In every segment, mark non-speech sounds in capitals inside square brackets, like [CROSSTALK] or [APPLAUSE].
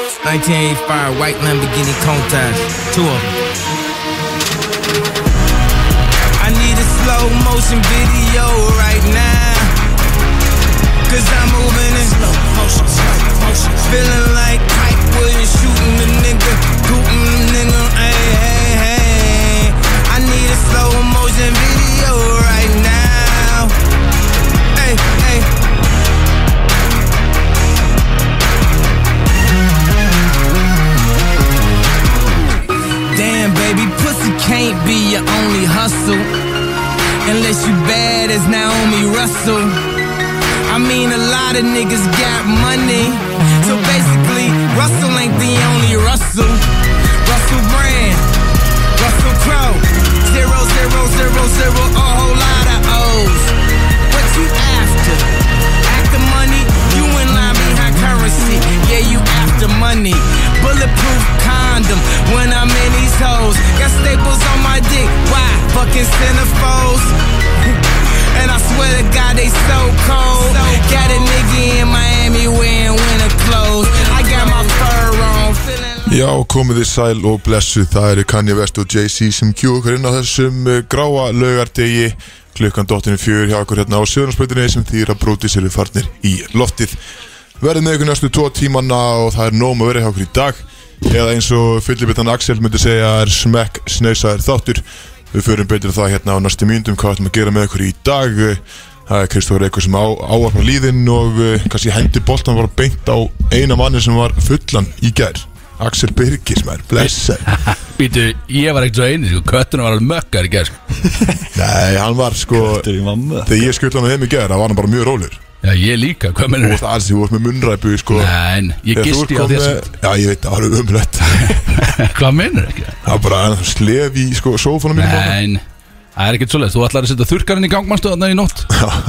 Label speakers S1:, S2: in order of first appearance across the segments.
S1: 1985 white Lamborghini Countach, two of them. I need a slow motion video right now. Cause I'm moving in slow motion, slow motion. Feeling like Mike Williams shooting the nigga, booting the nigga, hey, hey, hey. I need a slow motion video right now. Hey, hey. Damn, baby, pussy can't be your only hustle. Unless you bad as Naomi Russell. I mean, a lot of niggas got money. So basically, Russell ain't the only Russell. Russell Brand, Russell Crowe. Zero, zero, zero, zero, a whole lot of O's. What you after? After money? You in line behind currency. Yeah, you after money. Bulletproof condom when I'm in these hoes. Got staples on my dick. Why? Fucking centerfolds. [LAUGHS] And I swear to God, they so cold. Got a nigga in Miami wearing winter clothes. I got my fur on, feeling like.
S2: Já, komið þið sæl og blessuð, það eru Kanye West og Jay-Z sem kjú okkur inn á þessum eh, gráa laugardegi klukkan dottinu fjör hjá okkur hérna á söðunarsplötunni sem þýr að bróti sér við farnir í loftið. Verðið með ykkur næstu tvo tímanna og það er nóm að vera hjá okkur í dag eða eins og fyllibittan Axel myndi segja er smekk snausaðir þáttur. Við förum betur á það hérna á næstu mínundum hvað ætlum að gera með okkur í dag. Það er Kristóður Eikur sem á, áarpa líðin og eh, kannski hendi boltan var beint á eina manni sem var fullan í gær. Axel Birgis, maður, blessaður.
S3: Býtu, ég var ekkert svo einu, sko, köttunum var alveg mökkar í gerð, sko.
S2: Nei, hann var sko
S4: Þetta er í mamma
S2: Þegar ég skuttla hann heim í gerð, það var hann bara mjög rólur
S3: Já, ég líka, hvað
S2: Og
S3: mennur
S2: það alls, ég voru með munnræpu sko.
S3: Nein, ég
S2: Þegar þú
S3: gisti
S2: ert
S3: á
S2: komið-
S3: þess
S2: Já, ég veit, það var umrætt
S3: Hvað mennur ekki?
S2: Það var bara hann slef í sko, sófanum mínum þarna.
S3: Nein, það er ekkert svoleið Þú ætlar að setja þurrkarinn í gangmannstu þarna í nótt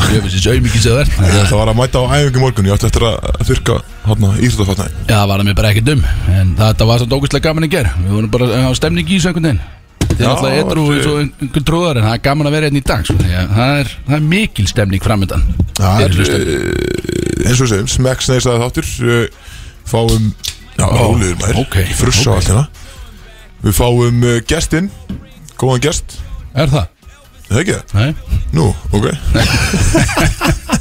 S3: Ég finnst þessi auðmikið sem það
S2: Ég
S3: er
S2: ætla að vara að mæta á æfingu í morgun Ég ætti eftir að þurka hátna íþróttafatna
S3: Já, það var það mér bara ekkert um En þetta var samt ógustlega gaman í gerð Við vorum bara eh, á stemning í þessu einhvern veginn Þið er
S2: Já,
S3: alltaf eitthvað
S2: þið-
S3: eins og einhvern tróðar En það er gaman að vera einn í dag sko. því að það, er, það er mikil stemning framöndan
S2: Það er
S3: Þeir hlusta.
S2: eh, eins og við segjum Smekk sneisaði þáttur eh, Fáum, já, róluður maður
S3: ok,
S2: Frussa
S3: ok.
S2: allt hérna Við fáum eh, gestinn Góðan gest,
S3: Er það?
S2: Er það ekki það?
S3: Nei,
S2: Nú, ok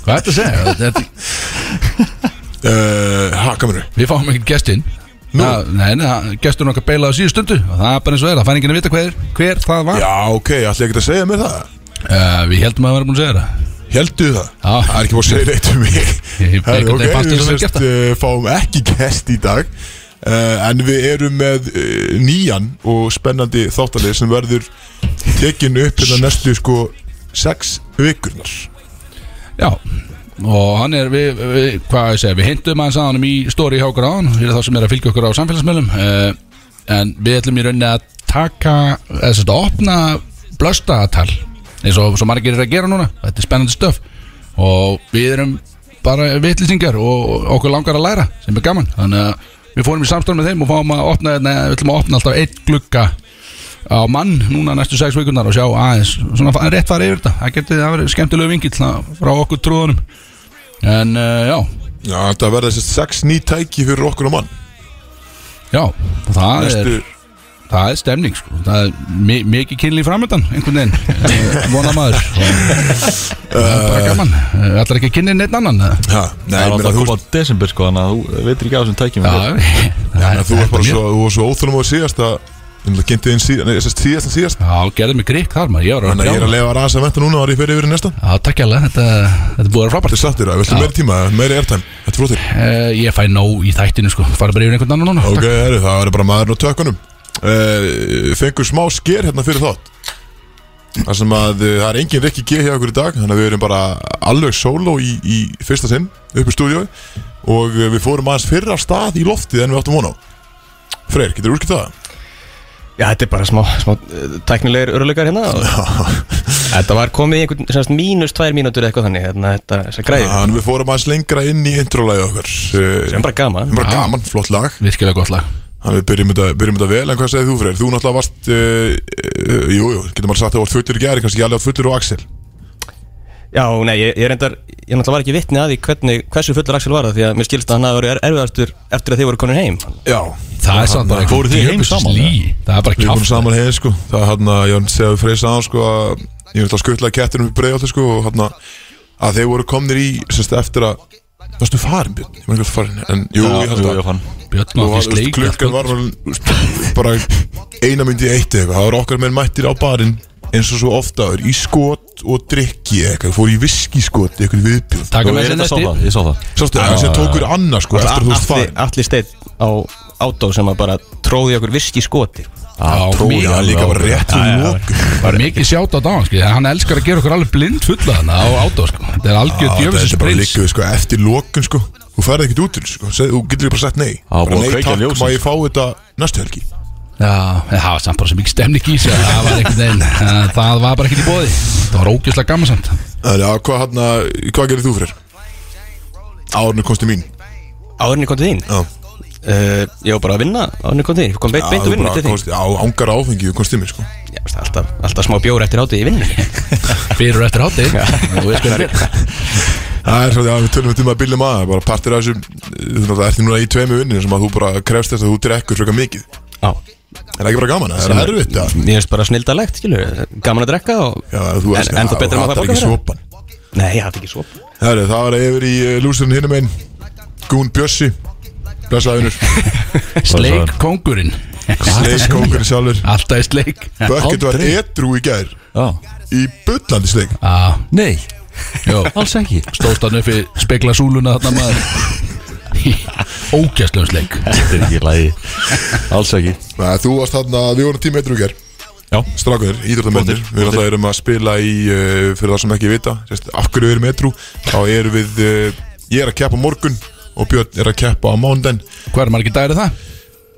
S3: hvað er þetta að segja? Þetta,
S2: uh, Hakamru
S3: Við fáum ekkert gestinn
S2: Nú?
S3: Já, Nei, nei, gesturinn okkar beilaði á síðu stundu og það er bara eins og er, það fær enginn að vita hver, hver það var
S2: Já, ok, ætla ekki að segja mér það
S3: uh, Við heldum að það var búin að segja það
S2: Heldu það?
S3: Já.
S2: Það er ekki búin að segja neitt um mig
S3: Ég-
S2: Herri,
S3: einhvern
S2: ok,
S3: veginn fannst
S2: við
S3: þess að
S2: sérst,
S3: gert það.
S2: uh, fáum ekki gest í dag uh, En við erum með uh, nýjan og spennandi þáttalið sem verður tekin upp hérna næstu sko sex vikurnar
S3: Já, og hann er, við, við hvað ég segja, við hindum aðeins að honum í stóri hjá okkur á hann, fyrir þá sem er að fylgja okkur á samfélagsmiðlum uh, en við ætlum í rauninni að taka, eða sérst að opna blöstaðatal eins og svo margir er að gera núna, þetta er spennandi stöf og við erum bara vitlýsingar og okkur langar að læra sem er gaman, þannig að við fórum í samstofn með þeim og fáum að opna, nei, við ætlum að opna alltaf einn glugga á mann núna næstu sex vikunar og sjá aðeins svona fa- rétt fara yfir þetta, það getur það verið skemmtilegu vingill frá okkur trúðunum en uh, já,
S2: Já, þetta verður sérst sex ný tæki fyrir okkur og mann
S3: já það
S2: Næstu,
S3: er, það er stemning sko. það er mi mikið kynli framöndan einhvern veginn, uh,
S2: [LAUGHS]
S3: vona maður það er
S2: Eh.
S3: bara gaman uh, allar ekki að kynni neitt annan eða?
S2: ha, nei, ég
S4: Það er
S2: meina,
S4: alltaf að
S2: þú,
S4: koma á desember sko Þannig að þú veitir ekki á þessum tækjum
S3: já, það
S2: en,
S3: er-
S2: þú
S3: það
S2: var
S3: er
S2: bara
S3: mér.
S2: svo, þú var svo óþólum á síðast að Þannig að kynnti þinn síðast, nei, sérst síðast en síðast
S3: já, gerðið mig grík þar maður, ég var að
S2: Þannig að ég er
S3: brjála.
S2: að lefa að rasa að venta núna og það er í fyrir yfir í næsta
S3: já, takk hérlega, þetta, þetta er búið að vera
S2: Þetta
S3: frábært
S2: er sattir, það viltu
S3: Já.
S2: meiri tíma, meiri airtime Þetta er flottir
S3: uh, ég fæ nóg í þættinu sko, fara bara yfir einhvern annan núna
S2: Ok,
S3: Takk.
S2: heru, það verður bara maðurinn á tökunum uh, Fengur smá sker hérna fyrir þátt Það sem að uh, það er engin Rikki G hjá okkur í dag Þannig að við erum bara alveg sóló í, í fyrsta sinn upp í stúdíói Og uh, við fórum aðeins fyrra af stað í loftið en við áttum von á Freyr, getur þú úrskilt það?
S5: Já, þetta er bara smá, smá eh, tæknilegir örlegar hérna og- Þetta var komið í einhvern semst mínus tvær mínútur eða eitthvað þannig Þannig að þetta er þess að græði
S2: Þannig að við fórum aðeins lengra inn í introlagi okkar
S5: Það er
S2: uh,
S5: bara gaman
S2: Bara gaman, flott lag
S3: virkilega gott lag
S2: Þannig að við byrjum þetta, byrjum þetta vel En hvað segir þú Freyr? Þú náttúrulega varst uh, uh, Jú, jú, getur maður sagt að þú varst fullur í gæri Kannski ekki alveg átt fullur og Axel
S5: Já, nei, ég, ég reyndar, ég náttúrulega var ekki vitni að því hvernig, hversu fullur Axel var það því að mér skilst að hann hafi verið er- erfiðastur eftir að þið voru konur heim
S2: Já
S3: Það er samt bara
S4: Fóruð þið heim
S3: djöfulsins
S4: saman,
S3: lí. Það er bara
S2: Við erum
S3: kjátt
S2: saman heim sko Það er hann að Jón segja við freysa á sko að Ég veist að skuttla kettinum í breiðalti sko Og hann að að þeir voru komnir í Sérst eftir að Varstu farin Björn? Ég maður ekki farin En jú,
S4: Já,
S2: ég held
S4: jú,
S2: að
S4: ég fann
S3: Björn
S2: Og
S3: var
S2: hann, veist,
S3: fyrst sko. leik
S2: klukkan var alveg, veist, bara eina myndi í eitt eða eitthvað, það var okkar menn mættir á barinn eins og svo ofta áður, í skot og drikki eitthvað, fór í viskiskot eitthvað viðbjörn,
S3: Taka
S4: Jú,
S3: með
S4: Ég
S3: sér
S4: reyndar sá
S3: næsti
S4: það, ég sá það
S2: sástu, það sem tókur annað sko, eftir að þú veist farin
S5: Allir steinn á átó sem að bara tróði okkur virki skoti
S3: Já,
S2: Tróði
S3: mikið-
S2: hann líka bara rétt fyrir lók
S3: bara mikið sjátt á dagann skilja. hann elskar að gera okkur alveg blind fulla þannig á átó sko. þetta er algjör djöfisins
S2: bara
S3: prins
S2: líka sko, eftir lókun sko þú færði ekkert út til þessu, sko, Segðu- þú getur líka bara sett nei
S4: Já,
S2: bara
S4: búið að
S2: nei
S4: kveikja
S2: takk,
S4: ljósin,
S2: má ég fá þetta næstu helgi
S3: Já, en það var samt bara svo mikið stemning í sig það var einhvern veginn, eh, það var bara ekki í bóði það var ógjörslega gaman samt
S2: þannig að hvað hann að, hvað gerir þú fyrir árinu komstu mín
S5: Áðurinn ég kom til þín
S2: já,
S5: uh, Ég var bara að vinna áðurinn ég kom til þín Ég kom beint, beint
S2: þú
S5: að vinna
S2: bara
S5: til þín
S2: komst- á ángar áfengi, þú komst til mér sko
S5: Já, veist, alltaf, alltaf smá bjór eftir hátíð í vinnu
S3: fyrir og eftir hátti og við skoðum fyrir
S2: Það er svolítið að við tölum þetta um að bílum að bara partir af þessum, þú náttúrulega ert núna í tveimu vinnir sem að þú bara krefst þess að þú drekkur frekar mikið Er
S5: Já
S2: það ekki bara gaman, það er erfitt að
S5: Mér finnst bara snildalegt, skilur Gaman að drekka og
S2: Já, þú
S5: En- en það betra en að fá
S2: það
S5: borgað
S2: ekki
S5: fyrir það.
S2: svopan
S5: Nei, ég hafði ekki svo
S2: Herru, það var yfir í uh, lúsurinn hinum einn Gún Bjössi Blessaðunur,
S3: sleik kongurinn
S2: sleiskókurinn sjálfur
S3: alltaf í sleik
S2: Bökkit var edru í gær
S4: Já,
S2: Í bullandi sleik
S3: Já,
S4: nei,
S3: jó,
S4: alls ekki
S3: stóðst hann uppi spekla súluna þarna maður ógjörslega sleik
S4: Þetta er ekki lægi Alls ekki
S2: Nei, Þú varst þarna, við vorum tíma edru í gær
S4: Já,
S2: Strákuðir, íþróttamennir,
S4: Flottir,
S2: við alltaf erum að spila í, uh, fyrir það sem ekki vita, sérst, af hverju við erum etru, þá erum við, uh, ég er að keppa á morgun og Björn er að keppa á mándaginn,
S3: hvað er margir dagir er það?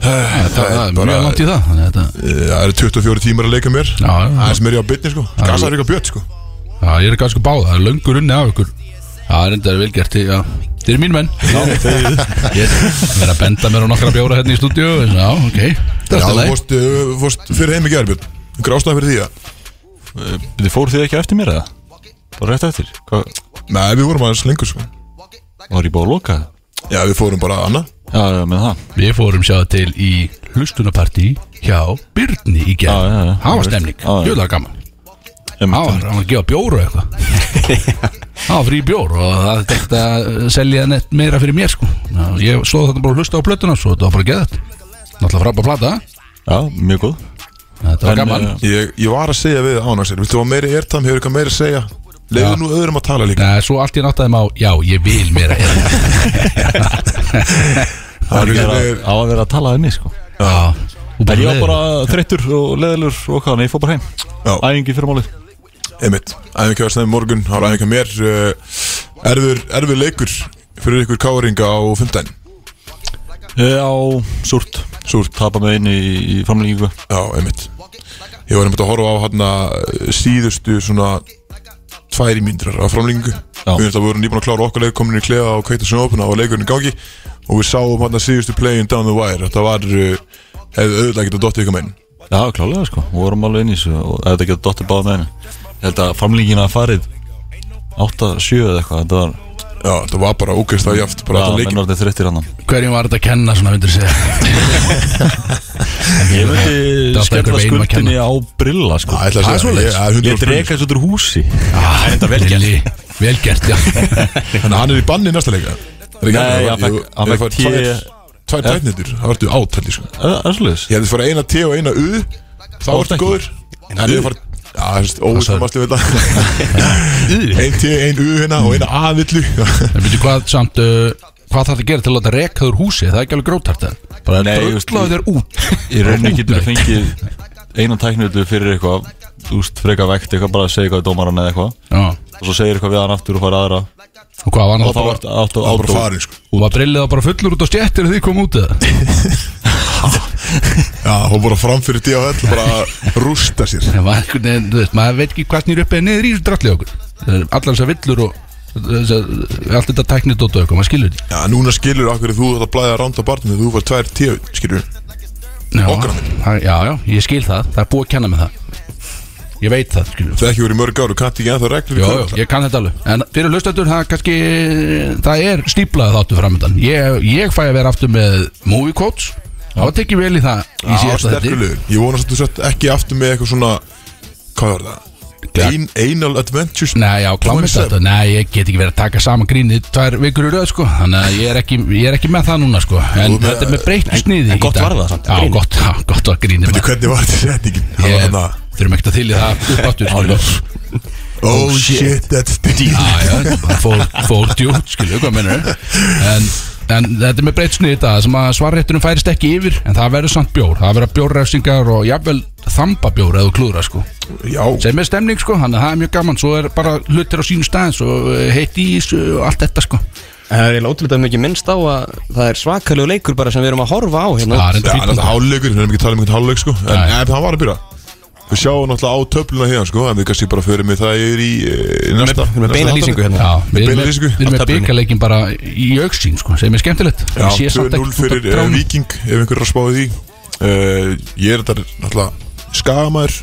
S3: Það, það,
S2: það er
S3: er
S2: bara-
S3: mjög langt í það þannig að þetta-
S2: uh, það eru 24 tímar að leika mér,
S3: Já, já, já.
S2: það er sem er ég á bytni sko, gasaður ykkur Björn sko,
S3: Já, ég er kannski báð, það er löngur unni af ykkur Já, það er enda vel gert já. Þið er mín menn Ég er verið að benda mér á nokkra bjóra hérna í stúdíu Já, ok Það er
S2: já,
S3: alltaf
S2: þú
S3: leið
S2: fost, uh, fost fyrir heim í gær Björn, grástaði fyrir því að,
S4: þið fóruð þið ekki eftir mér eða? Bara rétt eftir? Hvað,
S2: nei við vorum aðeins lengur sko,
S4: var ég búið að loka það?
S2: já við fórum bara annað,
S4: Já, já, með það
S3: Við fórum sjáðu til í hlustunapartí hjá Byrni í
S4: Já, já,
S3: gerð
S4: já.
S3: Það var stemning,
S4: Já, já.
S3: jöðlega gaman
S4: Einmitt,
S3: Það var hann var að gefa bjór og eitthvað
S4: [LAUGHS]
S3: Það var frí bjór og það tekta að selja neitt meira fyrir mér sko Já, Ég stóð þarna bara að hlusta á plötuna svo þetta var bara geðat Náttúrulega frábæð plata
S4: Já, mjög góð
S3: Þetta var
S4: En,
S3: gaman
S4: eh,
S2: ég, ég var að segja við ánægsir, viltu að meiri ertam, hefur eitthvað meira að segja, leiðu
S3: Já.
S2: nú öðrum að tala líka,
S3: Nei, svo allt ég náttaði maður, já, ég vil meira
S4: [LAUGHS]
S3: hérna
S4: Það
S2: er-
S4: er ekki á að vera að tala um mig sko
S3: Já, og
S4: En ég var
S3: leiðinlegur.
S4: bara þreyttur og leðilur og hvað, nei, ég fór bara heim
S2: Já.
S4: Æfingi fyrir málið
S2: Einmitt, æfingar snæði morgun, það var æfingar mér uh, erfur, erfur leikur fyrir ykkur káringa á 15
S4: Já, súrt Súrt, tapa með inn í, í framlengingu
S2: Já, einmitt Ég var einmitt að horfa á hana síðustu svona tværi mínútur af framlengingu Við erum að voru nýbúin að klára okkar leik komin í klefa og kveita sem opna og leikurinn í gangi og við sáum hana síðustu playin down the wire þetta var uh, hefði auðvitað getað dottið ykkur meginn
S4: Já, klálega sko, við vorum alveg inn í þessu og þetta getur dottir báða með henni Ég held að framlengina að farið 8-7 eða eitthvað, þetta var
S2: Já, þetta var bara ógeist það jaft bara
S4: Já,
S2: alltaf
S4: menn
S2: leikin
S4: orðið þreyttir hann
S3: Hverjum var þetta að kenna svona myndir segja
S4: Ég
S3: er
S4: myndi
S3: alltaf einhver
S4: skella
S3: veginn að
S4: skuldinni á brilla sko
S2: Það er svoleiðis.
S4: Ég dreka þessu út úr húsi
S3: Það er þetta vel gert Vel gert,
S4: [LAUGHS]
S3: já
S2: Þannig að hann er í banni í næsta leika Er ekki
S4: Nei,
S2: annað?
S4: hann
S2: Ég-
S4: fekk- hann
S2: ég
S4: fekk
S2: fær
S4: tíu-
S2: tvær- Tvær tæknitur, það vartu átaldi sko.
S4: Það er svolítið
S2: Ég hefði farið eina T og eina U Þá
S4: Þá
S2: ertu
S4: ertu
S2: góður En það er farið Já, það er óvitsamast við þetta Ein T, ein U hérna og eina A villu
S3: En veitu hvað samt uh, Hvað þarf að gera til að þetta reka úr húsi Það er ekki alveg grótart það Bara
S4: Nei, ég veist-
S3: drögglaðu þér út
S4: Í rauninni getur
S3: Út með
S4: þú fengið einan tæknutu fyrir eitthvað Þú veist, freka vekt eitthvað, bara að segja eitthvað í dómaran eða eitthvað
S3: Já
S4: Og svo segir eitthvað við hann aftur og fara aðra
S3: Og hvað var hann
S4: Og
S3: þá
S4: þá
S3: bara
S4: ertu átt
S2: Það var
S4: og átt
S2: bara
S4: og
S2: farið sko
S3: Og var brillið þá bara fullur út á stjettir Þegar þið kom út eða
S2: Já, hún bara framfyrir D og L Bara að rústa sér
S3: [LAUGHS] Það var einhvern veginn, þú veist Maður veit ekki hvað snýr upp eða niður í þessu drallið okkur Það er Allar þessar villur og þessar- Allt þetta tæknir dótt og eitthvað Maður skilur
S2: Já, núna skilur okkur þú þetta blæði að ránda barnið Þú farið tvær T, skilur
S3: því
S2: Okkar á
S3: já, já, já, ég skil það Það er búið að kenna með það ég veit það skilur.
S2: Það er ekki verið í mörg ár og kannt ekki ennþá reglur í
S3: Jó,
S2: körfubolta.
S3: jó, ég kann þetta alveg En fyrir lustendur, það er kannski Það er stíplað þáttu framöndan ég, ég fæ að vera aftur með movie quotes Það var tekið vel í það Í
S2: Já,
S3: síðasta
S2: sterkur
S3: þetta
S2: liður. Ég vonast að þú sett ekki aftur með eitthvað svona Hvað var það?
S3: Ja.
S2: Ein, anal Adventures
S3: Nei, já, klámið
S2: 27.
S3: þetta Nei, ég get ekki verið að taka saman grínið Tvær vikur í röð, sko Þannig að ég er ekki, ég er ekki með það núna, sko
S2: Þú
S3: En
S2: með-
S3: þetta er með breyttu sniði
S4: en
S3: í
S4: gott
S3: dag.
S4: var það samt,
S3: Já,
S4: grínið.
S3: gott, já, gott var grínið
S2: Veitu hvernig var þetta setningin? Það var
S3: Ég-
S2: hann
S4: hérna?
S2: að
S3: Þurfum ekkert að þylja
S4: [LAUGHS]
S3: það upp aftur, sko
S2: Oh shit, that's deep
S3: Já, já, bara fór, fór djúpt, skilju, hvað mennur en, en þetta er með breytt snið þetta sem að svarréttunum færist ekki yfir en það verður samt bjór, það verður bjórrefsingar og jafnvel þambabjór eða klúðra sko
S2: Já,
S3: sem er stemning sko, þannig að það er mjög gaman svo er bara hlutir á sínum staðins og heitt ís og allt þetta sko
S5: Það er eiginlega ótrúlega mikið minnst á að það er svakalegu leikur bara sem við erum að horfa á hérna
S3: það er
S2: Já,
S3: enda
S2: það er
S3: fínt
S2: hálfleikur, við erum ekki að tala um einhvern hálfleik sko En
S3: Nei.
S2: ef það var að byrja Við sjáum náttúrulega á töfluna hérna sko En við kannski bara förum með það yfir í, eh, í næsta
S5: Við erum með
S2: næsta
S5: beina
S2: þáttaröð.
S5: lýsingu hérna
S3: Já, við erum með,
S2: beinlýsingu
S3: við erum
S2: á
S3: með
S2: töflunni.
S3: byggaleikin bara í auksín sko, sem er skemmtilegt
S2: Já,
S3: Ég sé samt
S2: 2-0
S3: ekkert út af
S2: fyrir uh,
S3: trjánum.
S2: Viking Ef einhver er að spáði því uh, Ég er þetta náttúrulega skagamæður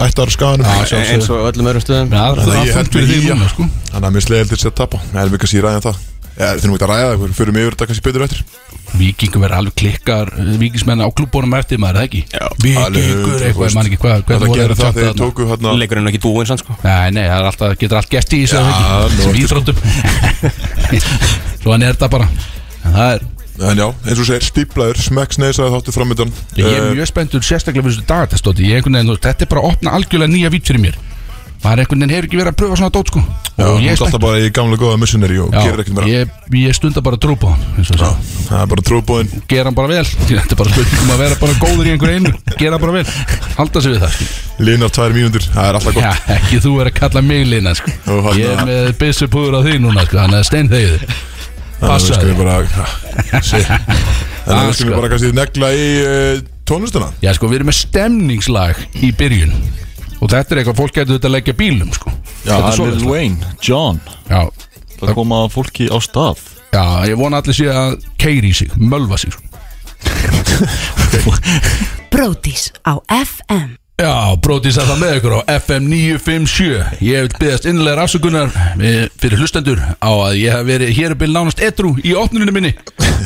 S2: Ættar skaganum
S3: Já, sjálfsögðu.
S5: Eins og öllum öðrum stöðum
S3: Þannig
S2: Þannig
S3: að það
S2: að ég
S3: er
S2: held
S3: fullt fyrir
S2: við
S3: því
S2: í,
S3: núna sko
S2: Þannig að mér slegði til að tapa En við kannski ræðum það Já, Þeir nú ekki að ræða það, við förum yfir þetta kannski betur eftir
S3: Víkingum verður alveg klikkar Víkingsmenn á klubbónum eftir maður, er það ekki? Já, Víkingur, eitthvað, ég man ekki hvað hvað
S2: Það
S3: voru
S2: gerir
S3: þeir
S2: það
S3: að
S2: þegar
S3: tjanta
S2: þeir tóku hérna
S5: Leikurinn er ekki búinn sann sko
S3: þarna? Nei, nei, það er alltaf, getur allt gert í þessu
S2: Já,
S3: eða
S2: nú sko. ertu-
S3: ekki? Sem íþróttum [LAUGHS] Svo hann er þetta bara En það er,
S2: En já, eins og þú segir, stíplaður, smekksneisaði þáttu framöndan
S3: ég
S2: Eh,
S3: er mjög spenntur sérstaklega fyrir þessu dagartestóti Ég einhvern veginn, þú veist, þetta er bara að opna algjörlega nýja vít fyrir mér Maður einhvern veginn hefur ekki verið að pröfa svona dót sko
S2: Já,
S3: Og
S2: þú
S3: ég er
S2: ert alltaf
S3: spenntur
S2: bara í gamla góða missionary og gerir ekkert
S3: Já,
S2: meira
S3: ég, ég stunda bara að trú på hann eins og það.
S2: Það er bara trúbóðin
S3: Gera hann bara vel [LAUGHS] Þetta er bara spurningum að vera bara góður í einhverju einu Gera bara vel, halda sig við það sko. skil.
S2: Línar tvær mínútur, það er alltaf
S3: Já,
S2: gott
S3: ekki þú verið að kalla mig lina sko.
S2: Ó, hann-
S3: Ég er með byssupúður á því núna sko, Þannig að stein þegið
S2: Þannig
S3: Passa
S2: að við skulum
S3: þig
S2: bara sí. Þannig að
S3: Ah,
S2: við skulum
S3: sko.
S2: bara kannski negla í uh,
S3: [LAUGHS]
S2: tónlistuna
S3: Já sko, við erum með stemningslag í byrjun Og þetta er eitthvað fólk getur þetta að leggja bílum sko.
S4: Já,
S3: Þetta er
S4: Lil
S3: svoleiðis lag.
S4: Wayne, John
S3: já,
S4: Það koma fólki á stað
S3: já, ég vona allir sé að keiri í sig, mölva sig sko.
S6: Bróðis á FM
S3: Já, brótið sætt það með ykkur á FM 957 Ég vil byggðast innlegar afsökunar eh, fyrir hlustendur á að ég hef verið hér upp í nánast edru í opnuninu minni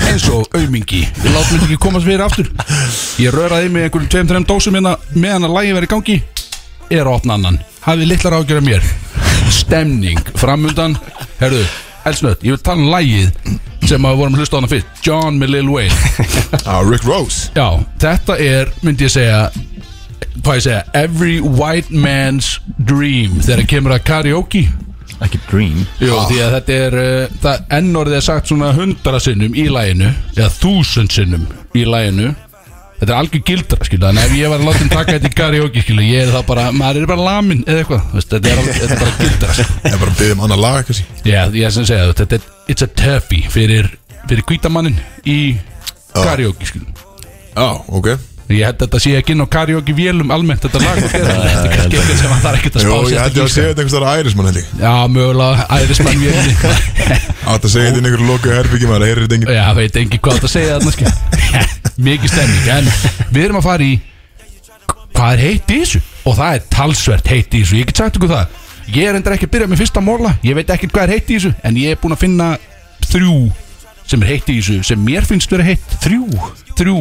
S3: eins og aumingi Við látum þetta ekki komast fyrir aftur Ég röraði með einhverjum tveim, þreim dósum hérna meðan að lægi verið í gangi er að opna annan Hafið litlar ágjör af mér Stemning framundan Herðu, elsnött, ég vil tala um lægið sem að við vorum að hlusta á hana fyrst John með Lil Wayne
S2: ah, Rick Rose
S3: Já, þetta er, myndi ég segja Hvað ég segja, every white man's dream Þegar
S4: [LAUGHS]
S3: það kemur að karaoke
S4: Ekki Dream Ah.
S3: Jó, því að þetta er uh, það, Ennorðið er sagt svona hundra sinnum í læginu Eða þúsund sinnum í læginu Þetta er algjör gildra, skilja En ef ég var að láta um taka þetta í karaoke, skilja Ég er það bara, maður er bara lamin eða eitthvað þú veist, Þetta er, alveg- þetta er bara gildra, skilja
S2: Ég bara byggði um annað lag kannski
S3: Já, ég sem segja þú, þetta er It's a toughie fyrir, fyrir hvítamannin í
S4: Ah.
S3: karaoke, skilja
S2: Já, ok
S3: Ég held að þetta sé ekki inn á karaoke vélum almennt þetta
S2: [LAUGHS]
S3: lag og gera þetta er kannski eitthvað sem það er ekkert að
S2: Jó,
S3: spá
S2: ég held ég að segja
S3: sérstaklega í, sko.
S2: þetta einhvers þar ærismann held ég
S3: Já, mögulega ærismann vélum
S2: Átt að segja þetta inn í einhverju lokuðu herbyggi maður, heyrir þetta enginn
S3: [LAUGHS] Já, veit ekki hvað þetta segja þarna skil. [LAUGHS] Mikið stemning En við erum að fara í Hvað er heitt í þessu? Og það er talsvert heitt í þessu Ég get sagt ykkur það Ég er endur ekki að byrja með fyrsta móla Ég veit ekkert hvað er heitt í þessu En ég er búinn að finna þrjú sem er heitt í þessu sem mér finnst vera heitt Þrjú, þrjú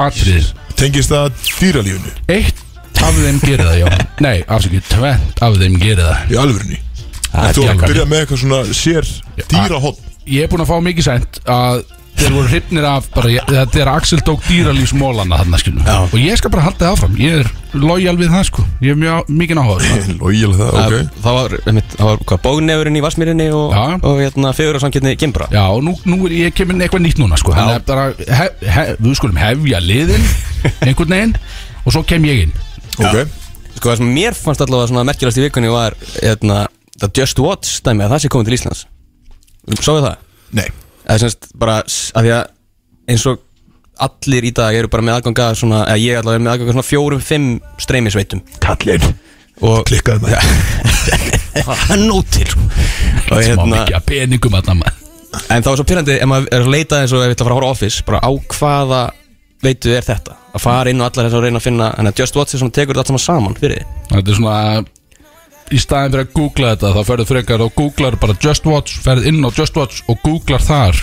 S3: atriðir
S2: Tengist það dýralífinu
S3: Eitt af þeim gerir það, já Nei, afsakið, tvent af þeim gerir það
S2: í alvörunni
S3: er
S2: En þú
S3: dýralíf.
S2: byrja með eitthvað svona sér dýrahótt
S3: Ég er búinn að fá mikið sent að þeir voru hrypnir af bara, ég- þetta er að Axel tók dýralífsmólana þarna skilum og ég skal bara halda það áfram ég er lojal við það sko, ég er mjög mikið áhuga
S2: Lógil það,
S5: Það
S2: ok
S5: það var, einmitt, það var hvað, bógnefurinn í Vassmýrinni og,
S3: Já.
S5: og hérna, fjögur á samkynni Gimbra
S3: Já, og nú, nú er ég kemur inn eitthvað nýtt núna sko, þannig að bara hef, hef, við skulum hefja liðin einhvern veginn og svo kem ég inn
S2: Ok,
S5: Sko það sem mér fannst allavega svona merkilegast í vikunni var hérna, það Just Watch dæmi að það sé komið til Íslands Sáðu það?
S2: nei
S5: Eða semst bara s- að því að eins og allir í dag eru bara með aðganga svona, eða ég allavega er með aðganga svona fjórum, fimm streymisveitum
S2: Kallin,
S5: og
S2: klikkaði maður
S5: hann nótir [LAUGHS]
S3: sem
S5: og
S3: á
S5: hérna,
S3: mikið að peningum að það
S5: en það var svo pyrrandi ef maður er að leita eins og ef við ætla að fara að horfa á Office bara á hvaða veitu er þetta að fara inn og allar þess að reyna að finna þannig að Just Watch er svona tekur þetta allt saman saman fyrir þið
S3: Þetta er svona Í staðin fyrir að googla þetta Þá ferðu frekar og googlar bara Just Watch Ferð inn á Just Watch og googlar þar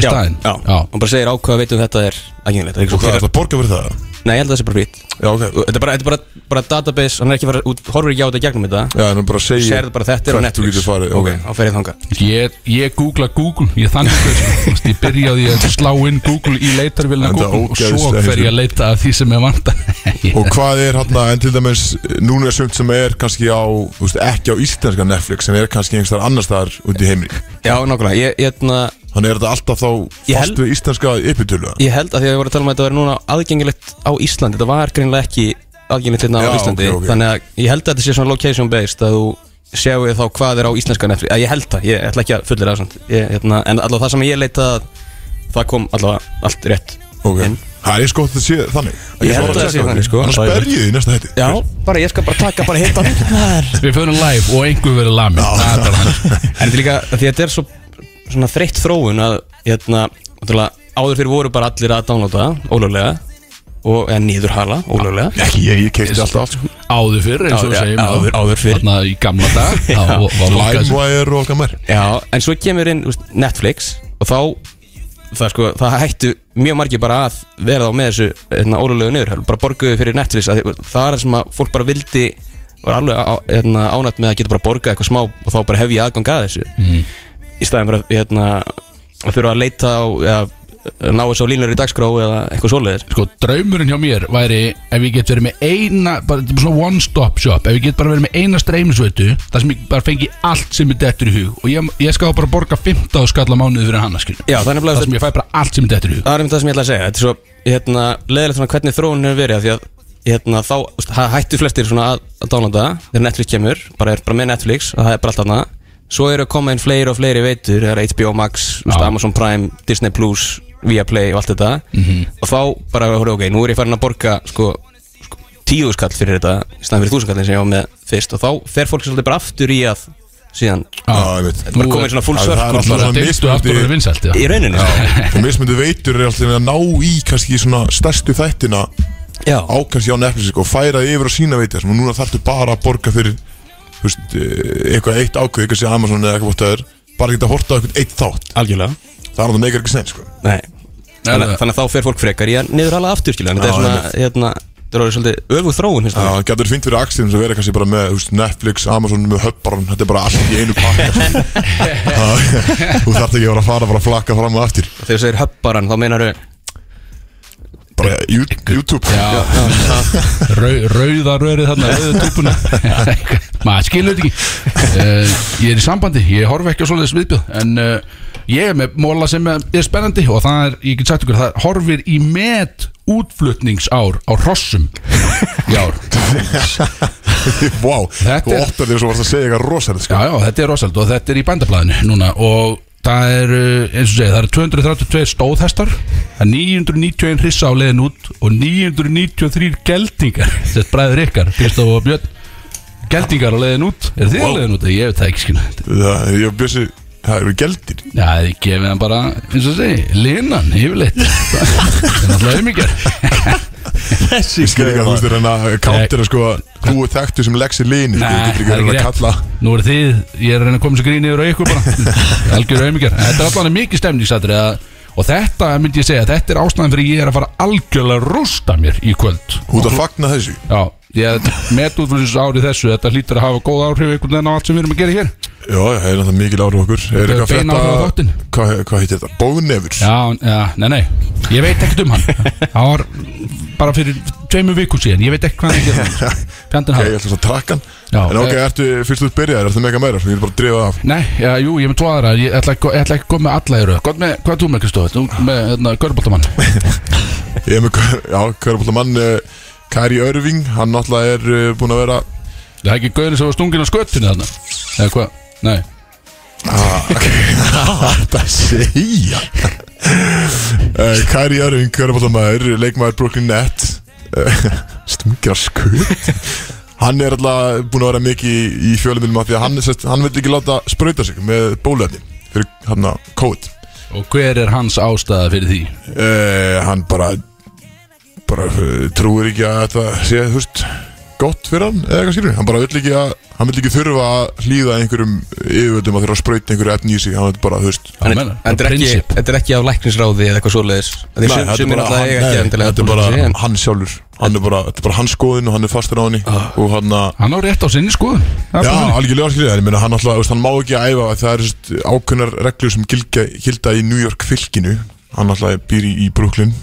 S3: Í staðin
S5: já, já, og bara segir ákveða veitum þetta er aðgengilegt
S2: Og hvað er þetta að borga fyrir það?
S5: Nei, ég held að það sé bara frýtt
S2: Já, ok
S5: Þetta er bara, þetta er bara, bara database, hann er ekki fara út, horfir ekki á þetta í gegnum þetta
S2: Já, en hann bara segir
S5: Serðu bara þetta er á
S2: hvert
S5: Netflix
S2: Þú getur farið, ok
S5: Þá fer ég þangað
S3: Ég, ég googla Google, ég er þannig gaur, sko. Þú veist, Ég byrja á því að slá inn Google í leitarvilna
S2: Enda
S3: Google og svo
S2: ógeðslega
S3: fer ég að leita að því sem ég vant
S5: [LAUGHS]
S2: Og hvað er hann en til dæmis Núna er sumt sem er kannski á þú veist, Ekki á íslenska Netflix En er kannski einhvers þar annars þar út í heimri
S5: Já, nákvæmlega, ég, ég, hérna-
S2: Þannig er þetta alltaf þá Fast
S5: Ég held-
S2: við íslenska yppitölu
S5: ég held að því að við vorum að tala um að þetta verið núna aðgengilegt á Íslandi, þetta var greinilega ekki aðgengilegt hérna
S2: Já,
S5: á Íslandi,
S2: ok, ok.
S5: þannig að ég held að þetta sé svona location based að þú sjáu þá hvað er á íslenska Netflix, að ég held það, ég ætla ekki að fullir það samt, Ég- hérna, en allavega það sem ég leita það kom allavega allt rétt
S2: Ok
S5: inn.
S2: Það er eins gott að sé þannig
S5: Ég held að það sé þannig, sko.
S2: Þannig sperjið í næsta hætti
S5: Já, bara ég skal bara taka bara hitt á [LAUGHS] en
S3: Við fyrir live og einhver verður lamin Það er bara hann
S5: þetta er líka, því að þetta er svo svona þreytt þróun að hérna, náttúrulega, áður fyrir voru bara allir að downloada ólöglega og eða nýðurhala ólöglega
S2: Ekki, ég, ég keipti alltaf sko.
S3: Áður fyrr eins og við
S5: Já, já,
S3: segjum
S5: áður- áður fyrr.
S3: Þarna í gamla
S5: [LAUGHS]
S3: dag þá
S5: Já.
S3: var- var lokað-
S2: LimeWire og okkar mær
S5: Já, en svo kemur inn úst, Netflix og þá það, sko, það hættu mjög margir bara að vera þá með þessu hérna, ólulegu niður bara borguðu fyrir Netflix að, því- það er það sem að fólk bara vildi var alveg á- hérna, ánætt með að geta bara borgað eitthvað smá og þá bara hef ég aðgang að þessu í staðin fyrir að, hérna, að þurfa að leita á eða, ná þessu á línur í dagskrá eða eitthvað svoleiðis
S3: Sko, draumurinn hjá mér væri ef ég get verið með eina bara, þetta er bara svona one stop shop, ef ég get bara verið með eina streymisveitu, þar sem ég bara fengi allt sem er dettur í hug og ég, ég skal bara borga 15 skall á mánuði fyrir hana skilur.
S5: Já, það er nefnilega
S3: þar sem ég fæ bara allt sem er dettur í hug
S5: það er um það sem ég ætla að segja Þetta er svo hérna, leðilegt svona hvernig þróunin hefur verið af Því að hérna, þá úst, það hættu flestir svona að, að dálanda Þegar Netflix kemur, bara er bara með Netflix og það er bara allt annað Svo eru að koma inn fleiri og fleiri veitur Það er HBO Max, úst,
S3: Já.
S5: Amazon Prime, Disney Plus, Viaplay og allt þetta Og þá bara, horfðu, ok, nú er ég farin að borga sko, sko, tíu skall fyrir þetta í staðan fyrir þúsundkallin sem ég var með fyrst Og þá fer fólk svolítið bara aftur í að síðan
S2: Já, ég veit
S5: Bara komið svona full
S2: Það- það er
S5: circle
S2: alltaf svona mismunandi-
S3: Deildu aftur og það er vinsælt,
S5: í
S3: já
S5: rauninni sko.
S2: Og mismundu veitur er alltaf að ná í kannski svona stærstu þættina
S5: Já,
S2: á kannski á Netflix sko, og færa þig yfir á sína veitir og núna þarftu bara að borga fyrir þú veist, eh, eitthvað eitt ákveð kannski Amazon eða eitthvað bótt öður bara geta að horta á eitthvað eitt þátt
S5: algjörlega
S2: það er að það meikar ekki sen sko.
S5: Nei Þannig,
S3: nei.
S5: þannig að þá fer fólk frekar í að niður hala aftur skilja
S2: Já,
S5: Þetta er svona, hérna, þetta er orðið svolítið öfu þróun
S2: Já,
S5: hérna.
S2: það getur fint fyrir Axelins að vera kannski bara með þú veist, Netflix, Amazon með höfbarn þetta er bara allt í einu pakka sko. [LAUGHS] Já, þú þarft ekki að vera að fara bara að flakka fram og aftur
S5: Þegar þú segir höbbaran, þá meinar þau
S2: bara Jú- YouTube
S3: Já, Rau, rauða rörið þarna, rauða túpuna [LAUGHS] maður skilur þetta ekki uh, ég er í sambandi, ég horf ekki á svoleiðis viðbjöð en uh, ég er með móla sem er er spennandi og það er, ég get sagt ykkur það horfir í met útflutningsár á hrossum í ár [LAUGHS]
S2: [LAUGHS] Vá,
S3: Þetta
S2: þú
S3: er-
S2: óttar þér svo varst að segja eitthvað rosalega sko.
S3: Já, já, þetta er rosalega og þetta er í bændablaðinu núna og það er, uh, eins og segja, það eru 232 stóðhestar það er 991 hrissa á leiðin út og 993 geldingar [LAUGHS] þetta bræður ykkar, Kristof og Björn geldingar á leiðin út er þið á leiðin út? Ég veit það ekki skilja
S2: Það er, ég bjössi, það eru geldir
S3: Já, þið gefið hann bara, eins og segja, linan, yfirleitt það er náttúrulega umíkjar
S2: Ég skil ekki að þú veist þér en að káttir að sko Þú er þekktu sem leggs í líni Þú
S3: Nei,
S2: getur ekki verið að
S3: rétt.
S2: kalla
S3: Nú er þið, ég er að reyna að koma sér grín yfir á ykkur [LAUGHS] bara Algjör auðmikjar Þetta er allan mikið stemningsatri Og þetta myndi ég segja, þetta er ástæðan fyrir ég er að fara algjörlega að rústa mér í kvöld
S2: Þú ert að fagna þessu
S3: Já, ég met útflýsins ári þessu Þetta hlýtur að hafa góð áhrif einhvern veginn á allt sem við erum að gera hér
S2: Já, já, það er náttúrulega mikil áhrif á okkur Er
S3: Þetta er
S2: eitthvað
S3: bein
S2: frétta
S3: áhrif á þáttinn.
S2: Hvað hvað heitir þetta? Bóðnefur [LAUGHS]
S3: Já, já, nei, nei, ég veit ekkert um hann Það var bara fyrir tveimur vikum síðan Ég veit ekkert hvað hann er að [LAUGHS] gera Fjandinn
S2: Ég
S3: hafa
S2: ætla svo að trakka hann
S3: Já,
S2: En ok,
S3: eh,
S2: ertu, fyrst þú byrjaðir, ertu mega meira Ég vil bara að drifa það af
S3: Nei, já, jú, ég er með tvo aðra Ég ætla, ekki- ég ætla ekki að koma með alla í röð Hvað með, hvað er þú með Kristof? Þú með, hérna, Görboltamann
S2: Ég er með, já, hverjabóla mann Kæri Örving, hann náttúrulega er eh, búinn að vera
S3: Það er ekki gaurið sem var stungin á sköttinu þarna Eða hvað? Nei
S2: Þetta segja Eh, Kæri Örving, hverjabóttamæður Leikmaður Brooklyn Nets Stungir að skut Hann er alltaf búin að vera mikið í fjölumilum af því að hann, sest, hann vil ekki láta sprauta sig með bólefni fyrir hann að kóð
S3: Og hver er hans ástæða fyrir því?
S2: uh, Hann bara Eh, bara uh, trúir ekki að þetta sé, þú veist, gott fyrir hann eða eitthvað skilur, hann bara vill ekki að hann vill ekki þurfa að hlýða einhverjum yfirvöldum að þurfa að sprauta einhverju efni í sig hann vill bara, þú veist
S3: Já,
S5: En
S3: meina,
S5: þetta er,
S3: bara
S5: ekki,
S3: prinsip.
S5: þetta er ekki af læknisráði eða eitthvað svoleiðis Þetta er
S2: Nei,
S5: sum-
S2: þetta er
S5: sumir
S2: bara
S5: náttúrulega
S2: hann-
S5: eiga ekki
S2: nei,
S5: endilega
S2: Þetta er
S5: að
S2: bara
S5: en-
S2: hann sjálfur Hann er bara, þetta er bara hans skoðin og hann er fastur á henni Og hann að
S3: Hann á rétt á sinni sko
S2: Já, algjörlega skilja það, ég meina hann alltaf, veist, hann má ekki æfa að það eru sest, ákveðnar reglur sem gilda, gilda í New York fylkinu hann alltaf býr í, í Brooklyn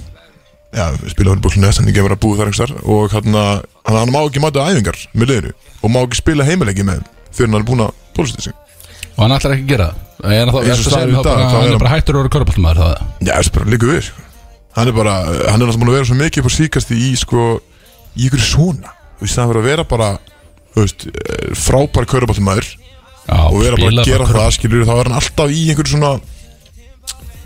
S2: já, spila hann í Brooklyn Nets, hann er ekki að vera að búa þar einhversar og hann, hann, hann má ekki mæta á æfingar með leiðinu og má ekki spila heimileggi með þeim fyrir hann er búin að bólusetja sig
S3: Og hann ætlar ekki að gera það Er það
S2: Eins og
S3: verður að
S2: staðan í
S3: segja þá
S2: dag, þá er
S3: bara Hann er
S2: hann-
S3: bara hættur að vera körpaltumæður það
S2: Já, þessi bara líka við sko. hann er bara, hann er alltaf búin að vera svo mikið upp á síkast í, sko, í ykkur svona þú veist, það verður að vera bara þú veist, eh, frábær kauraballumæður
S3: Já,
S2: og vera bara
S3: spila
S2: að gera
S3: bara
S2: það skilur þá er hann alltaf í einhverju svona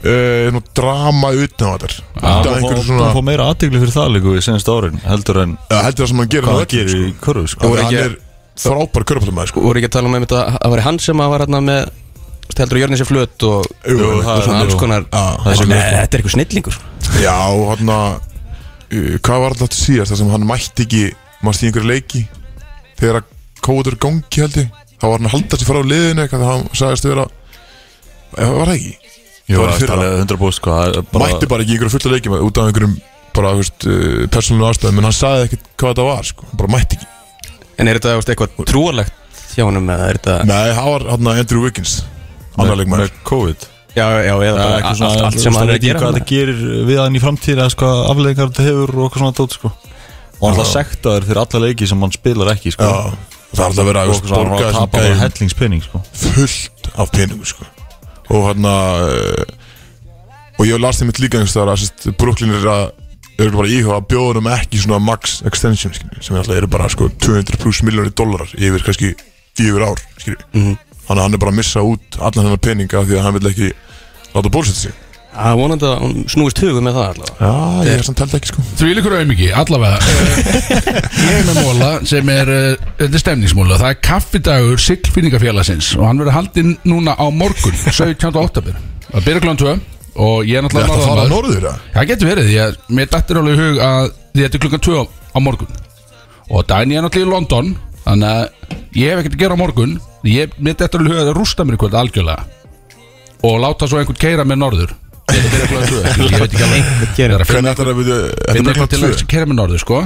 S2: uh, nú, drama utan á þetta
S4: Það
S2: alltaf einhverju svona
S4: fór meira aðtegli fyrir það líka við senast árin heldur en
S2: ja, heldur það sem hann gerir
S4: hvað
S2: á
S4: það
S2: vellinum,
S4: gerir í körfu
S2: sko.
S4: sko.
S2: og hann
S5: ekki-
S2: er frábær körpallumæður sko.
S5: Þú voru ekki að tala um einmitt að það var hann sem að var hérna með þú veist, heldur að Jörni sér flöt og
S2: Jú, jú,
S5: það
S2: það er
S5: er svona
S2: jú.
S5: alls konar
S2: Já, það er
S5: Þetta-
S2: svona-
S5: Nei, Þetta er eitthvað snillingur
S2: já og hann að uh, hvað var alltaf síðast það sem hann mætti ekki mannst í einhverju leiki þegar að kóður gangi held ég þá var hann að halda sér frá liðinu eitthvað þegar hann sagðist vera eða var það ekki
S4: Jú,
S2: Það var í
S4: það er
S2: fyrra.
S4: alveg 100% sko, það er
S2: mætti bara ekki í einhverju fulla leikjum út af einhverjum bara, þú veist, uh, persónulega ástæðum en hann sagði ekkert hvað þetta var, sko, hann bara mætti ekki
S5: En er þetta þú veist, eitthvað trúalegt hjá honum eða er þetta
S2: Nei, það var hann Andrew Wiggins Annar
S4: með,
S2: leikmaður
S4: með COVID
S5: Já, já, eða
S4: Það er
S5: bara
S4: eitthvað
S5: allt-
S4: svona-
S5: allt
S4: þú
S5: sem
S4: veist,
S5: hann er að
S4: veit ekki
S5: gera
S4: hvað það
S5: þarna.
S4: gerir við hann í framtíð eða sko, afleðingar þetta hefur og eitthvað svona tótt sko. og hann er alltaf sektaður fyrir alla leiki sem hann spilar ekki sko.
S2: Já, sko, það er alltaf verið að vera
S4: og eitthvað svona hann var að
S2: gæðum
S4: tapa bara hellingspinning sko.
S2: fullt af peningu sko. og hann að og ég las þeim mitt líka einhvers þar að sérst, Brooklyn er að eru bara íhuga að bjóða um ekki svona max extension skilju, sem er alltaf eru bara sko, 200 pluss miljónir dólarar yfir kannski fjögur ár skilju þannig að hann er bara að missa út allan hennar peninga því að hann vil ekki láta bólsetja sig
S5: Það er vonandi að hún snúist hugum með það allavega
S2: Já, ég er samt held ekki sko
S3: Því líkur auðmiki,
S2: [LAUGHS]
S3: allavega Eh, Ég er með móla sem er eh, Þetta er stemningsmóla, það er kaffidagur Siglfinningafélagsins og hann verður haldinn núna á morgun, 17. oktober Það byrja klán 2 og ég
S2: Það er
S3: er
S2: að
S3: náttúrulega
S2: fara að
S3: norðanmaður.
S2: norður það
S3: Það getur verið, því að mér dættir alveg í hug að því þetta er klukkan 2 á- á morgun og daginn ég er náttúrulega í London þannig að ég hef ekkert að gera á morgun ég, mér dættir alveg í hug að það rústa mér í kvöld algjörlega og láta svo einhvern keira með norður Þetta byrjar klukkan tvö, skilur, ég veit ekki alveg Það er að finna-
S2: Hvernig ætlar að byrja- þetta er
S3: Finn
S2: bara
S3: eitthvað til
S2: klart
S3: að kæra með norður sko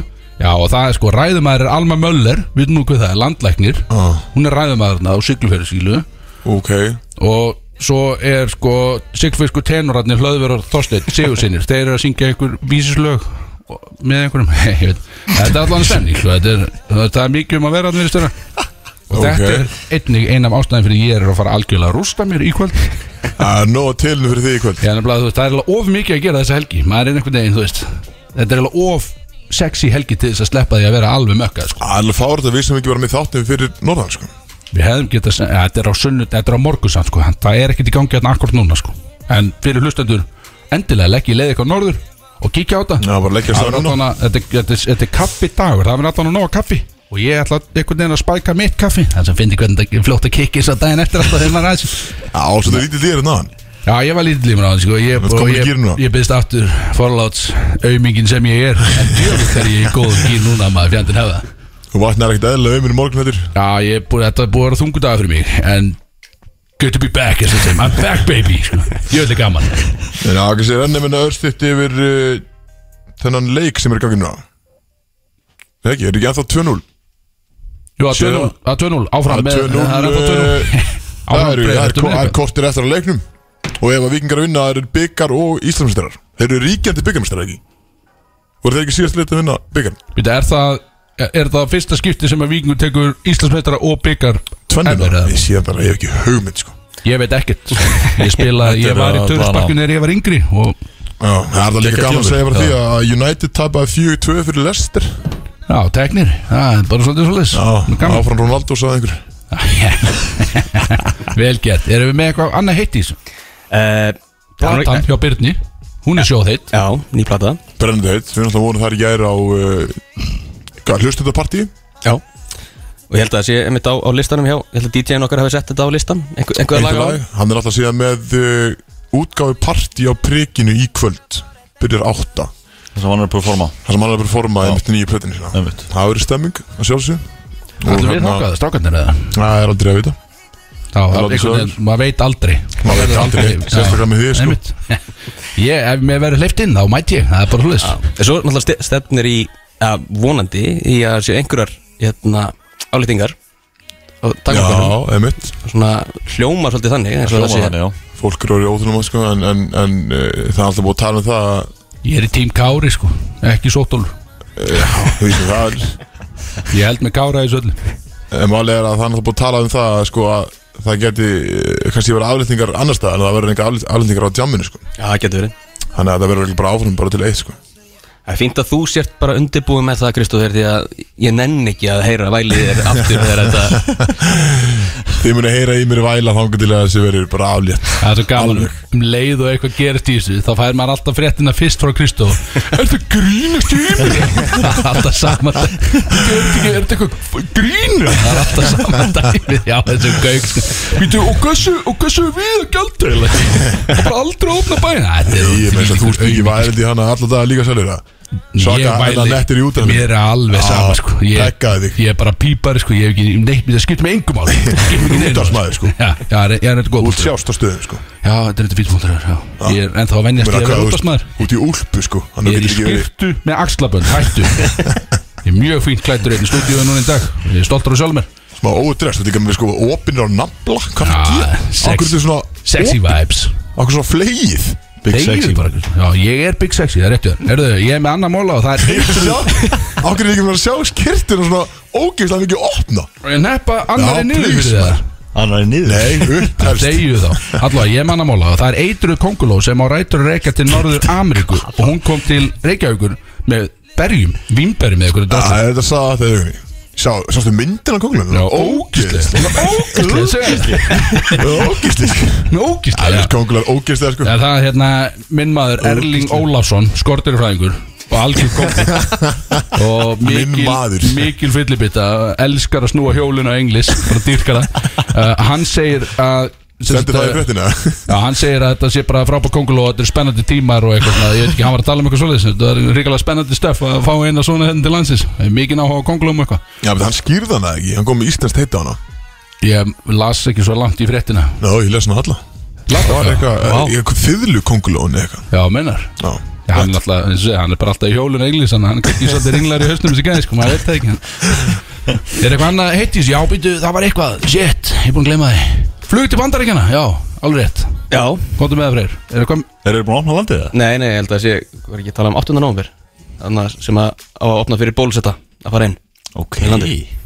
S3: Já og það er sko ræðumæður er Alma Möller Við nú hvað það er, landlæknir
S2: Ah.
S3: Hún er ræðumæðurna á Siglufjörðu sílu
S2: tvö [LAUGHS] Ok
S3: Og svo er sko Siglufjörðsku tenorarnir Hlöðver og Þorsteinn Sigursinnir Þeir eru að syngja einhver vísislög og- Með einhverjum [LAUGHS] ég veit. Þetta er allan stemning sko. þetta er, það er mikið um að vera þarna, virðist vera. Og
S2: Ok.
S3: þetta er einnig ein af ástæðin fyrir ég er að fara algjörlega að rústa mér í kvöld
S2: Það er nóg að tilinu fyrir því í kvöld
S3: Ég er nefnilega, þú veist, það er alveg of mikið að gera þessa helgi Maður er einhvern veginn, þú veist Þetta er alveg of sexy helgi til þess að sleppa því að vera alveg mökka sko.
S2: Það er alveg fárt að við sem ekki varum í þáttum fyrir norðan sko.
S3: Við hefðum getað, sem- ja, þetta er á sunnud, þetta er á morgunsamt sko. en Það er ekkert í gangi hérna akkord núna sko. En fyrir hlustendur, endilega legg ég leið eitthvað norður og kíkja á þetta
S2: Já, bara leggja af
S3: Það
S2: stað
S3: er
S2: núna.
S3: allan að- Þetta er- þetta er- þetta er kaffi dagur, það er allan að nóga kaffi Og ég ætla einhvern veginn að spæka mitt kaffi Þannig sem fyndi hvernig þetta er fljótt að kikki Svo daginn eftir alltaf þegar maður aðeins
S2: Já, svo þetta lítið þér en aðan
S3: Já, ég var lítið lífur á hann, sko Ég,
S2: Þú ert
S3: og
S2: komin í
S3: ég,
S2: gír núna?
S3: ég byrst aftur forláts auðmingin sem ég er En djöfum þegar ég er í góðum gýr núna maður fjandinn hafa
S2: Þú vatnar ekkert eðla auðminn í morgun heldur
S3: Já, ég er búið, þetta er búið að vera þungu dagar fyrir mig En good to be back, eins og þeim I'm back baby, sko Jöðli gaman
S2: En já, kannski er ennum en örstitt yfir uh, þennan leik sem er í gangi núna Nei ekki, er ekki ennþá 2-0
S3: Jú, að 2-0, að 2-0, áfram með- Það er ennþá 2-0
S2: eh, Það
S3: [LAUGHS] Áfram
S2: eru-
S3: breiðar,
S2: það er
S3: þetta
S2: ko-
S3: er
S2: það er
S3: eitthvað.
S2: kortir eftir að leiknum Og ef að vikingar vinna, það eru byggar og íslamstærar Þeir eru ríkjandi byggarmestærar ekki Voru þeir ekki síðast leitt að vinna byggar?
S3: Býta, er það Er það fyrsta skipti sem að vikingur tekur Íslandsmeistara og byggar
S2: Tvennum
S3: eða?
S2: það? Ég sé bara, ég hef ekki hugmynd sko
S3: Ég veit ekkert Ég spila,
S4: Þetta
S3: ég
S4: er
S3: var í
S4: að-
S3: törnsbakku þegar ég var yngri og,
S2: Já, það er það líka
S4: Geggjað
S2: gaman að
S4: tímabil.
S2: segja bara
S4: Já.
S2: því að United tapaði 4-2 fyrir Leicester
S3: Já, teknir, það er bara svolítið svolítið
S2: Já,
S3: [LAUGHS]
S2: áfram Ronaldo sagði einhver
S3: Vel gert, erum við með eitthvað annað heitt í þessu?
S5: Eh,
S3: Platan hjá Byrni, hún er sjóð heitt
S5: Já, ný plata
S2: Brennandi heitt, við erum alltaf vorum þar í gæri á uh, hvað, hlustendapartí
S5: Já Og ég held að það sé einmitt á, á listanum hjá Ég held að DJ-in okkar hafi sett þetta á listan Einhver, einhver lag á
S2: lag, hann er alltaf eh, síðan með uh, útgáfi partí á prikinu í kvöld byrjar átta
S4: Það sem hann er að performa
S2: Það sem hann er að performa í mitt nýju plötinu sína
S4: Einmitt.
S2: Það verður stemming að sjálfsög
S3: Allir við
S2: hérna-
S3: þákað, strákandir eða
S2: Það er aldrei að vita
S3: Já, það er
S2: látið
S3: einhvern veginn, maður veit aldrei
S2: Maður veit
S3: verður
S2: aldrei, sérstaklega með því, sko.
S3: Einmitt. [LAUGHS] Ég, ef mér verður hleypt inn, þá mæti ég, það er bara hlulis
S5: En svo náttúrulega ste- stefnir í að vonandi í að séu einhverjar hérna, álýtingar og
S2: Já,
S5: takmarkonum
S2: emitt
S5: svona hljómar svolítið þannig eins og það
S4: Hljóma
S5: sé
S4: þannig, já
S2: Fólk eru orðið óþunum sko, en, en, en uh, það er alltaf búið að tala um það að,
S3: Ég er í tím Kári, sko, ekki sótólur
S2: þú veist, það er,
S3: Ég held með Kára í söllu
S2: en Máli Eh, er að það er alltaf búið að tala um það að, sko, að það geti eh, kannski verið aflýtingar annar stað en það verður enga aflýtingar á jamminu sko.
S5: Já, það getur verið
S2: Þannig að það verður ekki bara áfram bara til eitt sko.
S5: Það er fínt að þú sért bara undirbúið með það Kristóður því að ég nenn ekki að heyra vælið þér aftur þegar þetta
S2: Þið muni heyra í mér væla þangu til að þessi verður bara aflétt
S3: Það er svo gaman
S2: Alveg.
S3: um leið og eitthvað gerist í þessu Þá fær maður alltaf fréttina fyrst frá Kristó Er þetta grínast í mig? Það er alltaf sama dæmi. Er þetta ekki- er þetta eitthvað grín? Það er alltaf sama dæmi Já, þessu gauk sko. Býtu, Og hversu, og hversu er við að gjalda eiginlega? Það er bara aldrei að opna bæna Þetta er
S2: Ég meins að þú ert ekki værið í hana allan dag líka sjálfur það. Svaka,
S3: Ég
S2: þetta
S3: væli-
S2: nettir í útæðinu
S3: Mér er alveg sama
S2: Já,
S3: sko ég,
S2: pekkaði þig.
S3: ég er bara pípari sko Ég hef ekki neitt mér Það skipt með engum áli
S2: [LAUGHS] Útvarpsmaður, sko.
S3: Já, já, ég er eitthvað góð
S2: Út sjást á stöðum sko.
S3: Já, þetta er þetta fínt punktur já. Ég er ennþá að
S2: Ég
S3: venjast í
S2: meina,
S3: að
S2: hvað,
S3: vera
S2: þú
S3: útastmaður
S2: veist, Út í úlpu sko. Þannig
S3: Ég er
S2: að
S3: í
S2: þú getur ekki verið-
S3: skyrtu með axlabönd,
S2: [LAUGHS]
S3: hættu Ég er mjög fínt klættur einn í stúdíu núna í dag Ég er stoltur á sjálf mér
S2: smá ódress, þetta er ekki með sko opinir á nafla, hvað
S3: Ah,
S2: fyrir
S3: sex-
S2: þetta? Akkur þetta er svona
S3: Sexy vibes
S2: Akkur svona flegið
S4: Big
S3: Þegiðu
S4: Sexy
S3: bara, Já, ég er big sexy, það er réttu Erðu, ég er með annan móla
S2: [LAUGHS]
S3: og það er
S2: Akkur er ekki með að sjá skirtin og svona ógeðslega mikið opna
S3: Og ég neppa
S2: Já,
S3: annar er niður
S2: please,
S3: fyrir það
S4: Annar er niður
S2: Nei, upp helst
S3: Segju þá, allavega ég manna mála Það er eitru konguló sem á rætur að reykja til Norður Ameríku Og hún kom til Reykjavíkur með berjum, vimberjum eða einhverju
S2: Það
S3: dóttir
S2: er þetta að sagða þegar við Sá, sástu myndin á kókulum?
S3: Já, ógíslega Ógíslega,
S2: Ógeðslega Það
S3: ógíslega
S2: er kókular ógeðslega sko
S3: Já, það er hérna minn maður Erling Ólafsson skortirfræðingur og algjör
S2: [LAUGHS]
S3: kompi og
S2: Minn maður.
S3: mikil, mikil fyllibita elskar að snúa hjólinu á englis bara dýrkar það uh, hann segir að sem sagt,
S2: Sendu það í
S3: uh,
S2: fréttina
S3: Já, hann segir að þetta sé bara frábær kongul og þetta er spennandi tímar og eitthvað svona, ég veit ekki, hann var að tala um eitthvað svoleiðis þetta er ríkilega spennandi stöf að fá eina svona henni til landsins, mikið áhuga á kongulum og eitthvað
S2: Já, menn hann skýrði hann það ekki, hann kom með íslenskt heita á hana
S3: ég las ekki svo langt í fréttina
S2: Ná, ég lesi hann alla Það var
S3: Vá.
S2: eitthvað, eitthvað fyrlu kókulón eitthvað
S3: Já, mennar
S2: Já,
S3: Já, hann, er alltaf, eins og segja, hann er bara alltaf í hjólun englis hann hann er kannski svolítið ringlar í höstum þessi gæði sko, maður veit það ekki hann. er eitthvað annað heitis, já býtu, það var eitthvað shit, ég er búin að gleyma þið flug til bandaríkjana, já, alveg rétt
S5: Já
S3: komdu með það freyr, er eitthvað
S4: Þeir eru búin að opna landið það
S5: Nei, nei, ég held að það sé, var ekki að tala um 8. november Þannig að- sem að á að opna fyrir bólusetta að fara inn
S4: Ok
S5: Í landið.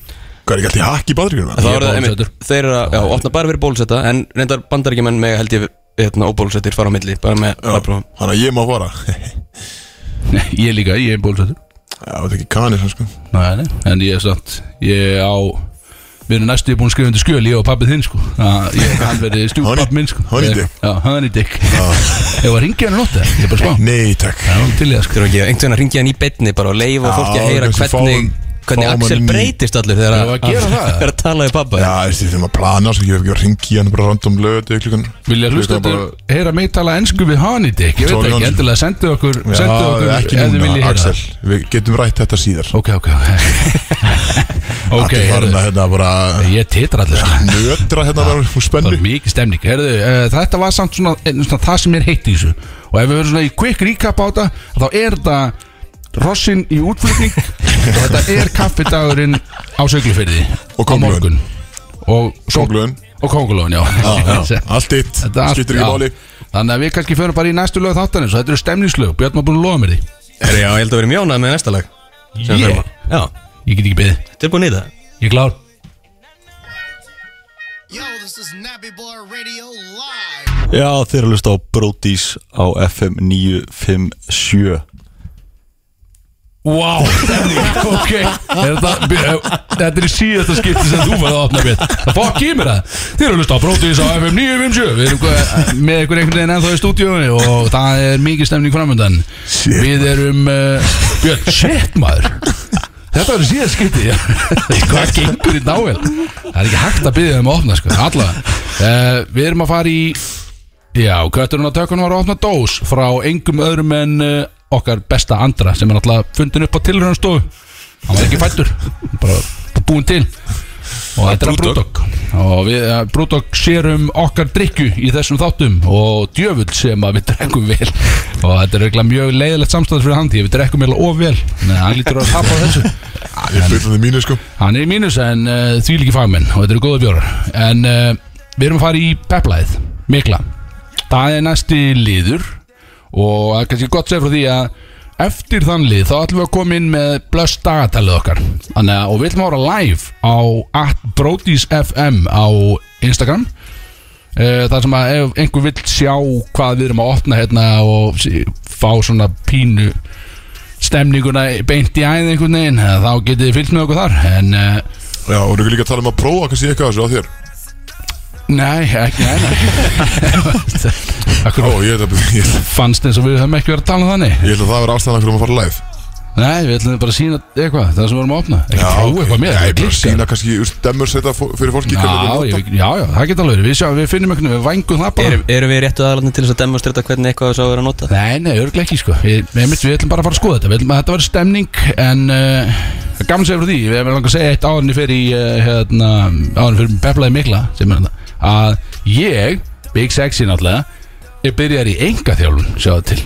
S2: Hvað er ekki alltaf í hakk í badryggjum?
S5: Það
S3: Ég er
S5: voru það, einmitt,
S3: bólusettur.
S5: þeir eru að, já, opna bara fyrir bólusetta En reyndar bandaríkjumenn með held ég hérna, óbólusettir fara á milli Bara með hraðprófum
S2: Þannig að ég má fara [LAUGHS]
S3: Nei, ég líka, ég er bólusættur
S2: Já, þetta er ekki kanir hann sko
S3: Nei, nei, en ég er samt Ég á Við erum næstu búin að skrifa undir skjöl Ég og pappið þinn sko að ég, Hann [LAUGHS] verði
S2: Honey-
S3: stjúpapp minn sko
S2: honey
S3: Ég-
S2: dick.
S3: Já, hann er dick Ég var ringið hann að nota Ég er bara spá
S2: Nei, takk
S3: Það er hann til í það sko
S5: Þurfa ekki að einhvern veginn að ringja hann í betni bara og
S2: Já,
S5: leifa fólki að heyra
S2: kannski
S5: hvernig,
S2: fáum-
S5: hvernig
S2: fáum
S5: Axel
S2: hann í-
S5: breytist allur þegar
S3: Já, að gera það.
S5: [LAUGHS] þegar að tala við pappa
S2: Já, þessi þegar maður plana svo ég hef ekki að ringi hann bara random löðu klukkan
S3: Vilja hlusta
S2: klukkan
S3: þetta Heyra mig tala ensku við hann í dick Ég veit
S2: Sorry,
S3: ekki
S2: Hannes.
S3: Endilega sendu okkur
S2: Já,
S3: Sendu okkur
S2: ekki
S3: ef þið viljið
S2: núna,
S3: heyra
S2: Axel
S3: það.
S2: Við getum rætt þetta síðar
S3: Ok, ok
S2: [LAUGHS]
S3: Ok,
S2: Allir farin
S3: heyrðu,
S2: að hérna bara
S3: Ég
S2: [LAUGHS]
S3: titra allir sko
S2: nötra hérna bara úr
S3: Það
S2: spennu
S3: var mikið stemning Herðu, uh, Þetta var samt svona, eh, svona það sem er heitt í þessu Og ef við verðum svona í quick recap á þetta Þá er þetta rossin í
S2: [LAUGHS]
S3: útflutning Og þetta er kaffidagurinn á söglufyrði
S2: Og köngulóin.
S3: Og svo-
S2: Kóngluðun
S3: Og kongulun, já, [LAUGHS] já.
S2: Allt eitt,
S3: Þetta allt-
S2: skiptir ekki
S3: já.
S2: máli
S3: Þannig að við kannski förum bara í næstu lög þáttanins Og þetta eru stemningslög, Björn var búin að lofa mér því
S5: Herri, já, ég held að vera mjónað með næsta lag sem
S3: Ég,
S5: fer á. Já,
S3: ég get ekki beðið
S5: tilbúin í það
S3: Ég er klár
S7: Yo, this is Nappy Boy Radio Live.
S4: Já, þeir eru að lusta á Brodís á FM 957
S3: Vá, stemning, ok er þetta, byrja, þetta er í síðasta skipti sem þú færði að opna mitt Það fokk í mér það Þið eru að hlusta á Brótis á FM 957 Við erum hvað- með ykkur einhvern veginn ennþá í stúdíóinu Og það er mikið stemning framöndan
S2: Shit.
S3: Við erum uh, Björn, shit maður Þetta var í síðasta skipti já. Hvað gengur í nável Það er ekki hægt að byggja þeim að opna sko. Allavega, uh, við erum að fara í Já, kötturinn á tökunum var að opna dós frá engum öðrum en uh, okkar besta andra sem er alltaf fundin upp á tilhörunstofu hann var ekki fættur [LAUGHS] bara búin til og þetta er Brúdok og við Brúdok sérum okkar drikju í þessum þáttum og djöfull sem að við drekkum vel og þetta er eiginlega mjög leiðilegt samstæð fyrir hann því að við drekkum eiginlega of vel Nei, hann lítur að tapa á þessu
S2: Ég fyrir það mínu sko
S3: hann er í mínus en uh, því líki fagmenn og þetta eru góða bjórar en uh, við erum að fara í peplæðið, mikla það er næsti liður og það er kannski gott sér frá því að eftir þann lið þá ætlum við að koma inn með blöss dagatalið okkar Þannig, að- og við ætlum að ára live á atbrotisfm á Instagram Eh, þar sem að ef einhver vill sjá hvað við erum að opna hérna og sí- fá svona pínu stemninguna beint í æðið einhvern veginn eh, þá getið þið fylgst með okkur þar en uh,
S2: Já, og erum við líka að tala um að prófa kannski eitthvað af þessu á þér
S3: nei, ekki nei, nei.
S2: Ó,
S3: Akkur
S2: ég ætla ég ætla-
S3: fannst eins og við höfum ekki verið að tala um þannig
S2: ég ætla að það vera ástæðan okkur um að fara live
S3: nei, við ætlum bara að sína eitthvað það sem við erum að opna ekki prófa eitthvað
S2: Já,
S3: mér
S2: ég bara sína kannski úr stemmur setja fó- fyrir fólki
S3: Já,
S2: hvernig þetta er
S3: ég- já, já, það geta alveg verið Við sjáum, við finnum einhvern veginn, við vængum það bara
S5: Erum, erum við réttu aðalarnir til þess að demonstrata hvernig eitthvað þess að vera að nota?
S3: Nei, nei, örglega ekki sko Við, við, einmitt, við ætlum bara að fara að skoða þetta Við ætlum að þetta verður stemning En uh, gaman segir frá því Við erum langa að segja eitt árinni fyrir í, uh, hérna, Árinni fyrir Beflaði Mikla sem er þetta Að ég, Big Sexy náttúrulega Ég byrjar í enga þjálfun Sjáðu til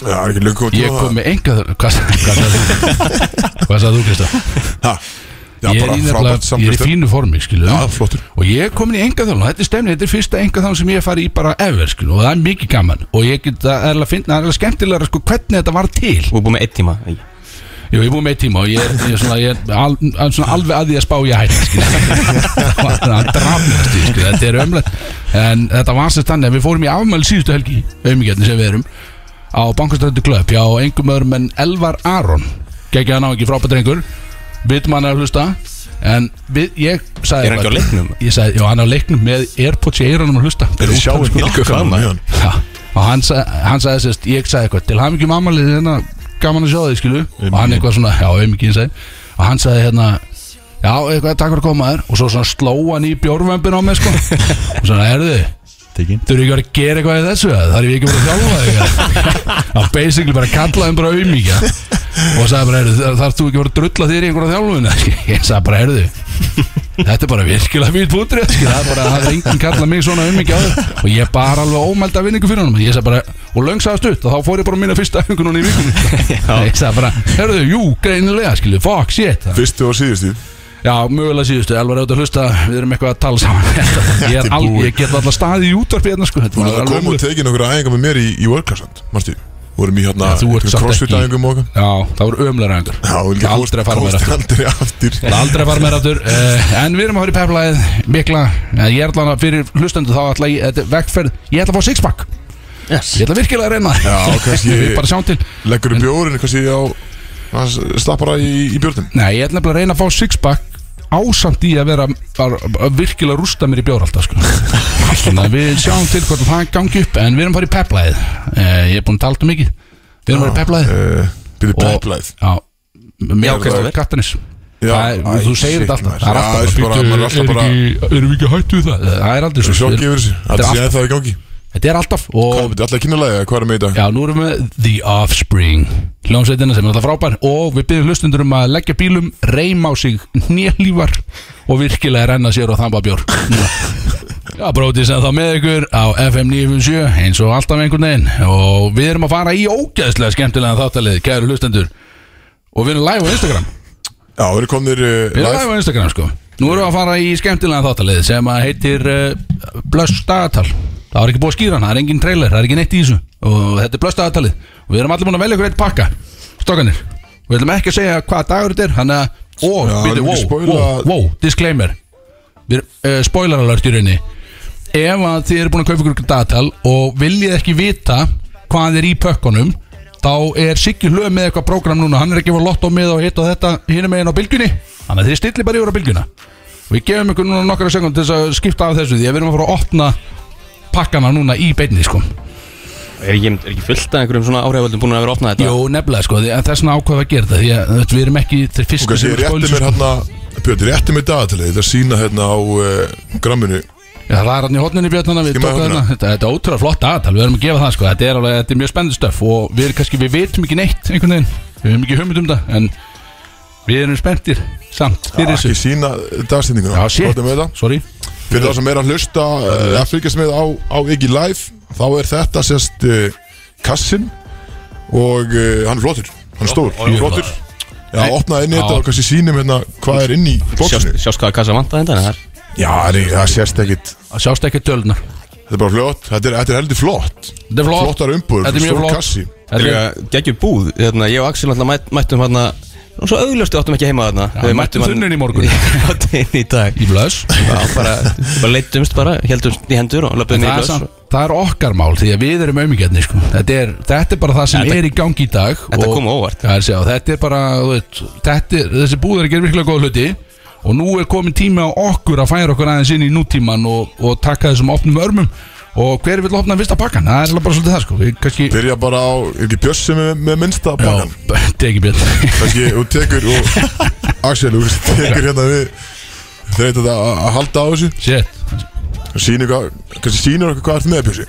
S2: Já, er ekki löngu
S3: Ég kom með enga þjálfun Hvað sagði hvað sagði þú? Hvað sagði þú, Kristján?
S2: Já, já
S3: Ég er
S2: bara frábært
S3: í nefnilega- ég er í
S2: samkvæmst
S3: fínu formi, skilu
S2: Já, flottur
S3: Og ég er komin í enga þjálfun Þetta er stemning, þetta er fyrsta enga þjálfun sem ég fari í bara ever, skilu Og það er mikið gaman Og ég get að erlega að finna, það er erlega skemmtilega sko, hvernig þetta var til
S5: Þú er búin með einn tíma Æ.
S3: Jú, ég er búið með eitt tíma og ég er, ég er, svona, ég er al, al, svona alveg að því að spá ég hætti skilur. Það var- það drafnast þetta er ömlega en þetta var sérst þannig að við fórum í afmæli síðustu helgi auðmikjarnir sem við erum á Bankastrættu Klöpp hjá engum öðrum en Elvar Aron geggja hann á ekki frábært drengur vitum hann er að hlusta en við, ég sagði
S5: Er hann ekki á
S3: bara-
S5: leiknum?
S3: Ég sagði, já hann er á leiknum með Airpods í eiranum að hlusta
S2: Þeir
S3: Fyrir
S2: sjáum
S3: útvarp, sko.
S2: líka hvað með hann
S3: Já, og hann, sa- hann sagði sérst, ég sagði eitthvað til hann ekki mammalið hérna, gaman að sjá þig skilu og hann eitthvað svona, já, auðmikið sagði og hann sagði hérna, já, eitthvað takk fyrir að koma þér og svo svona sló hann í bjórvömbin á mig sko, og svona, erðu
S4: Tekin
S3: þau eru ekki að vera að gera eitthvað í þessu eða? þar er ég ekki bara að þjálfa þig eða?" [LAUGHS] hann basically bara kallaði hann bara auðmíkja og sagði bara, erðu, þarf þú ekki að vera að drulla þér í einhverja þjálfuna, [LAUGHS] ég sagði bara, erðu Þetta er bara virkilega fýrt pútri Það er bara, það er enginn kallað mig svona um ekki áður Og ég bar alveg ómælda vinningu fyrir honum Ég sagði bara, og löngsaðast upp Og þá fór ég bara á mína fyrsta æfingu núna í vikunni [LAUGHS] Ég sagði bara, herðu, jú, greinilega skilju Fuck, shit
S2: Fyrstu og síðustu
S3: Já, mögulega síðustu, elvar auðvitað hlusta Við erum eitthvað að tala
S2: [LAUGHS]
S3: saman Ég, er al, ég get alltaf staðið í útvarpi hérna sko Þetta
S2: Þú
S3: var
S2: erum að
S3: alveg
S2: koma og
S3: ömurlegt.
S2: tekin okkur aðeinga með mér í, í workclassand Marstu, vorum í hérna
S3: Já, þú ert
S2: einhverjum
S3: samt
S2: crossfit
S3: ekki.
S2: aðeingum og okkar
S3: Já, það voru ömlega ræðingur
S2: Já, og líka
S3: Aldrei að fara
S2: komst-
S3: meira
S2: komst aldrei aftur
S3: Það er aldrei að fara meira aftur uh, En við erum að fara í peflaðið Mikla, eh, ég er allan að fyrir hlustendu þá ætla ég, þetta er vegferð, ég ætla að fá sixpack yes. Ég ætla virkilega að reyna það [LAUGHS]
S2: Já, kannski-
S3: Við bara sjáum til
S2: Leggur um bjórin, kannski á hans Stappara í, í björnum
S3: Nei, ég ætla nefnilega að reyna að fá sixpack Ásamt í að vera að, að virkilega rústa mér í bjór alltaf sko. Þannig að við sjáum til hvort það gangi upp En við erum að fara í peflaðið uh, Ég er búin að tala um mikið Við erum að fara í peflaðið
S2: Eh, Byrði peplæð
S3: Já,
S5: Já,
S3: mér
S5: Kristoffer.
S3: og Kattanis
S2: Já,
S3: Það er-
S2: æ,
S3: Þú segir
S2: shit,
S3: þetta alltaf
S2: maður.
S3: Það er
S2: Já,
S3: alltaf
S2: þessu bara- maður er alltaf
S3: "Bíddu,
S2: bara-
S3: er ekki- Erum við ekki hættu við það? Eh, Það er aldrei svo
S2: Sjokki yfir þessu,
S3: Þetta
S2: þetta
S3: er
S2: sé ennþá í gangi
S3: Þetta er alltaf
S2: Hvað,
S3: Og
S2: þetta er alltaf kynnalega, hvað er með í dag?
S3: já, nú erum við The Offspring Hljómsveitina sem er alltaf frábær Og við byrjum hlustundur um að leggja bílum Reima á sig nélífar Og virkilega renna sér og þamba bjór Núna. Já, brótið sem þá með ykkur á FM 957 eins og alltaf einhvern veginn og við erum að fara í ógeðslega skemmtilega þáttalið, kæru hlustendur og við erum live á Instagram
S2: Já, við erum komnir uh,
S3: Við
S2: live
S3: erum live á Instagram sko Nú erum við að fara í skemmtilega þáttalið sem að heitir uh, Blöss dagatal Það var ekki búið að skýra hann, það er engin trailer, það er ekki neitt í þessu Og þetta er Blöss dagatalið Og við erum allir búin að velja ykkur eitt pakka Stokkanir Við ætlum ekki að segja hvað dagur þetta er Hann að, ó,
S2: Já, við
S3: byrju, wow,
S2: erum ekki
S3: wow,
S2: spoila-
S3: wow, disclaimer við, uh, Spoiler alert í rauninni Ef að þið eru búin að kaupa ykkur dagatal Og viljið ekki vita hvað er í pökkunum Þá er Siggi hlöð með eitthvað prógram núna Hann er ekki að fá lott á með og hitt og þetta Hinum meginn á bylgjunni Þannig að þið stilli bara yfir á bylgjuna Við gefum ykkur núna nokkara sekund til þess að skipta af þessu Því að við erum að fara að opna pakkana núna í beinni sko
S5: er, ekki- er ekki fullt af einhverjum svona áhrifaldum búin að vera að opna þetta?
S3: Jó, nefnilega sko, því að þessna ákvað að gera þetta Því að þetta, við erum ekki þeir
S2: Og
S3: fyrstu
S2: kannski
S3: sem
S2: rétti
S3: spólusum
S2: mér hérna Björn, rétti mér dagatalið Þetta er sína hérna á uh, gramminu
S3: Já, það er hann í hotninni björnana við
S2: Skimmaðu
S3: tókum
S2: hornina.
S3: þarna. þetta, þetta er ótrúlega flott aðtal, við erum að gefa það sko. þetta, er alveg, þetta er mjög spennandi stöf og við, kannski, við vitum ekki neitt einhvern veginn Við höfum ekki hugmynd um það En við erum spenntir samt fyrir
S2: Ekki
S3: þessu
S2: sína
S3: Já,
S2: dagstendinguna Látum við
S3: shit,
S2: það.
S3: sorry
S2: Fyrir það sem er að hlusta eh, að fylgjast með á, á Iggy Live þá er þetta sérst uh, kassin og uh, hann er flottur hann er stór,
S4: Jú,
S2: flottur Já,
S3: Nei.
S2: opnaði inn í
S3: Já.
S2: þetta og kannski sýnum hérna hvað er inn í
S5: Sjást,
S2: bóksinu
S5: sjást hvaða kassa vantaði þetta það er-
S2: Já, nei, það sést ekkit
S3: Að Sjást ekki tölunar
S2: Þetta er bara flott, þetta er, þetta er heldur flott
S3: Þetta er flott
S2: Flottar um- umbúður,
S3: Þetta er mjög
S2: stór
S3: flott
S2: kassi.
S3: Þetta er-
S5: geggjum búð hérna, ég og Axel alltaf mætt, mættum hérna og svo augljóstu áttum ekki heima þarna
S3: Já, mættum þunninn í
S5: [LAUGHS]
S3: morgun.
S5: Þunninn í dag
S3: Í blöðs
S5: Já, bara, bara leittumst bara, heldumst í hendur og löpum í
S3: það er,
S5: blöðs
S3: samt, það er okkar mál því að við erum aumingjarnir sko. þetta, er, þetta er bara það sem
S5: Þetta-
S3: er í gangi í dag
S5: Þetta
S3: og-
S5: kom á óvart.
S3: Já, þessi- já, þetta er bara þú veit, þetta, er- þessi búðar gerir virkilega góð hluti og nú er komin tími á okkur að færa okkur aðeins inn í nútíman og, og taka þessum opnum örmum og hver vil opna fyrsta pakkan það er eiginlega bara svolítið það sko. við kannski
S2: Byrja bara á, er ekki Bjössi með, með minnsta
S3: Já,
S2: bakkan
S3: teki björn [LAUGHS]
S2: kannski, þú tekur og Axel, þú tekur hérna við þreytið að, að halda á þessu
S3: shit
S2: og sýnir hvað, kannski sýnir okkur hvað ert með Bjössi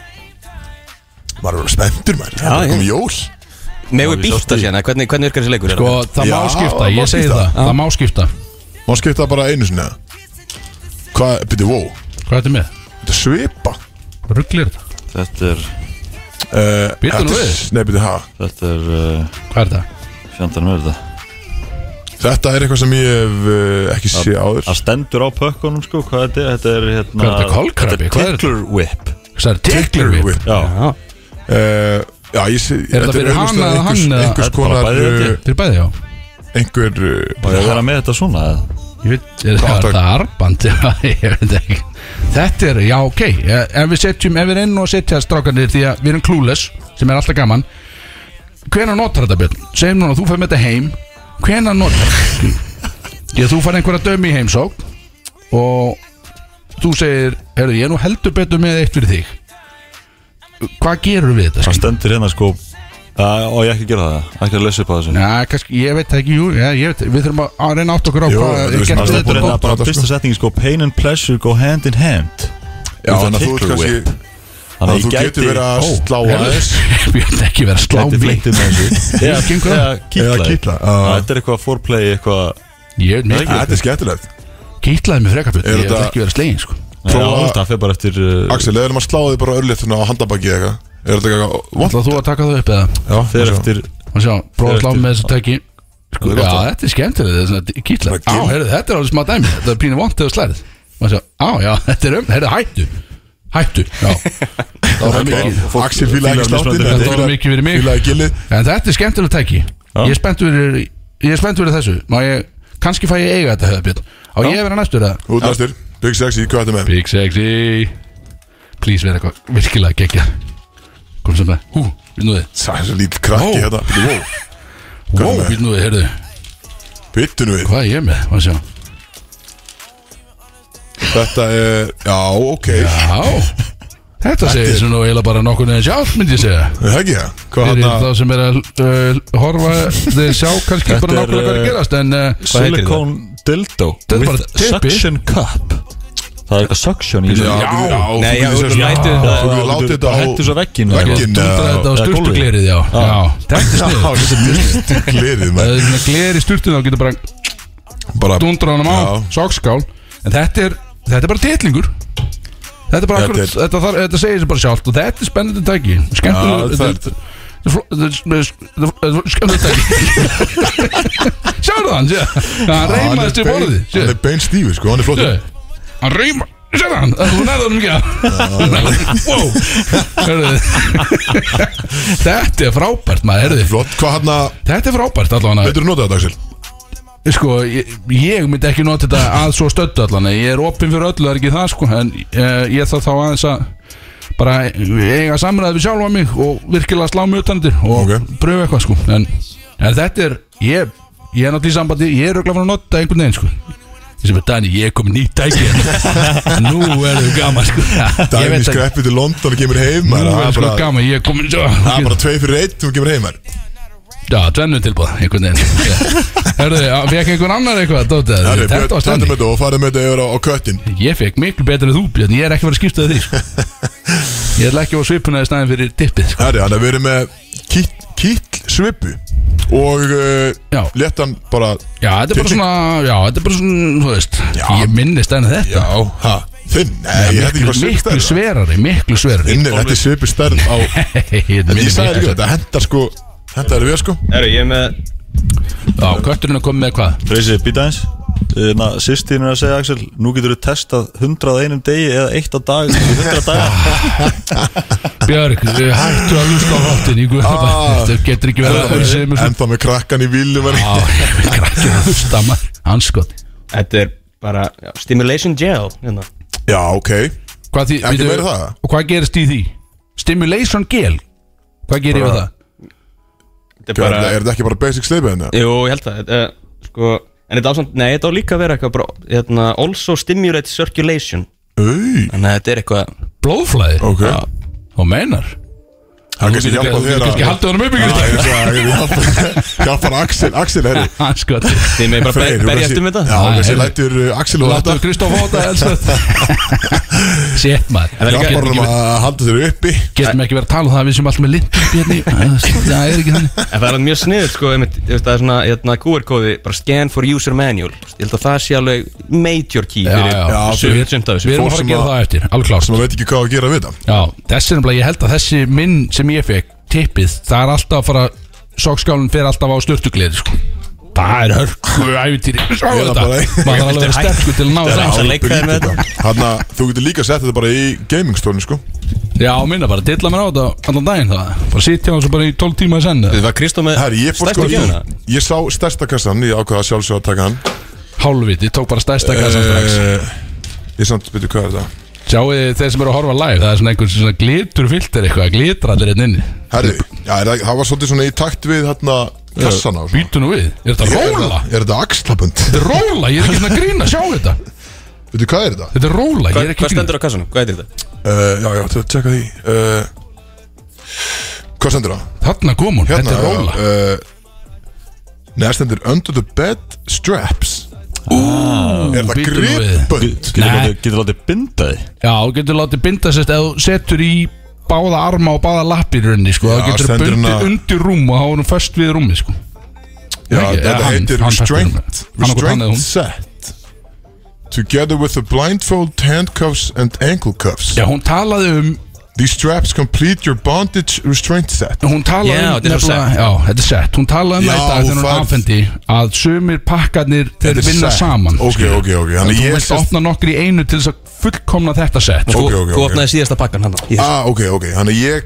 S2: maður er alveg spenntur maður það er
S5: já.
S2: bara komið jól
S5: Megu
S4: Já, við sást
S5: býta
S4: því.
S5: sérna, hvernig, hvernig virkar þessi leikur?
S3: sko, það
S2: Já,
S3: má skipta,
S2: það má
S3: ég segi
S2: skipta.
S3: það það má skipta
S2: má skipta bara einu sinni eða? hvað, byrju, wow
S3: hvað er þetta með?
S2: þetta er svipa
S3: rugglir þetta?
S4: Þetta er,
S2: uh,
S3: Bíddu nú
S2: er,
S3: við.
S2: nei, byrju, ha
S4: þetta er uh,
S3: hvað er það?
S4: Fjandarnum er þetta
S2: þetta er eitthvað sem ég hef uh, ekki séð áður
S4: Það stendur á pökkunum sko Hvað þetta er, þetta er hérna
S3: Hvað er þetta, kolkrabbi?
S4: Þetta
S3: Hvað
S4: er
S3: er
S4: tickler whip
S3: það er tickler við
S2: Whip.
S4: Já,
S2: uh, já, ég sé
S3: Er þetta fyrir
S2: augljóslega
S3: hana eða
S2: einhvers-
S3: hann eða?
S2: einhvers
S4: Þetta er bara
S2: konar
S4: bæði
S2: uh,
S4: held ég.
S3: fyrir bæði já
S2: einhver uh,
S4: og það er með þetta svona eða?
S3: Ég veit, er það
S2: Kontakt.
S3: það arband? [LAUGHS] ég veit ekki Þetta er, já ok Ef við setjum, ef við reynum að setja strákanir Því að við erum clueless, sem er alltaf gaman Hvenær notar þetta Björn? Segjum núna, þú fær með þetta heim Hvenær notar þetta? Þú fær einhverja dömi í heimsók Og þú segir Herðu, ég er nú heldur betur með eitt fyrir þig Hvað gerur við þetta?
S4: Það
S3: skilur?
S4: stendur hérna sko að, Og ég ekki að gera það, ekki að lesa upp á þessu
S3: Já, kannski, ég veit það ekki, jú, já, ég veit, við þurfum að- að reyna átt okkur á
S2: Jú,
S3: hvað
S2: þetta er
S3: er
S2: svona stendur
S3: gert við
S4: Það stendur
S3: þetta [LAUGHS]
S4: hérna
S2: bótt-
S4: bara
S2: bótt-
S4: fyrsta setningi sko Pain and pleasure go hand in hand
S2: já, þannig að þú ert
S4: Tickler
S2: kannski
S4: whip.
S2: þannig
S4: Þannig
S2: að þú getur verið að slá aðeins
S3: Björn ekki vera að slá
S4: Gæti
S3: við
S4: fleiktið með þessu
S3: Eða gengur það?
S2: Eða
S4: Eða kýtla þig.
S2: kitla, já.
S4: Já, Þetta er eitthvað foreplay eitthvað
S3: Ég veit mér
S4: Nei,
S2: þetta er skemmtilegt
S3: Kýtlaði mig frekar fyrir
S2: Er
S3: Ég vil
S2: þetta-
S3: ekki vera slegin sko
S4: Já,
S2: Prófa-
S4: Það fyrir bara eftir uh,
S2: Axel, eða erum að slá þig bara örlítið á handabakið eða eitthvað Er þetta eitthvað vond?
S3: Ætlaðu þú að taka þau upp eða
S2: Já,
S4: Fyrir eftir
S3: Og sjá, prófa að slá
S4: Þetta-
S3: með þessu tæki Sko,
S4: Það er
S3: já,
S4: gott að-
S3: þetta er skemmtilega Þetta er svona kýtla
S2: Það er
S3: Á,
S2: gil-
S3: heyrðu, þetta er alveg smá dæmi Þetta er pínu vont eða slærið Og sjá, á, já, [LAUGHS] þetta er um Heyrðu, hættu Hættu, [LAUGHS] já Það var mikið
S2: Axel fílaði ekki
S4: fílar
S2: sláttin
S4: mismunandi
S3: Þetta var mikið fyrir mig
S2: Fílaði gillið
S3: En þetta er skemmtilega tæki
S4: Já.
S3: Ég er spennt fyrir Ég er spennt fyrir þessu Má ég Kanski fæ ég eiga þetta höfðbjörn Á ég að vera næstur það
S2: Út næstur Big Sexy, hvað er þetta með?
S3: Big Sexy Please vera eitthvað Virkilega geggja Kom sem það Hú, við nú þið
S2: Það er svo lítill krakki hérna Bíddu, wow. Hvað er
S3: Wow. Wow,
S2: með?
S3: við nú þið, heyrðu
S2: Bittu nú við
S3: Hvað er ég með? Má sjá
S2: Þetta er Já, ok
S3: Já Þetta segir sem nú eiginlega bara nokkur neðan sjálf myndi ég segja
S2: Það er ekki það Hvað
S3: Fyrir þá
S2: hérna
S3: sem er að uh, horfa þeir sjá kannski
S4: Þetta
S3: bara
S4: er,
S3: nokkur hvað er að
S4: eh,
S3: gerast en uh,
S5: heitir
S4: Silicone dildo
S3: Þetta er bara
S4: With
S3: typpi.
S4: suction cup Það er eitthvað suction í þessu
S2: Já, þú- já, þú
S5: Nei, já,
S2: getur
S5: þú
S2: sérst-
S5: lætur-
S2: Já,
S4: Já,
S2: Þú getur látið þetta á
S4: Hættu svo veggin
S2: vegginn,
S3: dúndra
S2: eða-
S3: þetta á
S4: eða
S3: sturtuglerið já.
S4: Já.
S3: já [LAUGHS] Þetta er
S2: Já,
S3: snið
S2: þessi dyrstu glerið
S3: Það
S2: maður.
S3: er svona gler í sturtun þá getur bara
S2: Bara
S3: dundra honum á
S2: Já.
S3: Sokskál En þetta er, þetta er bara titlingur Þetta er bara
S2: Þetta
S3: akkurat
S2: er-
S3: Þetta, þetta, þar- þetta segir sér bara sjálft Og þetta er spennandi tæki Skemmtileg
S2: Já,
S3: þetta
S2: það
S3: er- þetta er fló- þetta er- þetta er- þetta er Skemmtileg tæki [LAUGHS] Sjáðu hann, sé Hann
S2: Hann er
S3: reymaðist í
S2: bein-
S3: borðið sé.
S2: Hann er bein stífur sko Hann er flottur
S3: Sjáðu, Hann reyma Sjáðu hann, þú nærðu hann mikið Wow Hörðu. [LAUGHS] Þetta er frábært maður, herðu
S2: Flott Hvað hérna
S3: Þetta er frábært allavega
S2: Veitur þú notað þetta Axel?
S3: Sko, ég, ég myndi ekki nota þetta að svo stöddu allan Ég er opinn fyrir öllu, það er ekki það sko En uh, ég þarf þá aðeins að bara eiga samræði við sjálfa mig og virkilega slá mig utanundir og
S2: Ok.
S3: pröfa eitthvað sko en, en þetta er, ég, ég er náttúrulega í sambandi ég er auðvitað að nota einhvern veginn sko ég sem er Dani, ég er komin nýtt tæki [LAUGHS] hérna. nú erum við gaman sko Ég
S2: [LAUGHS] Dæmi
S3: veit ekki,
S2: skreppi til London og kemur heim
S3: nú
S2: maður.
S3: erum
S2: Það
S3: við
S2: er
S3: sko
S2: bara-
S3: gaman ég er komin
S2: það er bara tvei fyrir eitt og kemur heim maður.
S3: Já, tvennu tilbúð, einhvern veginn
S2: [LAUGHS]
S3: Hörðu, fekk einhvern annar eitthvað, Dóti
S2: Herri, Björn,
S3: Þetta var
S2: taktum
S3: stenni
S2: þetta og farið með þetta yfir á, á köttin
S3: Ég fekk miklu betur en þú, Björn, ég er ekki verið að skipta því sko. Ég ætla ekki að svipuna í snæðin fyrir dippið sko.
S2: Herri, hann er verið með kýtt, kýtt svipu Og
S3: Já.
S2: uh, léttan bara
S3: Já, þetta er bara svona, já, þetta er bara svona, þú veist Ég minnist enn þetta
S2: Já, ha, þinn Nei, ég hefði ekki
S3: miklu,
S2: bara svipu
S3: miklu
S2: stærð
S3: sverari, miklu sverari
S2: Inni, þetta er svipu stærð á
S3: [LAUGHS] Þetta
S2: En ég sagði ekki, þetta hendar sko Hendar er við sko
S5: Herru, ég er með
S3: Já, kötturinn er komið með hvað?
S4: Freysi, býta eins Þannig að sýstíðin er að segja Axel Nú getur þú testað 100 að einum degi eða eitt á dag í 100 [LAUGHS] daga
S3: Björg, hættu að lusta á háttin í guðabæð
S2: Ah.
S3: Þetta getur ekki verið að fyrir sem er svona
S2: Enda með krakkan í villu var
S3: Já, ég vil krakkja
S2: [LAUGHS]
S3: að lusta maður sko. Hanskot
S5: Þetta er bara já, Stimulation Gel hérna.
S2: Já, ok
S3: Hvað því,
S2: Ekki
S3: veitu-
S2: meira það?
S3: Og hvað gerist í því? Stimulation gel Hvað gerir ég við það?
S5: Þetta er
S2: Gjörðu,
S5: bara
S2: Er þetta ekki bara basic hérna? sleipið henni?
S5: Jú, ég held það þetta, uh, sko, En þetta ásamt, nei, þetta á líka að vera eitthvað bara, hérna, Also stimulate circulation
S2: Új,
S5: Þannig að þetta er eitthvað
S3: Blóðflæði
S2: ok
S3: Og meinar
S2: Það kannski hjálpa þér að
S3: Kanski haldið honum upp ykkur
S2: Já, ég
S3: stað
S2: sagði, ég vil hjálpa- [LAUGHS] Hjálpar Axel, Axel, [LAUGHS] herri
S3: Hanskot
S5: Þið með bara ber, berjast um þetta
S2: Já,
S3: Nei,
S2: þessi
S3: heyrðu.
S2: lætur uh, Axel og
S3: Láttu
S2: þetta
S3: Kristoff Óta [LAUGHS] Sétt maður
S2: Hjálpar
S3: Getum
S2: honum
S3: ekki-
S2: að halda þér uppi
S3: Getum ekki verið að tala um það að Við sem alltaf með lind hérna Það er ekki þannig
S5: En það er alveg mjög sniður sko, einmitt, þú veist, það er svona hérna, QR-kóði, bara scan for user manual Ég held að það sé alveg major key
S3: Já,
S5: fyrir
S3: já,
S5: sum-
S3: við-
S5: sumt af
S3: Við
S5: þessu
S3: erum
S2: fólk
S3: að fara að
S2: sem
S3: gera
S2: að-
S3: það eftir, alveg klart
S2: sem að veit ekki hvað að gera við það
S3: Já, þessi er nefnilega, ég held að þessi minn sem ég fekk, tippið, það er alltaf að fara Sokkskálinn fer alltaf á störtugleði sko. Það er hörku æfintýri Sjá
S2: Ég er
S3: þetta,
S2: bara-
S3: maður er alveg að vera sterkur til að ná
S5: Þetta er
S3: það
S5: hægt. leik þær með
S2: Þannig að þú getur líka sett þetta bara í gamingstólni sko
S3: Já, minna bara, dilla mér á þetta allan daginn það Bara sitja á þessu bara í 12 tíma í senn
S5: Þetta var Kristó með hérna?
S2: Herri, ég fór sko
S5: stærstu gjöfuna
S2: Ég sá stærsta kassan, ég ákvaða sjálfsög að taka hann
S3: Hálfviti, tók bara stærsta kassan strax
S2: Eh, Ég samt byrju hvað er þetta
S3: Sjáu þið þeir sem eru að horfa live, það er svona einhvern svona glitur filter eitthvað, glitra allir hérna inni
S2: Herri, já, er það, það var svolítið svona í takt við hérna kassana og svona.
S3: Býtu nú við, er þetta róla?
S2: Er þetta axlabönd?
S3: Þetta er róla, ég er ekki svona að grína, sjá þetta
S2: Veitu hvað er þetta?
S3: Þetta er róla, ég
S5: Hvað
S3: er ekki
S5: hvað
S3: að grína
S5: stendur á kassanum? Hvað heitir þetta?
S2: Uh, já, já, þetta tjekka því uh, Hvað stendur það?
S3: Þarna kom hún, þetta er róla
S2: Hérna, já, uh, Nei, það stendur Under the bed straps Ú, Er það
S3: býtum við.
S2: gripbönd?
S4: Getur
S3: Nei.
S4: látið- Getur látið binda því
S3: Já, þú getur látið binda sérst eða þú setur í báða arma og báða lappir raunni, sko,
S2: Já,
S3: þá getur
S2: stendur
S3: bundið
S2: hérna-
S3: undir rúm og þá er hún föst við rúmi, sko
S2: Já,
S3: Ekki,
S2: þetta
S3: eða hann-
S2: heitir
S3: hann
S2: restraint,
S3: festur hún. Annarkvort hann
S2: restraint
S3: eða hún.
S2: set Together with the blindfold, handcuffs and ankle cuffs
S3: Já, hún talaði um,
S2: These straps complete your bondage restraint set
S3: hún talaði
S5: Já,
S3: um
S5: þetta er set.
S3: já, þetta er sett Hún talaði um
S2: Já,
S3: þetta þegar
S2: hún
S3: hún
S2: fær-
S3: var afhendi að sumir pakkarnir þeir
S2: Þetta er
S3: vinna
S2: set.
S3: saman
S2: Ok, ok, ok
S3: Þú
S2: Þannig ég Sko,
S3: vilt
S2: sest
S3: opna nokkur í einu til þess að fullkomna þetta sett
S2: Ok, ok,
S5: Þú
S2: ok
S5: opnaði síðasta pakkan hann Yes.
S2: Ah, ok, ok Þannig ég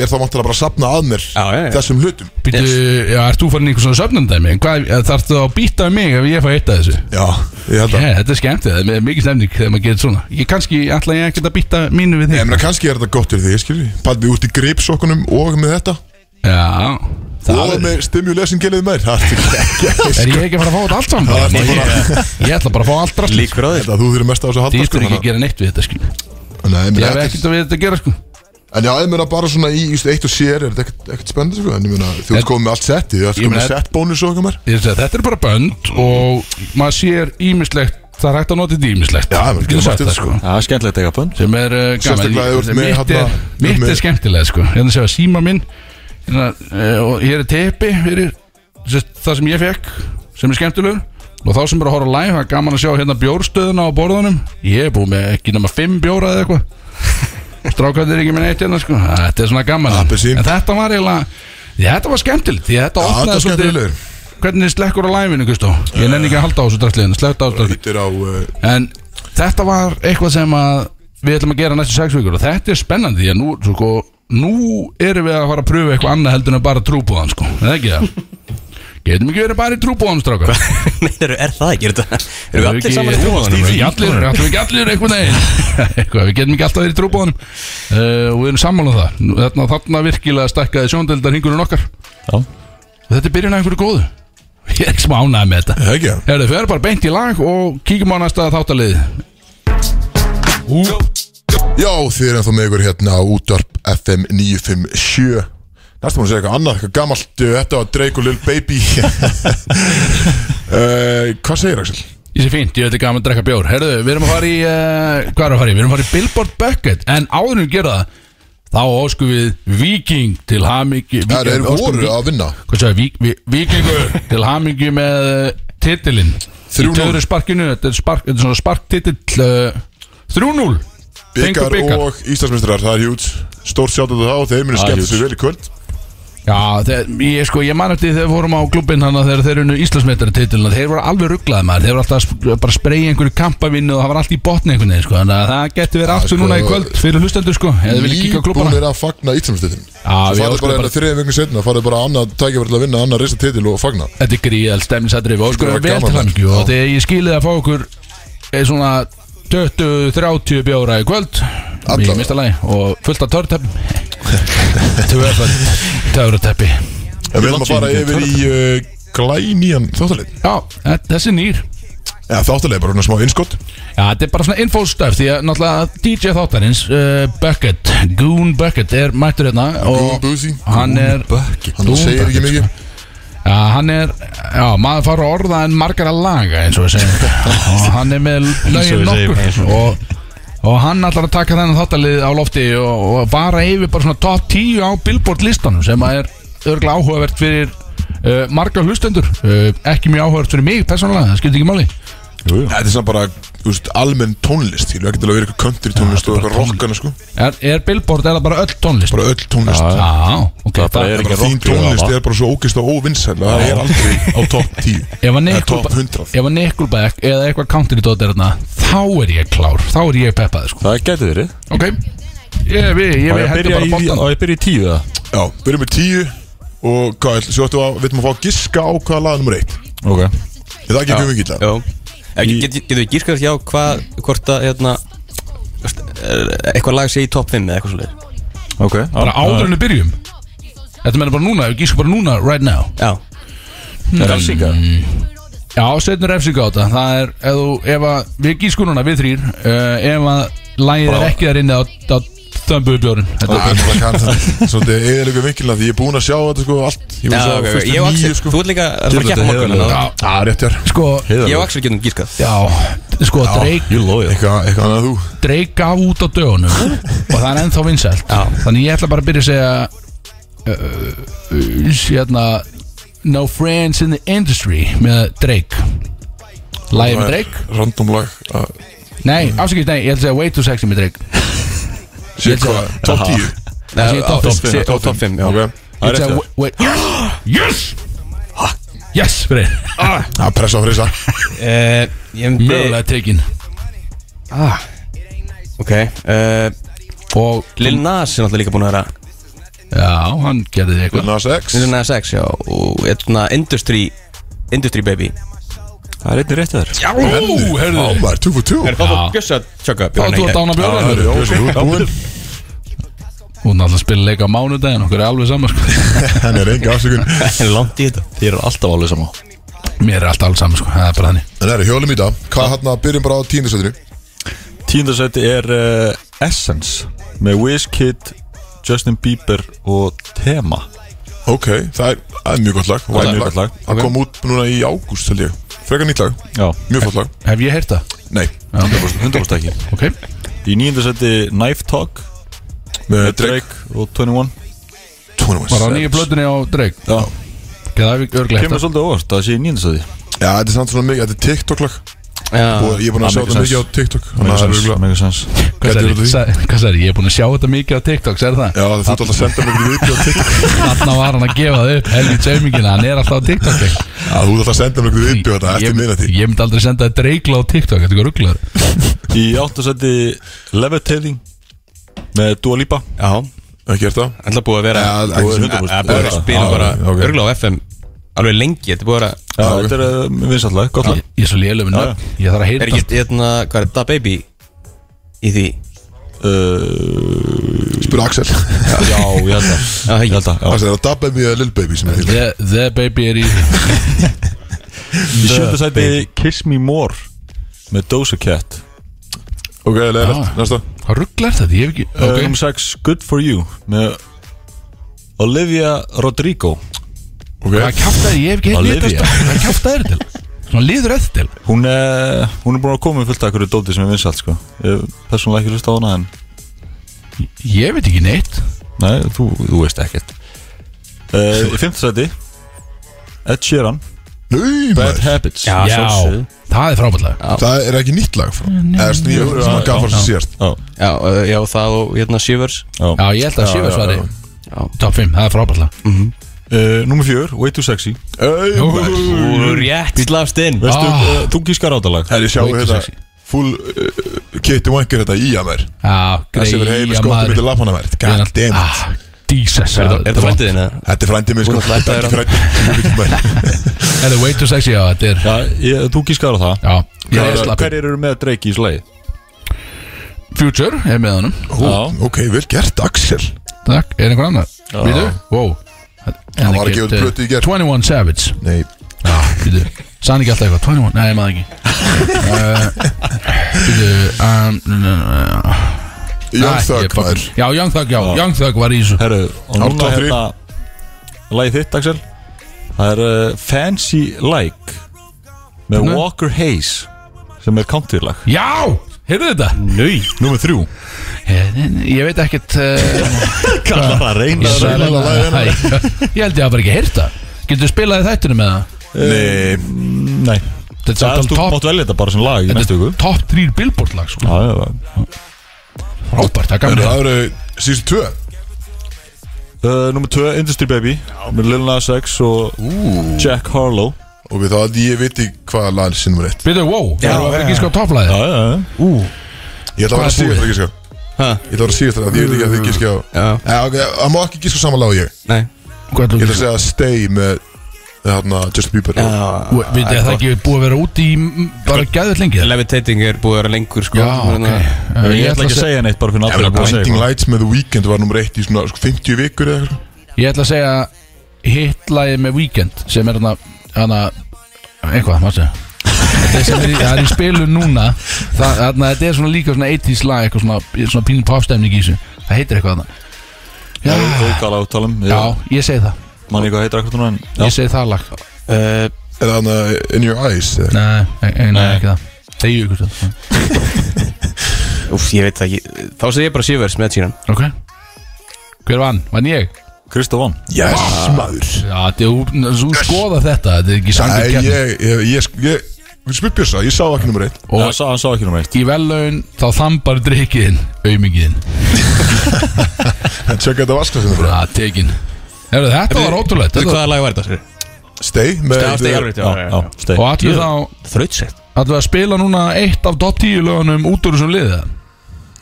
S2: er þá vantilega bara að sapna að mér
S5: Já, já, já.
S2: Þessum hlutum
S3: Býtu, já, ert þú farin í einhvern svona söfnandæmi? Hvað, þarf þú að býta um mig ef ég fæ eitt af þessu?
S2: Já, ég held að
S3: Yeah, þetta er skemmt, það er mikið stemning þegar maður gerir svona Ég kannski, ætla ég ekkert að býta mínu við þig
S2: Ég meina kannski er þetta gott fyrir því, skilji Paldi út í gripsokkunum og með þetta
S3: Já
S2: Og
S3: það er,
S2: með stimulation gelið mér Það er ekki ekki
S3: er ég ekki að fara að fá þetta allt saman
S2: Það er
S3: bara?
S2: bara-
S3: Ég, ég ætla bara að fá allt drast Lík
S5: Líkur á þér
S2: Þetta þú þurfir mest á þessu að halda sko,
S3: Dýttur ekki að
S2: þannig að-
S3: gera neitt við þetta skil Ég
S2: Nei, ég meina
S3: hef
S2: ekkert
S3: ekkert að við þetta að gera sko
S2: En já, ég meina bara svona í just, eitt og sér er þetta ekkert- ekkert spennandi sko En ég meina, þú ert
S3: En-
S2: komið með allt setti Þú ert
S3: Ég
S2: komið
S3: meina-
S2: með set bónus og eitthvað mér
S3: Ég segi, Þetta er bara bönd og maður sér ímislegt Það er hægt að nota þetta ímislegt
S2: Já, maður getur sagt þetta, sko.
S4: Það er skemmtilegt að eiga bönd
S3: Sem er uh, gaman
S2: Sérstaklega ef þú ert
S3: Ég-
S2: með
S3: Mitt er,
S2: hérna-
S3: mitt
S2: með-
S3: er skemmtilega sko Hérna séu að síma minn hérna, uh, Og hér er tepi fyrir sem sagt, það sem ég fekk Sem er skemmtilegur Og þá sem er að horfa á live, það er gaman að sjá hérna bjórstöðuna á borðunum Ég er búið með ekki nema 5 bjóra eða
S2: [LAUGHS]
S3: eitthvað Strákandi er ekki með neitt hérna sko Þetta er svona gaman
S2: Appelsín.
S3: En þetta var eiginlega Því þetta var skemmtilegt Því
S2: Já,
S3: þetta
S2: þetta
S3: opnaði
S2: er skemmtilegur
S3: Hvernig slekkur á læfinu Kristó Ég nenni ekki að halda á þessu drastliðinu Slekta á þessu drastliðinu
S2: Ítir á uh,
S3: En þetta var eitthvað sem að Við ætlum að gera næstu sex vikur Og þetta er spennandi Því að nú, sko, nú erum við að fara að pröfa eitthvað annað heldur en að bara trúbúðan sko Er Það ekki það Getum ekki verið bara í trúbúðan [LAUGHS] strákar
S5: Nei, eru- er það ekki? Er þetta- Eru við allir saman að
S3: Erum við
S5: trúa
S3: ekki allir, erum við ekki allir einhvern veginn [LAUGHS] Eitthvað, Við getum ekki alltaf verið í trúbóðanum uh, Og við erum sammála um það Nú, Þarna, þarna virkilega stækkaði sjóndeldar hingurinn okkar
S4: Já.
S3: Og þetta er byrjun að einhverju góðu [LAUGHS] Ég er ekki smá ánægð með [LAUGHS] þetta
S2: Það ekki það?
S3: Herðu, við erum bara beint í lag og kíkjum á næsta þáttalið
S2: Já, þið er ennþá með ykkur hérna á útvarp FM 957 Næstum hún að segja eitthvað annað, eitthvað gamalt uh, Þetta var Drake og Lil Baby [LAUGHS] uh, Hvað segir Axel?
S3: Ég sé fínt, ég veit ekki gaman að drekka bjór Herðu, við erum að fara í, uh, hvað er að fara í? Við erum að fara í Billboard Bucket En áður en við gera það Þá óskum við Viking til hamingi
S2: Það er voru að vinna
S3: Hvað sagði, vík, ví, Vikingur til hamingi með uh, titilinn Í
S2: 3-0.
S3: töður sparkinu, þetta er, spark, þetta er svona sparktitill uh, 3-0 Fengu
S2: Byggar og Íslandsmyndstrar, það er hjút Stórt sjátt að það og þeir munu
S4: Það er
S2: skemmt
S4: huge.
S2: sér vel í kvöld
S3: Já, þeir, ég sko, ég man eftir þegar við fórum á klubbin hana þegar þeir unnu Íslandsmeitari titilina þeir voru alveg rugglaði maður, þeir voru alltaf að sp- bara að spreyja einhverju kampavinnu og það var allt í botni einhvern veginn, sko, þannig að það getur verið allt
S2: sko,
S3: sem núna í kvöld fyrir hlustendur, sko, eða vilja kíka á klubbana
S2: Nýbúnir að fagna Íslandsmyndstrar
S3: Já, við
S2: Svo farið
S3: óskum
S2: bara
S3: bara-
S2: eina þriðja veginn setna Farið bara annað tækifæri til að vinna Annað reysa titil og fagna
S3: Þetta er gríðal stemninsatri og sko,
S2: Þetta var
S3: vel
S2: gaman,
S3: til hann,
S2: já.
S3: og þegar ég skilið að fá okkur er svona 20-30 bjóra í kvöld
S2: Alla.
S3: í mista lagi og fullt af [LAUGHS] törrteppum Tvöfald törrteppi
S2: En við erum að fara
S4: Langt síðan
S2: yfir í uh, glænían þáttalegi
S3: Já, þe- þessi er nýr
S2: Já, þáttalegi bara svona smá innskott
S3: Já, þetta er bara svona infostöf því að náttúrulega DJ þáttarins uh, Bucket, Goon Bucket er mættur hérna
S2: Góðan
S3: og
S2: Búsi
S3: hann er
S2: Hann
S3: Goon
S2: segir ekki
S3: Bucket.
S2: mikið
S3: Já, hann er, já, maður fara að orða en margar að laga eins og við
S4: [LAUGHS]
S3: segjum og hann er með
S4: Eins og
S3: lögin
S4: við segjum, eins
S3: nokkur og, og hann ætlar að taka þennan þáttalið á lofti og, og vara yfir bara svona top 10 á Billboard listanum sem að er örgla áhugavert fyrir uh, margar hlustendur uh, ekki mjög áhugavert fyrir mig persónulega, það skiptir ekki máli
S2: Þetta er samt bara úst, almenn tónlist Ég ekki til að vera eitthvað country tónlist og eitthvað rockana sko
S3: Er, er Billboard, er það bara öll tónlist?
S2: Bara öll tónlist
S4: Já,
S3: Já, ok
S4: Það bara er
S2: Bara
S4: ekki
S2: Þín
S4: rock
S2: tónlist er bara svo ógist og óvinnsæl Það er aldrei á topp 10
S3: Ef að
S2: Eða topp
S3: Nickelback
S2: 100
S3: Ef að Nickelback eða eitthvað country dot er hérna Þá er ég klár, þá er ég peppaði sko.
S4: Það getur verið
S3: Ok Ég við, ég
S4: Og
S3: við
S4: ég
S3: hendur
S4: byrja
S3: bara
S4: í,
S3: bóttan
S4: og ég byrja í tíu það
S2: Já, við erum með 10 Og hvað, ætl- svo ættum við að, við ætlum að fá að giska á hvaða lag er nummer 1
S4: Ok
S2: Er það ekki mjög mikið lag?
S5: Jó Getur við gískað hjá hvað, hvort að, hérna þú veist, er eitthvað lag sé í top 5 eða eitthvað svoleiðis
S4: Ok
S3: Bara áður en við byrjum Þetta meina bara núna, ég gísku bara núna, right now
S5: Já,
S4: Refsingar
S3: Já, setjum refsing á þetta Það er, ef, þú, ef að, við gísku núna, við þrýr uh, Ef að lægið er ekki þar inni á, á þömbu bjórin Þetta
S2: Það er bara kann- Svolítið eðalega vinkilna Því ég er búinn að sjá þetta sko allt Ég
S5: já
S2: var
S5: ok,
S2: svo
S5: ok,
S2: fyrst
S5: ég og
S2: í
S5: Axel,
S2: nýju sko
S5: þú ert líka að fara að
S4: Djöfull, þetta
S5: keppa á
S4: er
S5: morgun
S4: heiðarlegur.
S5: þannig að-
S2: Já, rétt hér
S3: Sko,
S5: Ég og Axel getum gískað
S3: já, sko, Drake
S4: You loyal
S2: Eitthvað eitthvað annað en þú
S3: Drake gaf út á dögunum og það er ennþá vinsælt
S5: Já.
S3: þannig ég ætla bara að byrja að segja uh, uh, hérna No Friends in the Industry með Drake Lægi með
S2: Það er
S3: Drake
S2: Random lag að-
S3: Nei, afsakið, nei, ég ætla að segja Way Too Sexy með Drake
S2: Sér
S3: ætla-
S2: hvað, topp 10
S3: Það sé top fimm.
S5: Sé- Top 5, já
S2: Ok.
S3: Ég ætla að segja Wait Yes Yes, fyrir
S2: Það pressa á frisa
S5: Eh, Ég myndi
S3: Mögulega tekin
S5: Ok eh,
S3: Og
S5: Lil Nas er náttúrulega líka búin að vera
S3: Já, hann gerði þig eitthvað
S2: Nas X
S5: Lil Nas X, já Og hérna Industry Industry Baby
S4: Það er einnig rétt að þér
S5: Já
S3: Ú, heyrðu
S2: Já, maður, 2 for 2
S5: Það er það að bjössa tjöka
S3: Þá þú að dána
S2: Já,
S3: björn
S2: heyrðu, Bjössi, þú ert búinn.
S3: Hún er alltaf að spila leik á mánudaginn Okkur er alveg saman sko
S2: [LAUGHS] Hann er enga afsökun
S5: En langt í þetta
S4: Þér er alltaf alveg saman
S3: Mér er alltaf alveg saman sko Það er bara þannig
S2: Það er hjólum í dag Hvað hann að byrjum bara á tíndasöndinu
S4: Tíundasæti er uh, Essence Með Wizkid, Justin Bieber og Tema
S2: Ok, það er, það er mjög gott lag
S4: er mjög gott lag.
S2: Það kom út núna í ágúst, held ég Frekar nýtt lag,
S4: Já
S2: mjög flott lag
S3: Hef ég heyrt það?
S2: Nei,
S4: 100% ekki
S3: Ok
S4: Í níundasæti Knife Talk
S5: Eh,
S2: með
S4: Með
S2: Drake
S4: Drake og 21
S2: 21
S3: Var á nýju blöðunni á Drake
S4: Já
S3: Ok, það hef ég örglega
S4: Kemur
S3: heyrt það
S4: svolítið óvart að það sé í níundasæti
S2: Já, þetta er samt svona mikið, þetta er TikTok lag
S5: Já
S2: Og ég er búinn
S4: Ah,
S2: að sjá
S4: make
S2: þetta mikið á
S4: sense.
S2: TikTok Þannig að það er örugglega-
S4: Mega sens
S2: Gæti
S3: Hvað sagði-
S2: verið því.
S3: sagði- Hvað sagði, ég er búin að sjá þetta mikið á TikTok, sér það?
S2: Já, það þú ert alltaf að senda mér einhverju viðbjöð á TikTok
S3: Þarna var hann að gefa það upp Helgi tseimingina, hann er alltaf á TikTok ekki?
S2: Já, þú ert alltaf að senda mér einhverju viðbjöð þetta eftir minnati
S3: Ég myndi aldrei senda þetta reikla á TikTok Þetta er rugglar
S4: Í áttasæti Levitating Með Dua Lipa
S5: Já
S2: Ekki gert það?
S5: Alltaf búið að vera
S2: Já,
S5: Það
S2: ekki
S5: er
S2: svona-
S5: búið að vera að spila
S2: Já,
S5: bara
S2: ok.
S5: Örgulega á FM Alveg lengi Þetta er búið að vera
S4: Já,
S2: Já, ok.
S4: þetta er uh, vinsætlega, gott lag
S3: Ég er svo lélum
S4: Já, já.
S3: Ég þarf að
S5: Er
S3: heyra
S5: ekki
S3: þetta
S5: hérna Hvað er Da Baby Í því
S4: Uh,
S2: Spyr [LAUGHS] Axel
S4: Já, ég held að
S5: Já,
S4: Ég held að, já
S2: Það er að dabba mig að Lil Baby sem er því
S3: The, the baby er í
S4: Í sjönda sæti Eh, Kiss Me More með Doja Cat
S2: Ok, leiðilegt,
S3: Já.
S2: næsta
S4: Eh,
S3: Hvað rugglar þetta? Ég hef ekki
S4: okay. um
S3: Ok
S4: 6 Good For You með Olivia Rodrigo
S3: Hvað
S2: Ok,
S3: kjátt er ég hef ekki heilt
S4: Olivia.
S3: nýtt að stað Hvað kjátt er til? Svona liður eftir til
S4: Hún er, hún er búin að koma með fullt af hverju dóti sem er vinsalt sko Ég hef persónulega ekki hlusta á hana en
S3: Ég veit ekki neitt
S4: Nei, þú, þú veist ekkert uh, Í fimmtisæti Ed Sheeran
S2: Nei,
S4: Bad
S2: maður.
S4: Habits
S5: sjálfsögðu.
S3: það er frábæðlega
S2: það er ekki nýtt lag frá Eða snýður sem að gaf hans að sérst
S4: Já,
S5: Já, uh, já, það og hérna Shivers
S4: já.
S3: Já, ég held að séu svari
S5: Já.
S3: Top 5, það er frábæðlega
S4: Uh, Númer fjör, Way Too Sexy
S2: Það
S5: Úr rétt Slafst inn
S4: Veistu,
S3: Ah.
S4: ah. uh, þú gískar átalag
S2: er ég sjáu
S3: Wait a
S2: hérna
S3: sexy.
S2: Full uh, Kitty Wanker þetta í að mér
S3: Já,
S2: Það sem er heil
S3: greiða
S2: skottum
S3: maður
S2: yfir lapana mér God damn it.
S3: Ah, Jesus
S5: Er þetta frændið þinn eða?
S2: Þetta er frændið minn sko
S5: Þú ætlaðir
S2: Þetta er
S5: að-
S2: frændið minn
S3: Er það way too sexy? Já, þetta er
S4: Já, ég, þú gískar á það
S3: Já, ég er slappið
S4: Hverjir eru með Drake í slagi?
S3: Future er með honum
S4: Já,
S2: Ok, vel gert Axel
S3: Takk, er einhver annar? Býtu? Wow
S2: Hann var að gefa út plötu í gær.
S3: 21 Savage
S2: Nei,
S3: Já, býtu Sann ekki alltaf eitthvað 21, nei,
S2: [LAUGHS]
S3: maður ekki Uh, Býtu um, n- n- n-
S2: Young
S3: Æ,
S2: Thug
S3: ég bara-
S2: maður
S3: Já, Young Thug, já, Young Thug var í þessu
S4: herru, og
S2: Árni
S4: núna
S2: Tóttri.
S4: hérna Lagið þitt, Axel Það er uh, Fancy Like Með
S3: Nei.
S4: Walker Hayes Sem er countrylag
S3: Já, heyrðu þetta
S4: Nei, númer þrjú
S3: Ég- Ég veit ekkert uh,
S4: Kallar að reyna
S3: ég,
S2: er
S3: sagði-
S2: eiginlega lagið hennar.
S3: Æ, [LAUGHS] ég held ég að bara ekki heyrta Getur spilað í þættinu með það?
S2: Nei,
S4: Nei,
S3: Þetta er
S4: það er
S3: samt
S4: þú
S3: alveg
S4: mátt velja þetta bara sem lag í næstu
S3: top,
S4: viku
S3: top 3 billboard lag sko.
S4: Já, já, já
S3: Frábært, það
S2: en
S3: gamlega
S2: það eru síðan tvö
S4: Uh, Númer 2, Industry Baby Með Lil Nas X og Jack Harlow
S2: Og við þá að ég veit ekki hvað lag er sinnum rétt
S3: Býtu, wow, það var ekki sko
S4: Já,
S3: topplæði
S4: já, já
S2: Ég ætla að vera
S3: Hvað er
S2: síðast
S3: búið?
S2: að gíska
S5: Ha?
S2: Ég ætla að vera síðast að því ég veit ekki að þið gíska á
S5: Já,
S2: Eh, ok, Það má ekki gíska saman lag og ég
S5: nei
S3: Hvað
S2: Ég
S3: er
S2: ætla að segja Stay með Þarna Justin Bieber
S5: Já,
S3: Við veitum að það ekki búið að vera úti í m, bara gæðvöld lengi eða?
S5: Levitating er búið að vera lengur sko
S3: Já, ok
S4: Ég,
S3: Eh,
S4: ætla ekki að segja neitt bara fyrir
S2: Það
S4: náttúrulega
S2: er
S4: búið að segja
S2: Blinding
S4: eitthvað.
S2: Lights með The Weeknd var nummer eitt í svona sko, 50 vikur eða eitthvað
S3: Ég ætla að segja hitt lagið með Weekend sem er hana, hana eitthvað, maður segja Það sem er í, það er í spilu núna það, þarna, Þetta er svona líka svona 80s lag eitthvað svona, svona pínum popstemning í þessu Það heitir eitthvað þarna
S4: Já,
S3: Já,
S4: þú gala áttalum
S3: já ég segi það
S4: Man ekki hvað heitir akkur núna en
S3: Ég segi það lag
S5: Uh,
S2: Eða hann uh, In Your Eyes eða eitthvað.
S3: Nei, e- e- nei,
S4: Nei.
S3: ekki það Þegju ykkur það
S5: Úf, ég veit það ekki Þá segi ég bara Shivers með síðan
S3: Ok Hver vann? Vann ég?
S4: Kristofan
S2: Yes maður
S3: Já, þetta er þú skoða þetta Þetta er ekki
S2: Æ,
S3: sangur kemni
S2: ég, ég, ég, ég, ég Spilbjörsa, ég sá ekki nummer eitt [LAUGHS]
S4: Og
S3: Og-
S4: hann sá, hann sá ekki nummer eitt
S3: Í vellaun þá þambar drikkiðin Aumingiðin
S2: En tjekka þetta vaskasinu hérna bara
S3: Já, tekin Heru, Þetta var ótrúlegt
S5: Þetta
S3: þetta var-
S5: hvaða lag var þetta? segirðu?
S2: Stay með
S5: Já, stegi alveg
S4: Já, já, steg
S3: Og allir þá
S5: Þrautsett
S3: Allir að spila núna eitt af dot 10 lögunum út úr þessum liða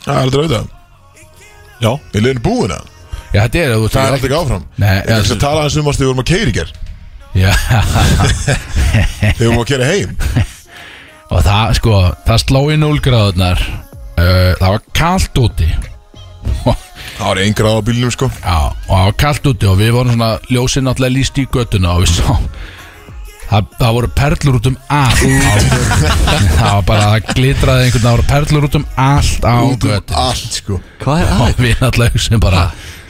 S2: Það er aldrei auðvitað
S4: Já,
S2: Ég leiðin búin að
S3: Já, þetta er þú veist,
S2: Það er aldrei ekki áfram
S3: Nei,
S2: Ég ætla að
S3: já,
S2: tala hans um að við vorum að keira í ger
S3: já,
S2: Þegar
S3: [LAUGHS]
S2: við vorum að keira heim
S3: og það sko, það sló í 0 gráðunar uh, Það var kalt úti
S2: Það var eingra á bílnum sko
S3: Já, og það var kallt úti og við vorum svona ljósið náttúrulega líst í göttuna og við sá það, það voru perlur út um allt á göttunni. það var bara, það glitraði einhvern það voru perlur út um allt á
S2: Út um
S3: göttuna
S2: allt sko
S5: Hvað er
S3: og við náttúrulega hugsaðum bara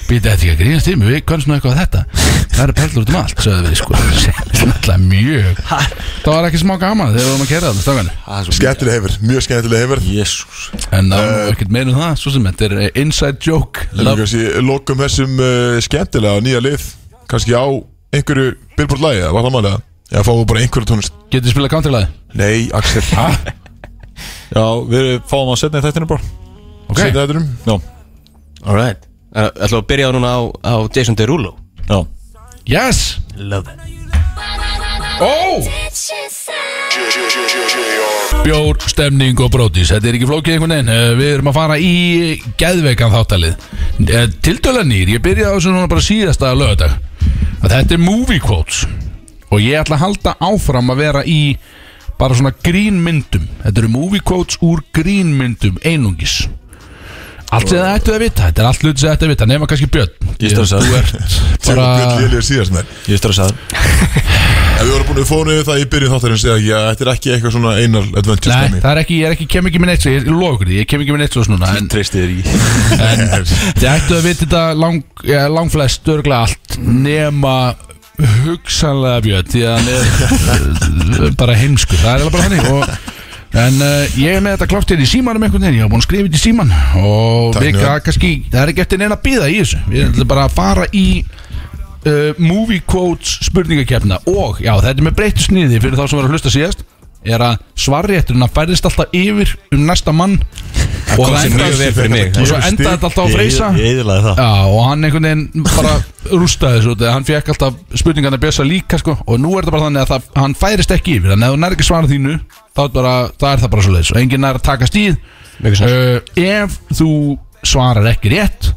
S3: býta þetta ekki að grínast í mig, við kannum svona eitthvað að þetta það eru perlur út um allt, sögðu við sko sem er náttúrulega mjög það var ekki smá gaman þegar við vorum að kera þetta stafan
S2: Skemmtileg hefur, mjög skemmtileg hefur
S4: Jésús
S3: en það var nú ekkert meira um það, svo sem þetta er eh, inside joke love,
S2: Lokum þessum uh, skemmtilega nýja lið kannski á einhverju Billboard lagi eða Var það málega? Eða fáum við bara einhverju tónlist
S3: getur spilað countrylagi
S2: Nei, Axel
S4: Já, við fáum að setna í þættinu bara
S3: ok,
S2: Setja þetta um
S4: Já,
S5: Alright Eh, Ætlum við að byrja á núna á, á Jason Derulo
S4: já
S3: yes
S5: Love it
S3: oh bjór, stemning og brótis Þetta er ekki flókið einhvern veginn Eh, Við erum að fara í geðveikan þáttalið Tildöla nýr, ég byrjaði á þessu núna bara síðasta lögadag að Þetta er movie quotes Og ég ætla að halda áfram að vera í bara svona grínmyndum Þetta eru movie quotes úr grínmyndum einungis Allt sem það ættu að vita, þetta er allt hlut sem það ættu að vita Nefna kannski Björn
S4: Ég stressaður.
S3: Þú ert
S2: Þegar við
S3: bara
S2: bjöld lélir síðast með
S4: Ég er stressaður
S2: En Við vorum búin að fóna yfir það í byrjun þáttarins eða ekki að þetta er ekki eitthvað svona einar adventure
S3: Nei,
S2: dæmi.
S3: það er ekki, ég er ekki, kem ekki með neitt svo, ég lofa ykkur því, ég kem ekki með neitt svo núna En
S4: Treysti þér ekki
S3: en þið ættu að vita þetta lang, ja, langflest örglega allt nema hugsanlega Björn því að hann er eh, bara heimsku það er eiginlega bara þannig og En uh, ég er með þetta klátt hér í símanum einhvern veginn, ég hef búin að skrifa þetta í síman og
S2: Takk,
S3: við
S2: Njörn.
S3: ka- kannski, það er ekki eftir neina að býða í þessu Við ætlum bara að fara í uh, movie quotes spurningakefna og já, þetta er með breytt sniði fyrir þá sem var að hlusta síðast er að svarrétturinn að færðist alltaf yfir um næsta mann og
S5: kom sér mjög
S3: endar-
S5: vel fyrir mig.
S3: og svo endaði þetta alltaf á freysa
S4: Ég eðlaði það
S3: Já, og hann einhvern veginn bara rústaði þessu út Hann fekk alltaf spurningarna bjösa líka sko, Og nú er þetta bara þannig að það, hann færist ekki yfir Þannig að ef þú nær ekki svara þínu þá er, bara, það er það bara svo leiðis Og enginn nær að taka stíð
S5: Mikið sens.
S3: uh, Ef þú svarar ekki rétt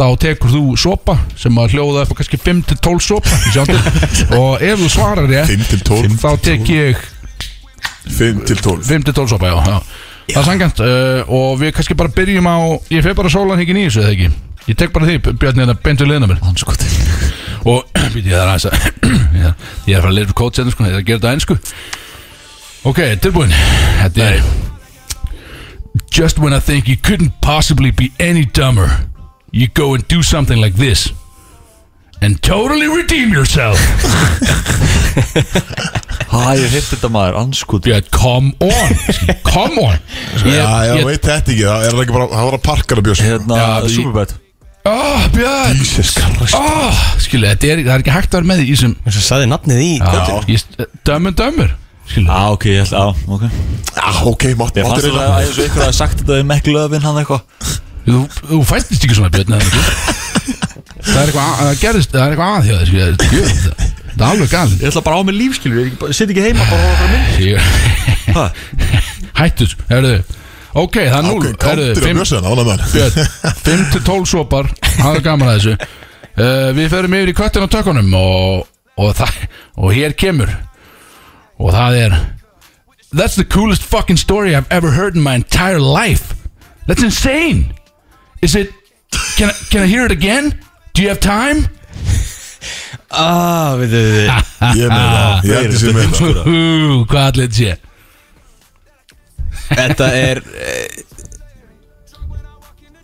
S3: Þá tekur þú sopa Sem að hljóða upp á kannski 5-12 sopa í sjónvarpinu. Og ef þú svarar rétt
S2: 5 til 12
S3: Þá tek ég
S2: 5 til 12
S3: 5-12 sopa, já, já. Það er sangant uh, Og við kannski bara byrjum á Ég feg bara sólan hengin í þessu, eða ekki Ég tek bara því, Björn, hérna beintu liðna mér
S4: Hann sko til
S3: Og, [CLEARS THROAT] býti, ég er aðeins að Ég er ég er að fara að leysa kót sérna, sko Ég er að gera þetta einsku Ok, tilbúin Þetta er Just when I think you couldn't possibly be any dumber You go and do something like this And totally redeem yourself
S4: Hæ, ég hef þetta maður, hann sko til
S3: yeah, Come on [LAUGHS] Come on
S2: Já, já,
S3: ég-
S2: veit þetta ekki, það er ekki bara, það var að parkara björs
S4: Hérna,
S3: Já, í-
S4: Superbad
S3: Oh, Björn
S2: Jesus Christ
S3: oh, Skilu, þetta er, það er ekki hægt að vera með því í sem
S5: Þess að saði nafnið í kvöldin
S3: Dömur, dömur Skilu,
S4: Já, ok, ég ætla, á, ok
S2: Já, ok, mátt,
S4: Ég
S2: mátt
S4: fannst
S2: er
S4: þetta að eins og ykkur hafði sagt þetta um ekki löfin hann eitthvað
S3: þú, þú fættist ekki svona Björn eða [LAUGHS] ekki það er eitthvað að- það gerðist, það er eitthvað að hjá þér skilur, þetta er djöfull, þetta- [LAUGHS] þetta er alveg galið
S4: Ég ætla bara á mig lífskilur, ég bara- sit ekki heima bara og horfa fyrir mynd Hæ,
S3: hættus, herðu ok, það er
S2: Ok,
S3: núl, herðu
S2: káttir að
S3: fimm-
S2: björsa hann, ánað með hann
S3: Björn, 5 til 12 sopar hafa gaman að þessu uh, við ferum yfir í köttin á tökunum og, og, það, og hér kemur og það er That's the coolest fucking story I've ever heard in my entire life That's insane Is it Can I, can I hear it again? Do you have time?
S5: Ah, við þau, við
S4: [LAUGHS]
S5: þau
S2: Ég er með það, ég held ég sé með
S3: [LAUGHS]
S2: það
S3: Hú, hvað allir sé
S5: Þetta er eh,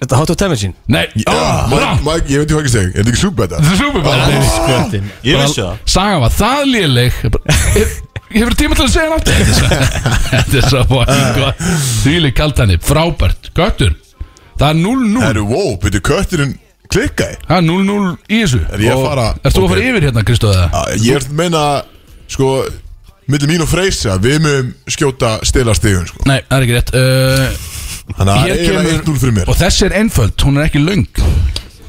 S5: Þetta er Hot of Temensín
S3: Nei,
S2: Já,
S3: ah,
S2: Mike,
S3: rangt.
S2: Mike, ég veit ekki hvað ekki segja, er þetta Ah. ekki súpbæta?
S3: Þetta er superbæð
S5: Kvöldin
S4: ég vissi það
S3: Saga var það léleg Ég bara- [LAUGHS] hef- Hefur tíma til að segja nátt Þetta er svo
S2: Ah.
S3: fucking gott Þvíli kaltani, frábært, göttur Það er 0-0
S2: Herru, wow, byrju, kötturinn klikkaði
S3: Það er 0-0 í þessu
S2: Er ég að fara-
S3: Erst þú að
S2: ok.
S3: fara yfir hérna, Kristóða?
S2: Ah, Ég er að meina, sko, millir mín og freysa, við mögum skjóta stela stíðun, sko
S3: Nei, það er ekki rétt uh,
S2: Þannig að það
S3: hér
S2: er eiginlega 1-0 fyrir mér
S3: Og þessi er einföld, hún er ekki löng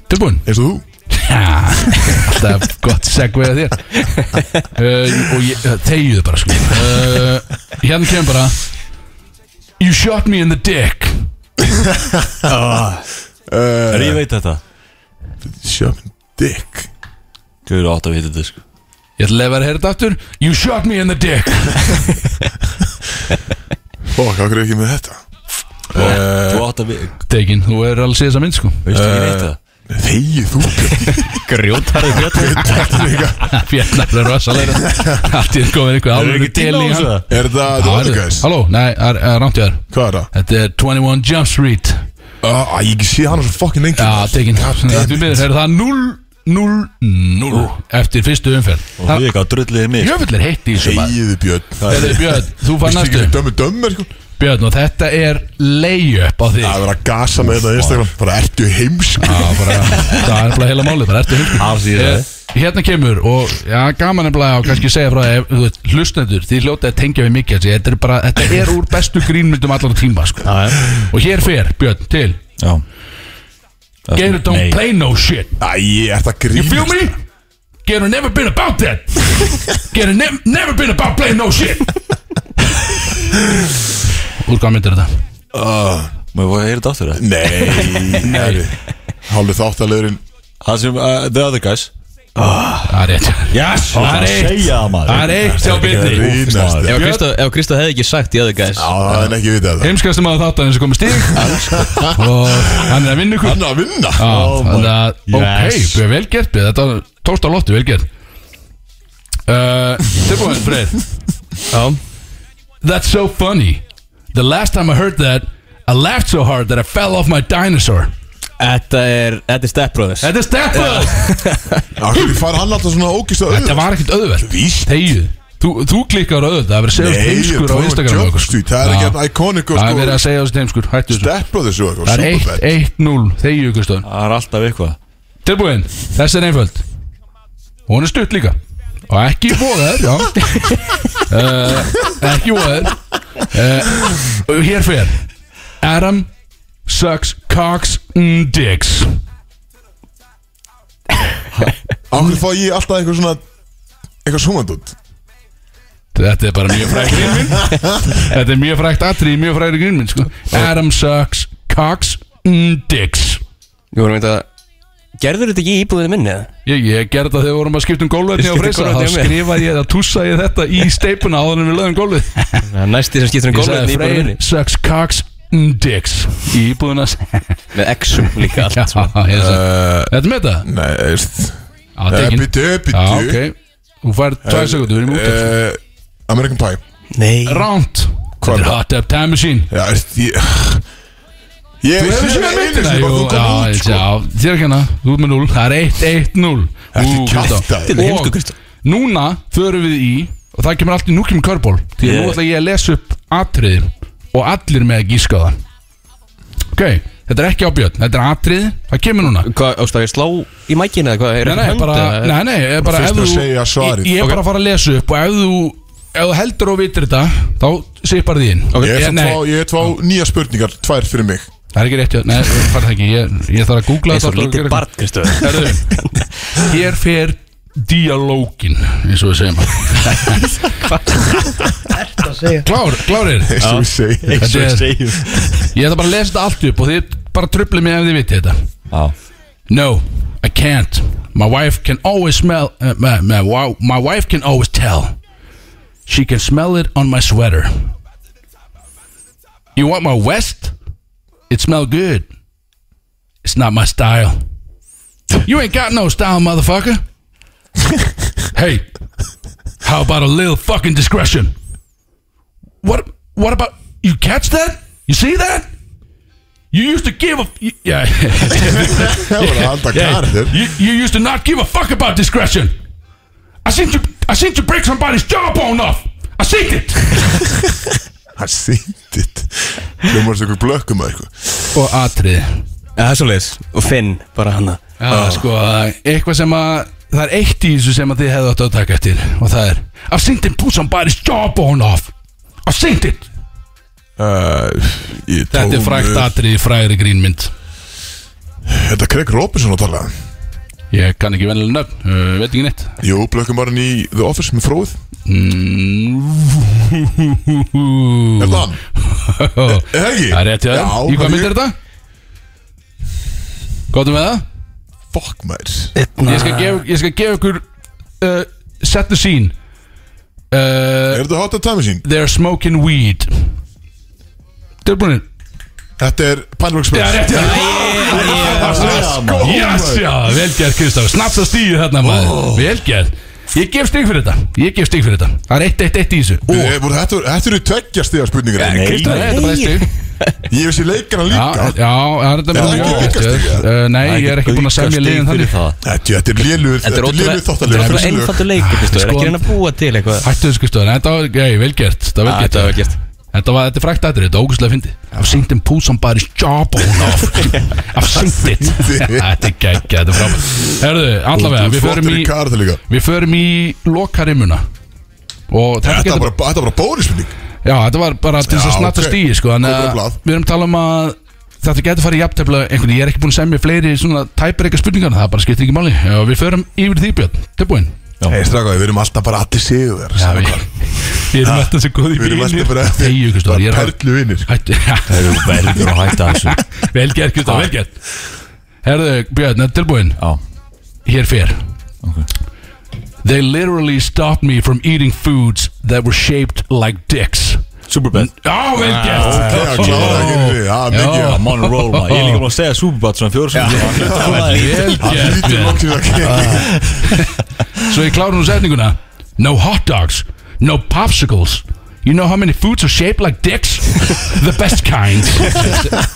S3: Tilbúin
S2: Eins og þú?
S3: Já, alltaf gott segveið að þér uh, Og ég, uh, þegiðu bara sko uh, Hérna kemur bara You shot me in the dick
S4: Er ég veit þetta?
S2: Sjöfn, dick
S4: Þú eru átt að vita þetta, sko
S3: Ég ætla að lefa að heyra þetta aftur You shot me in the dick
S2: Fokk, hvað er ekki með þetta?
S4: Þú átt að vita,
S3: Tekin, þú er alveg séð þessa mynd sko
S4: veistu ekki neitt það?
S2: Þegið þú Björn.
S4: Grjótarði grjótarði
S3: [LAUGHS] Fjarnar er rosalega Allt í enn komin einhver
S4: Það er
S3: alveg
S4: ekki til í hans
S2: Er það The Other Guys?
S3: Halló, nei, það er rámt ég þar
S2: Hvað er það?
S3: Þetta er 21 Jump Street
S2: Á, Ég ekki sé hann svo fokkin lengi
S3: Já, tekin Það er því miður, það er það 0 0-0
S2: Oh.
S3: Eftir fyrstu umferð
S4: Og
S3: Það
S4: þú ekki að drullið mig sko.
S3: Jöfull er heitt í þessu maður.
S2: Þegið Björn
S3: Heyrðu, Björn, þú fann
S2: Vistu ekki
S3: næstu
S2: sem dömur dömur sko?
S3: Björn og þetta er layup á þig
S2: Það er verið að gasa með þetta á Instagram Bara ertu heimsk
S3: Já, bara, Það er bara heila málið bara ertu heimskur.
S4: Af því
S3: Eh,
S4: það
S3: Hérna kemur og já, gaman nefnilega og kannski segja frá það ef, þú veist, hlustendur, þið hljótið að tengja við mikið þessi, þetta er bara, þetta er úr bestu grínmyndum allar tíma, sko og hér fer, Björn, til
S4: Já
S3: Gator don't play no shit
S2: Æ, ég ert að
S3: You feel
S2: grínast
S3: me? Gator never been about that Gator nev never been about playing no shit Úr hvað myndir þetta?
S4: Mér voru að heyra þetta áttur það
S2: Nei, herri Hálfu þáttalegurinn
S4: Það sem, uh, The Other Guys
S3: Það er rétt
S4: Yes Það er eitt segja það maður
S3: Það er eitt hjá Byrni
S2: Grínast Já,
S5: Ef Kristó, ef Kristó hefði ekki sagt í aðu gæs
S2: það er ekki vitað þetta
S3: Heimskastu maður þáttan eins og komið stíg Og hann er að vinna ykkur
S2: Hann er að vinna
S3: Já, Þannig að, ok,
S4: Yes.
S3: yes. vel gert Björn, Þetta tókst á lofti, vel gert uh, Tilbúin, Freyr
S5: Já
S3: That's so funny The last time I heard that I laughed so hard that I fell off my dinosaur
S5: Þetta er, þetta er steppbróðis
S3: Þetta er stefnað
S2: Akkur fara hann alltaf svona ógist að
S3: Þetta var ekkert auðvelt
S2: Víst.
S3: Þegið Þú, þú klikkar á auðvelt Það er verið að segja
S2: Nei,
S3: þessu heimskur á
S2: Paul
S3: Instagram
S2: Jump
S3: og eitthvað, sko.
S2: Street, það er ekki
S3: Já.
S2: hérna iconic og
S3: Það
S2: sko-
S3: er verið að segja þessu heimskur Hættu þessu
S2: Deppbróðis og eitthvað
S3: Það er
S2: Superbad.
S3: 1-1-0 Þegið ykkur stöðun
S4: Það er alltaf eitthvað
S3: Tilbúin, þessi er einföld Hún er stutt líka Og ekki voðaður Já uh, Ekki voðaður uh, Hér fer Adam sucks cocks and dicks
S2: Akkur fá ég alltaf eitthvað svona Eitthvað svumandund
S3: Þetta er bara mjög frækt grínminn Þetta er mjög frækt atrið, mjög frækt grínminn sko. Adam sucks cocks and dicks
S5: Ég voru mynd að Gerður þetta ekki í íbúðinu minni eða?
S3: Ég, ég gerði þetta þegar við vorum að skipta um gólfið
S5: Ég
S3: og
S5: skipti
S3: freysa, þá
S5: gólfvetni á mér.
S3: skrifaði ég, þá tússaði ég þetta í steipuna áður en við lögum gólfið
S5: Það er Næsti sem skiptir um
S3: Ég
S5: gólfinu
S3: sagði Freyr
S5: í íbúðinu minni
S3: sucks cocks and dicks Í íbúðunas [LAUGHS]
S5: Með exum líka allt svona.
S2: Eh,
S3: Þetta með þetta?
S2: Nei, veist
S3: Já,
S2: eh,
S3: þetta er ekki
S2: Bitu, bitu
S3: Já, ok Þú fær tvær sekundu, við erum út af
S2: Eh, American Pie
S5: Nei
S3: Ránt Þetta
S2: Hvað
S3: er
S2: er
S3: Hot Tub Time Machine
S2: Já, veist ég Ég
S3: Þú hefur sér að
S2: einu
S3: myndina
S2: sinni bara
S3: jú,
S2: þú
S3: já,
S2: kom út
S3: ég-
S2: sko
S3: Já, þér ekki hana Þú ert með 0 Það er 1-1-0
S2: Ekki
S3: Ú,
S2: kjafta
S3: Kristján.
S2: þér.
S5: Þetta er heimsku, Kristján.
S3: Og núna förum við í Og það kemur allt í núkjum körból Því að
S4: Ég-
S3: nú ætla ég að lesa upp atriðin Og allir með að gíska á það Ok, þetta er ekki á björn Þetta er atrið Það kemur núna
S5: Hvað, ástu að ég slá í mækina eða hvað? Er
S3: Nei,
S5: eitthvað
S3: nei,
S5: hönd
S3: bara,
S5: eða-
S3: nei, nei, ég er bara
S2: Fyrst
S3: ef
S2: að
S3: þú-
S2: segja svarið.
S3: Ég ég er bara að fara að lesa upp og ef þú, ef þú heldur og vitir þetta þá sippar því inn
S2: Ég er
S3: Eh, Nei,
S2: svona tvá- Ég er tvá nýja spurningar, tvær fyrir mig
S3: það er ekki rétt hjá- Nei, ég fara það ekki, ég, ég þarf að googla
S5: Eins
S3: þetta
S5: og
S3: aftur
S5: lítið
S3: gera
S5: barn, Kristján
S3: eitthvað. Herðu, Hér fer dialógin eins og við segjum Klár, klárir
S2: Eins og við
S3: [LAUGHS]
S2: segjum
S3: Þetta er-
S4: segjum
S3: Ég ætla bara að lesa þetta allt upp og þið bara tröflið mig ef þið vitið þetta
S4: Já
S3: No, I can't. My wife can always smell. Uh, my, my, wa- my wife can always tell. She can smell it on my sweater. You want my vest? It smell good. It's not my style. You ain't got no style, motherfucker. hey, how about a little fucking discretion? What? What about you? Catch that? You see that? You used to give a you- yeah. [LAUGHS]
S2: Það voru að halda karir
S3: You, you used to not give a fuck about discretion. I seen you. I seen you break somebody's jawbone off. I seen it.
S2: Það sýndit Hljómar sem eitthvað blökkum að eitthvað
S3: [LAUGHS] Og atriði.
S5: Ja, Það er svo leiðis Og Finn, bara hana
S3: Já, sko, eitthvað sem að það er eitt í þessu sem að þið hefðu átt að taka eftir og það er I've seen them put somebody's jawbone off. I've seen it.
S2: Uh, ég
S3: Þetta
S2: tók-
S3: er frækt atriði í frægri grínmynd.
S2: Þetta er Craig Robinson að tala
S3: Ég kann ekki vennilega nöfn, uh, veit ekki [LAUGHS] neitt.
S2: Jú, blökkum bara í The Office með fróð Er það hann? Er það ekki?
S3: Það er rétt hjá þér. Í hvað mynd er þetta? Góðum við það?
S2: Fuck maður
S3: Ég skal gefa, ég skal gefa ykkur uh, Set the scene uh,
S2: Er þetta Hot Tub Time Machine?
S3: They're smoking weed Tilbúinir
S2: Þetta er Pineworks
S3: Já, rétt Oh, já Yes, já, velgerð Kristaf Snaps að stíðu þarna maður Velgerð Ég gef stig fyrir þetta Ég gef stig fyrir þetta Það er eitt, eitt, eitt í þessu Og
S2: Þetta þetta eru tveggja stiga spurningar
S4: Nei.
S3: Kristaf, þetta er bara eitt stig
S2: Ég vissi leikana
S3: Já,
S2: líka
S3: já, það er þetta
S2: Já,
S3: mjög
S2: ekki
S3: mjög
S2: aukastig,
S3: ágætt,
S2: eða?
S3: eh, Nei, ég er ekki búin að semja liðin þannig
S2: Þetta þetta er lélugur
S5: Þetta er ótrúlega Þetta er
S2: þáttalega
S5: ótrúlega einfaldur leikur, Kristján
S3: Sko-
S5: Ekki reyna að búa til eitthvað
S3: Hættu þessu Kristofur, þetta var, ei, velgert Þetta var
S5: Ah,
S3: velgert
S5: þetta var vel gert.
S3: Þetta var, þetta er frækt aðrið, þetta er ógustlega fyndið I've seen them pull somebody's jawbone off I've seen it Þetta er geggja, þetta er frábært Herðu, allavega, við förum í
S2: Þetta er
S3: Við förum í lokarimuna Og þetta
S2: bara,
S3: getur bara,
S2: þetta er bara bónusmynding
S3: Já, þetta var bara til þess að
S2: Já,
S3: snatta
S2: ok.
S3: okay. stíi sko,
S2: Komdu
S3: Þannig
S2: á
S3: að
S2: blað.
S3: við erum að tala um að Þetta getur farið jafntefla einhvern Ég er ekki búin að semja fleiri svona tæpar eitthvað spurningar Það bara skiptir ekki máli Já, Við förum yfir því Björn, tilbúin
S2: Hei, straka, við erum alltaf bara allir sigur
S3: Já, við, við erum alltaf svo góð í
S2: Við erum alltaf bara- sko.
S3: Þegju, Kristóð Ég er að [LAUGHS]
S2: Perlu vinnir
S3: Hættu
S4: Það eru verður að hætta þessu
S3: Vel gert, Kristóð, vel gert Herðu, Björn, þetta er tilbúin
S4: Já
S3: Hér fer They literally stopped me from eating foods that were shaped like dicks
S4: Superbad
S3: Já, vel
S2: Ah, Já,
S3: gert
S2: klára ekki við Já, mikið
S3: Já.
S4: I'm on a roll maður Ég er líka búin að segja Superbad svona fjóru sem
S3: Vel
S2: Það
S3: gert,
S2: lítur
S3: Björn
S2: loksins að kemja
S3: Svo ég klára nú setninguna no hot dogs, no popsicles. You know how many foods are shaped like dicks? The best kind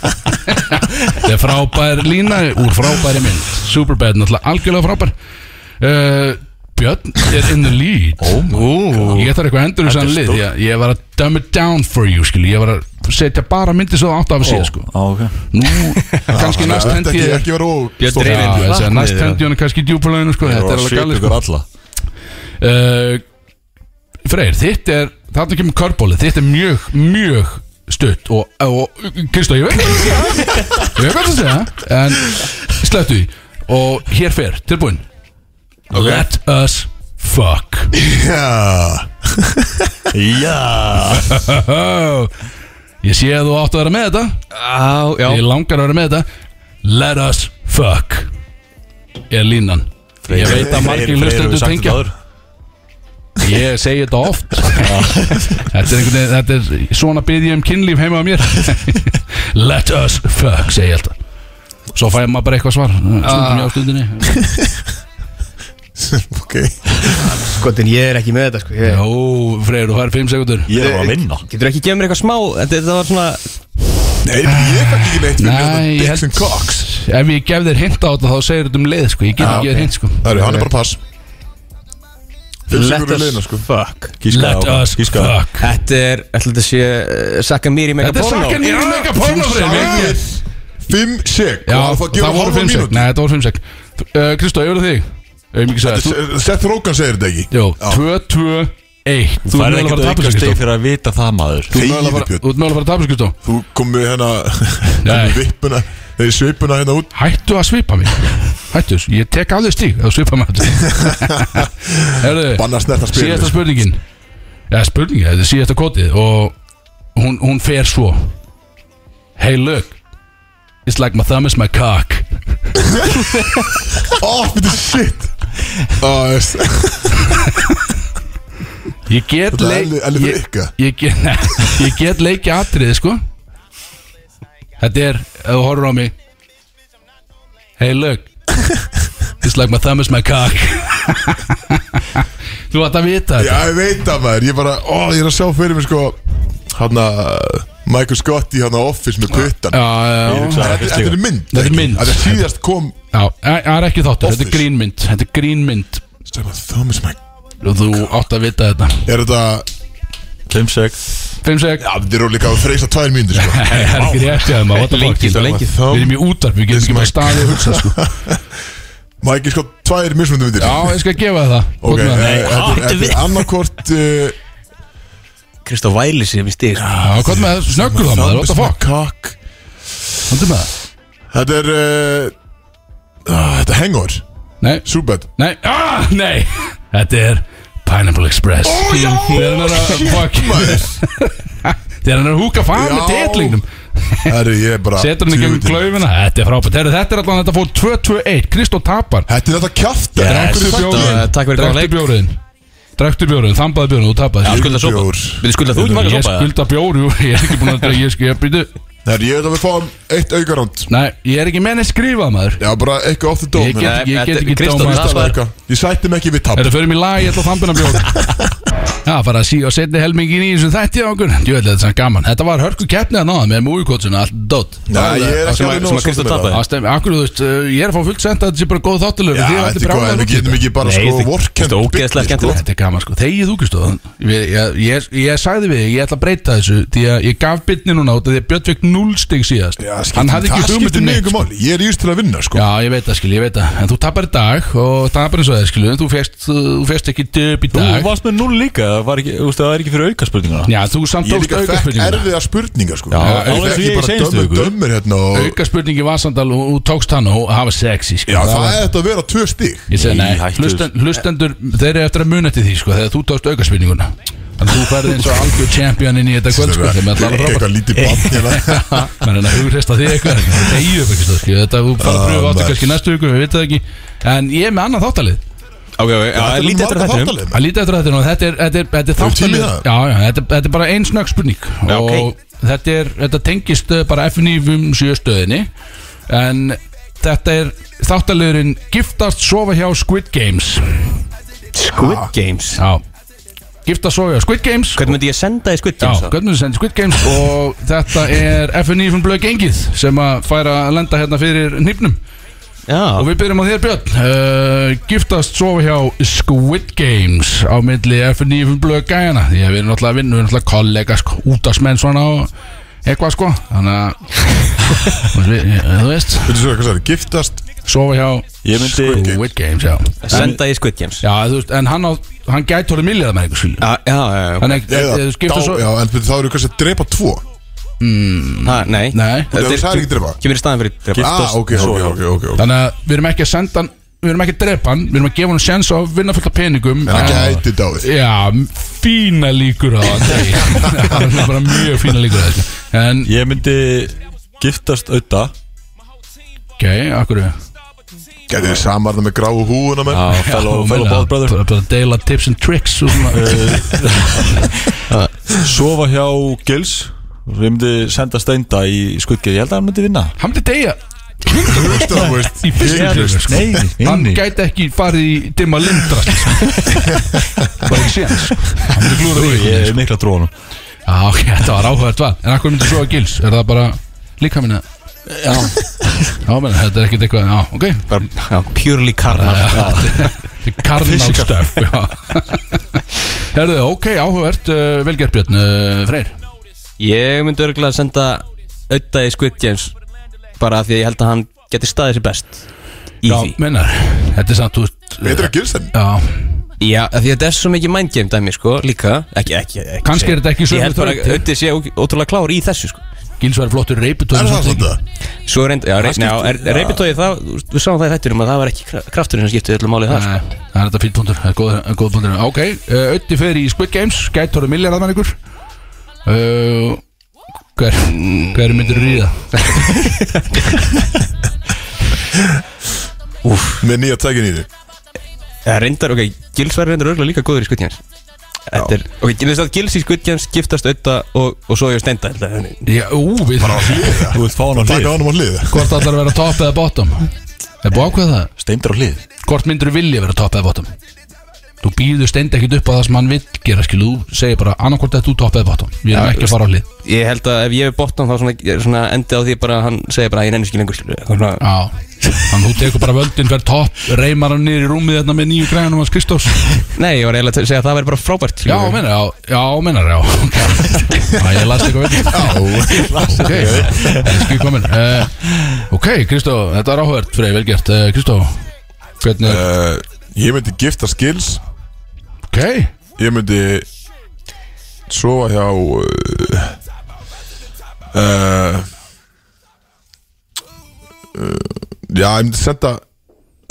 S3: Þetta er frábær lína úr frábæri mynd Superbad, náttúrulega algjörlega frábær uh, Björn er in the lead oh Ég þarf eitthvað endur þess að lið ég, ég var að dumb it down for you skilji. Ég var að setja bara myndi svo átt af að sé sko.
S4: Á, ok
S3: Nú,
S2: Þannig
S3: kannski
S2: að
S3: næst
S2: þetta
S3: hendi
S2: ekki,
S3: ég
S2: ekki vera of
S5: Ég
S2: stórt.
S5: dreif
S3: Já,
S5: inn
S3: þessi að næst hendi hann er kannski djúpuleginu sko. Þetta er alveg galið
S4: ykkur
S3: sko.
S4: alla
S3: uh, Freyr, þitt er Þarna kemur körbólið, þitt er mjög, mjög stutt og, og Kristó, ég veit hvað það segja ég veit hvað það segja, en sleppt því og hér fer, tilbúin Let us fuck [LAUGHS]
S2: Já, [LAUGHS]
S4: Já
S3: oh, Ég sé að þú átt að vera með þetta
S5: Á, já
S3: Ég langar að vera með þetta Let us fuck er línan Ég veit að margir hlustendur tengja Ég segi þetta oft þetta, er einhvern veginn, þetta er svona byrð ég um kynlíf heima á mér [LAUGHS] Let us fuck, segi ég alltaf Svo fæði maður bara eitthvað svar Stundum já, stundinni
S2: ok
S8: Skotin, ég er ekki með þetta sko ég,
S3: Jó, Freyr, þú fær 5 sekundur
S4: Ég er að vinna
S5: Getur ekki gefið mér eitthvað smá Þetta, þetta var svona
S2: Nei, ég fætti ekki neitt fyrir þetta
S3: Nei, ég
S2: Dicks and Cox
S3: Ef ég gef þér hint á þetta þá segir þetta um leið sko. Ég get
S2: Já,
S3: ekki
S2: ok.
S3: okay. hint sko.
S2: Það eru, hann er bara pass Fimm
S8: Let
S2: sekúndur í
S8: us
S2: liðina, sko.
S8: fuck
S3: Let us fuck
S5: Þetta er Ætla þetta sé uh, Saka Miri mega
S3: Þetta er
S5: porno
S3: sakkan mér í mega porno Freyr Ég- ég-
S2: Fimm sek
S3: Já,
S2: og það
S3: það voru 5 sek Nei, þetta voru 5 sek Uh, Kristó, ég verður þig Ég hef mikið sagt þú-
S2: sek Seth Rogen segir þetta ekki
S3: Jó,
S2: Já.
S3: 2-2-1 Þú
S4: Það
S3: er
S4: er
S3: mögulega að fara að
S4: ekkert
S3: tapa
S4: auka
S3: sig
S4: steg
S3: Kristó
S4: fyrir að vita það maður
S2: Þegiðu
S3: Þú ert mögulega að fara-
S2: Björn
S3: þú ert mögulega að fara að tapa sig Kristó
S2: Þú kom með hérna [LAUGHS]
S3: Nei.
S2: Vippuna Þeir svipuna hérna út
S3: Hættu að svipa mig Hættu, ég tek af þau stík að svipa
S2: [LAUGHS]
S3: mig aftur. Herðu,
S2: Banna snert að spila
S3: síðasta spurningin Já, spurningin, þetta er síðasta kotið og hún, hún fer svo Hey look It's like my thumb is my cock
S2: Oh, þetta er shit Ó, yes.
S3: Ég get
S2: Þetta er
S3: leik
S2: elli- elli fyrir
S3: ég,
S2: ykka
S3: ég, get, [LAUGHS] nei, ég get leiki atriði, sko Þetta er, ef þú horfir á mig Hey look It's like my thumb is my cock [LAUGHS] Þú ætti að vita
S2: Já,
S3: þetta
S2: ég veit það maður, ég bara, ó, ég er að sjá fyrir mér sko Hanna, Michael Scott í hanna Office með puttan
S3: Já, já,
S4: hugsa-
S2: Þetta er- þetta er mynd
S3: Þetta er
S2: ekki?
S3: mynd.
S2: Þetta er síðast kom
S3: Já, það er ekki þáttur, þetta er
S2: Office.
S3: grínmynd Þetta er grínmynd
S2: Stefán, Thomas Mike
S3: og þú átt að vita þetta
S2: Er þetta,
S4: Fimm seg
S3: Fimm seg,
S2: já, þetta er líka að freysa tvær mínútur sko
S3: [LAUGHS] það er ekki rétt hjá þeim að what the fuck,
S2: Lengi,
S3: skilur.
S2: lengi.
S3: Við erum í útarp, við getum ekki bara staðið að hugsa
S2: [LAUGHS]
S3: sko.
S2: Michael Scott, sko, tvær mismundu myndir
S3: Já, ég sko- skal gefa þér það
S2: Ok,
S3: Gott með
S2: eh,
S3: það.
S2: þetta er- þetta er annarkort uh,
S5: Kristof Væli sem við stíð
S3: Já, hvað með það, snöggur það maður, what the fuck
S2: fuck
S3: Hvað með það?
S2: Þetta er uh, ah, Þetta er Hangover
S3: Nei,
S2: Súbætt
S3: nei, ah, nei Þetta er Pineapple Express Ó, já, þegar hann er að fuck Þegar hann er að húka fara með
S2: Já.
S3: titlingnum
S2: Herru, ég er bara
S3: Setur hann í gegn
S2: djöfull.
S3: klaufina, þetta er frábært Herru, Þetta er allan, þetta fór 2-2-1, Kristó tapar
S2: Þetta er þetta kjátt
S3: Yes. Drekkur bjóriðin
S5: Takk fyrir góðan leik.
S3: bjóriðin Drektur bjóriðin, þambaði bjóriðin, þú tapaði
S5: skulda sopa. Við skulda þú ekki marga
S3: Ég
S5: sopa eða?
S3: skulda bjóri, jú, [LAUGHS] ég er ekki búin að drekka Ég skilja, býtu
S2: Herru, ég veit að við fáum eitt aukaránd
S3: Nei, ég er ekki menn að skrifa maður
S2: Já, bara eitthvað off the dome
S3: Ég get,
S2: hérna.
S5: Nei,
S3: ég get
S5: þetta-
S3: ekki
S5: Kristó,
S3: dómað
S5: það
S2: Bara
S5: var-
S2: eitthvað. Ég sætti mig ekki við tap
S3: Er það fyrir mig lag, ég ætla að þambina
S2: [LAUGHS]
S3: bjóri Já, fara að sí og setni helmingin í þessu þætti á okkur Jú, þetta er sann gaman Þetta var hörku keppnið að náða með mújukótsuna Allt dótt
S2: Nei, ég er ekki
S5: sem að-
S2: alveg
S5: sem
S2: nóg
S5: að
S2: sáttur
S5: Kristó
S2: með
S5: tapaði.
S2: það.
S3: Ástem, akkur, þú veist, uh, ég er að fá fullt senda að þetta sé bara góð þáttilöf
S2: Já, þetta er hvað, en við getum ekki bara
S5: Nei,
S2: sko
S5: þið-
S2: vorkend
S5: þetta er ógeðslega skemmtilegt.
S3: Þetta er gaman sko, þegið þú Kristóð ég, ég, ég, ég sagði við, þig, ég ætla að breyta þessu Því að ég gaf bytni núna út af Því að Björn fekk 0 stig síðast
S2: Já, skiptir-
S3: Hann hafði
S2: það
S3: ekki hugmynd
S2: skiptir
S3: um
S2: mig
S3: neitt
S2: ykkur
S3: sko.
S2: máli Ég er íst til að vinna sko
S3: Já, ég veit það skil, ég veit það En þú tapar í dag og tapar eins og það skil Þú fegst, þú fegst ekki döp í
S4: Þú
S3: dag
S4: varst með null líka það var ekki- Þú veist það er ekki fyrir auka spurninguna
S3: Já, þú samt
S2: Ég er
S3: tókst
S2: líka fekk
S3: aukaspurninguna
S2: erfiða spurningar sko
S4: Já,
S2: Ég fekk
S4: alveg eins og
S2: ekki
S4: ég í
S2: bara
S4: seinustu
S2: dömur-
S4: viku.
S2: dömur hérna og
S3: Aukaspurningi var samt alveg, og þú tókst hann og hafa sexy skil
S2: Já, það er þetta að vera tvö stík
S3: Ég segi nei,
S4: Í hættu.
S3: hlusten, hlustendur þeir eru eftir að muna til því sko Þegar þú tókst aukaspurninguna Þannig að þú færði eins og algjör champion inn í þetta kvöld sko Þeim er allar frábært
S2: Eitthvað lítið
S3: [LAUGHS]
S2: bann hérna
S3: Man er að hugresta því eitthvað Það er eigið upp ekki stöð Þetta þú fara að pröfa áttu
S2: maður.
S3: kannski næstu ykkur Við veitum það ekki En ég er með annað þáttalið
S5: Ok, ok, já,
S2: Þetta er
S5: lítið eftir
S2: marga
S5: að þetta
S2: þáttalið, maður.
S3: Að líta eftir þetta nú Þetta er, þetta er, þetta er
S2: Hefur
S3: þáttalið
S2: tími
S3: Já,
S2: það?
S3: já, þetta, þetta er bara ein snögg spurning
S5: Já,
S3: Og
S5: ok.
S3: þetta, er, þetta tengist uh, bara FNIFum sjöstöðinni En þetta er þáttaliðurinn Giftast sofa hjá Squid Games
S5: Squid Games
S3: Já Gifta soga Squid Games
S5: Hvernig myndi ég senda í Squid
S3: Já,
S5: Games? þá?
S3: Gunnur sendi Squid Games og þetta er FNÍ from Blögg Engið sem að færa að lenda hérna fyrir nýpnum og
S5: Já,
S3: við byrjum á þér Björn uh, Giftast sofa hjá Squid Games á milli FNÍ from Blögg gæjana því að við erum náttúrulega að vinna, við erum náttúrulega kollega sko, útasmenn svona og eitthvað sko þannig að við- eh, þú veist
S2: Veitu svo, hvað sagði, giftast
S3: sofa hjá
S4: Ég myndi,
S3: Squid Games já,
S5: senda í Squid Games
S3: já þú veist, en hann, á, hann gæti orðið millið með einhver skilur
S5: Já, já, já, já.
S3: þannig að
S2: Eða,
S3: að þú
S2: dá,
S3: skipta svo
S2: já, en þá eru kannski að drepa tvo
S5: Ha, Nei,
S3: Nei.
S2: Þú veist, það er ekki drepa
S5: kemur í staðin fyrir drepa
S2: Ah, ok, ok, ok, ok, ok
S3: Þannig að við erum ekki að senda hann Við erum ekki að drepa hann Við erum að gefa hann sjens á að vinna fullt af peningum
S2: En það gæti dáið
S3: Já, fína líkur á hann
S4: [LAUGHS]
S3: Það er bara mjög fína líkur á þessu En,
S4: ég myndi giftast auða
S3: ok, akkur
S2: Gæti þið samarna með gráu húuna menn
S4: á fellow, Eh. fellow ball
S3: [LAUGHS]
S4: brother
S3: Bara bara deila tips and tricks og svona.
S4: [LAUGHS] Sofa hjá Gils og ég myndi senda steinda í skuggið Ég held að hann myndi vinna
S3: Hann myndi deyja
S2: [LAUGHS] Þú veist það, þú veist
S3: í fyrstu
S2: Ég-
S3: tilraun, sko.
S4: Nei,
S3: Hann
S4: inni.
S3: gæti ekki farið í dimma lindra
S4: [LAUGHS]
S3: sko. Bara ekki séns sko. Hann myndi glúra því sko.
S4: Ég er mikla tróðan
S3: Já, ok, þetta var áhugað tvað En akkur myndi svo að gils, er það bara líka minna Já Já, menn, þetta er ekkert eitthvað, já, ok
S5: Bara, já, purely karnar
S3: Ah. Karnálstöf [LAUGHS] Herðu, ok, áhugavert uh, Velgert Björn, uh, Freyr
S5: Ég myndi örgulega senda auða í Squid Games bara af því að ég held að hann geti staðið sér best í
S3: Já,
S5: því
S3: mennar, þetta er samt út
S2: Veitir að gils henni?
S3: Já,
S5: Já, af því að þetta er svo mikið mindgame dæmi, sko, líka Ekki, ekki, ekki
S3: Kannski er þetta ekki
S5: Ég
S3: sömu
S5: held bara
S3: þraut.
S5: að Ötti sé ó- ótrúlega klár í þessu, sko
S3: Gils var flottur reyputóð
S2: Er það svona það?
S5: Svo reynd, já, reynd, já, er- er reypitóið það þú veist, Við sáum það í þættunum að það var ekki kra- krafturinn sem skiptið öllu málið það,
S3: Ah.
S5: sko
S3: Það er þetta fínt punktur, það er góð, góð punktur Ok, uh, Ötti fer í Squid Games Gættóru milljarðar mann ykkur uh, Hver, hver myndir ríða?
S2: Með nýja tækin í því
S5: Já, reyndar, ok, Gils var reyndar örgulega líka góður í Squid Games Þetta er, ok, þú veist að Gils í Squid Games giftast auða og, og svo ég stenda, held að
S3: Já, ú, við
S4: Þú vilt fá hann á
S2: Taka
S4: hlið
S2: honum á hlið
S3: Hvort allar að vera top eða bottom Er búið ákveð það?
S4: Steindur á hlið
S3: Hvort myndur vilja vera topp eða bottom? Þú býður steind ekkit upp á það sem hann vill gera skilu, þú segir bara annarkvort að þú topp eða bottom, við erum
S5: Já,
S3: ekki að fara á hlið
S5: Ég held að ef ég er bottom þá svona, ég- svona endi á því bara að hann segir bara að ég nenni ekki lengur skilur við, eitthvað svona.
S3: Já, þannig þú tekur bara völdin fyrir topp, reymar hann niður í rúmið þarna með nýju græðanum hans Kristófs
S5: Nei, ég var eiginlega að segja að það væri bara frábært
S3: Já,
S5: skilur við.
S3: menar, já, já, menar, já ok. Já, ég las eitthvað veit Já, ok, ég skil komin uh, Ok, Kristó, þetta er áhverð fyrir vel gert, uh, Kristó Hvernig,
S5: Eh.
S3: er,
S2: Uh, Ég myndi giftast gils
S3: ok
S2: Ég myndi Sofa hjá uh, uh, eh, Já, ég myndi senda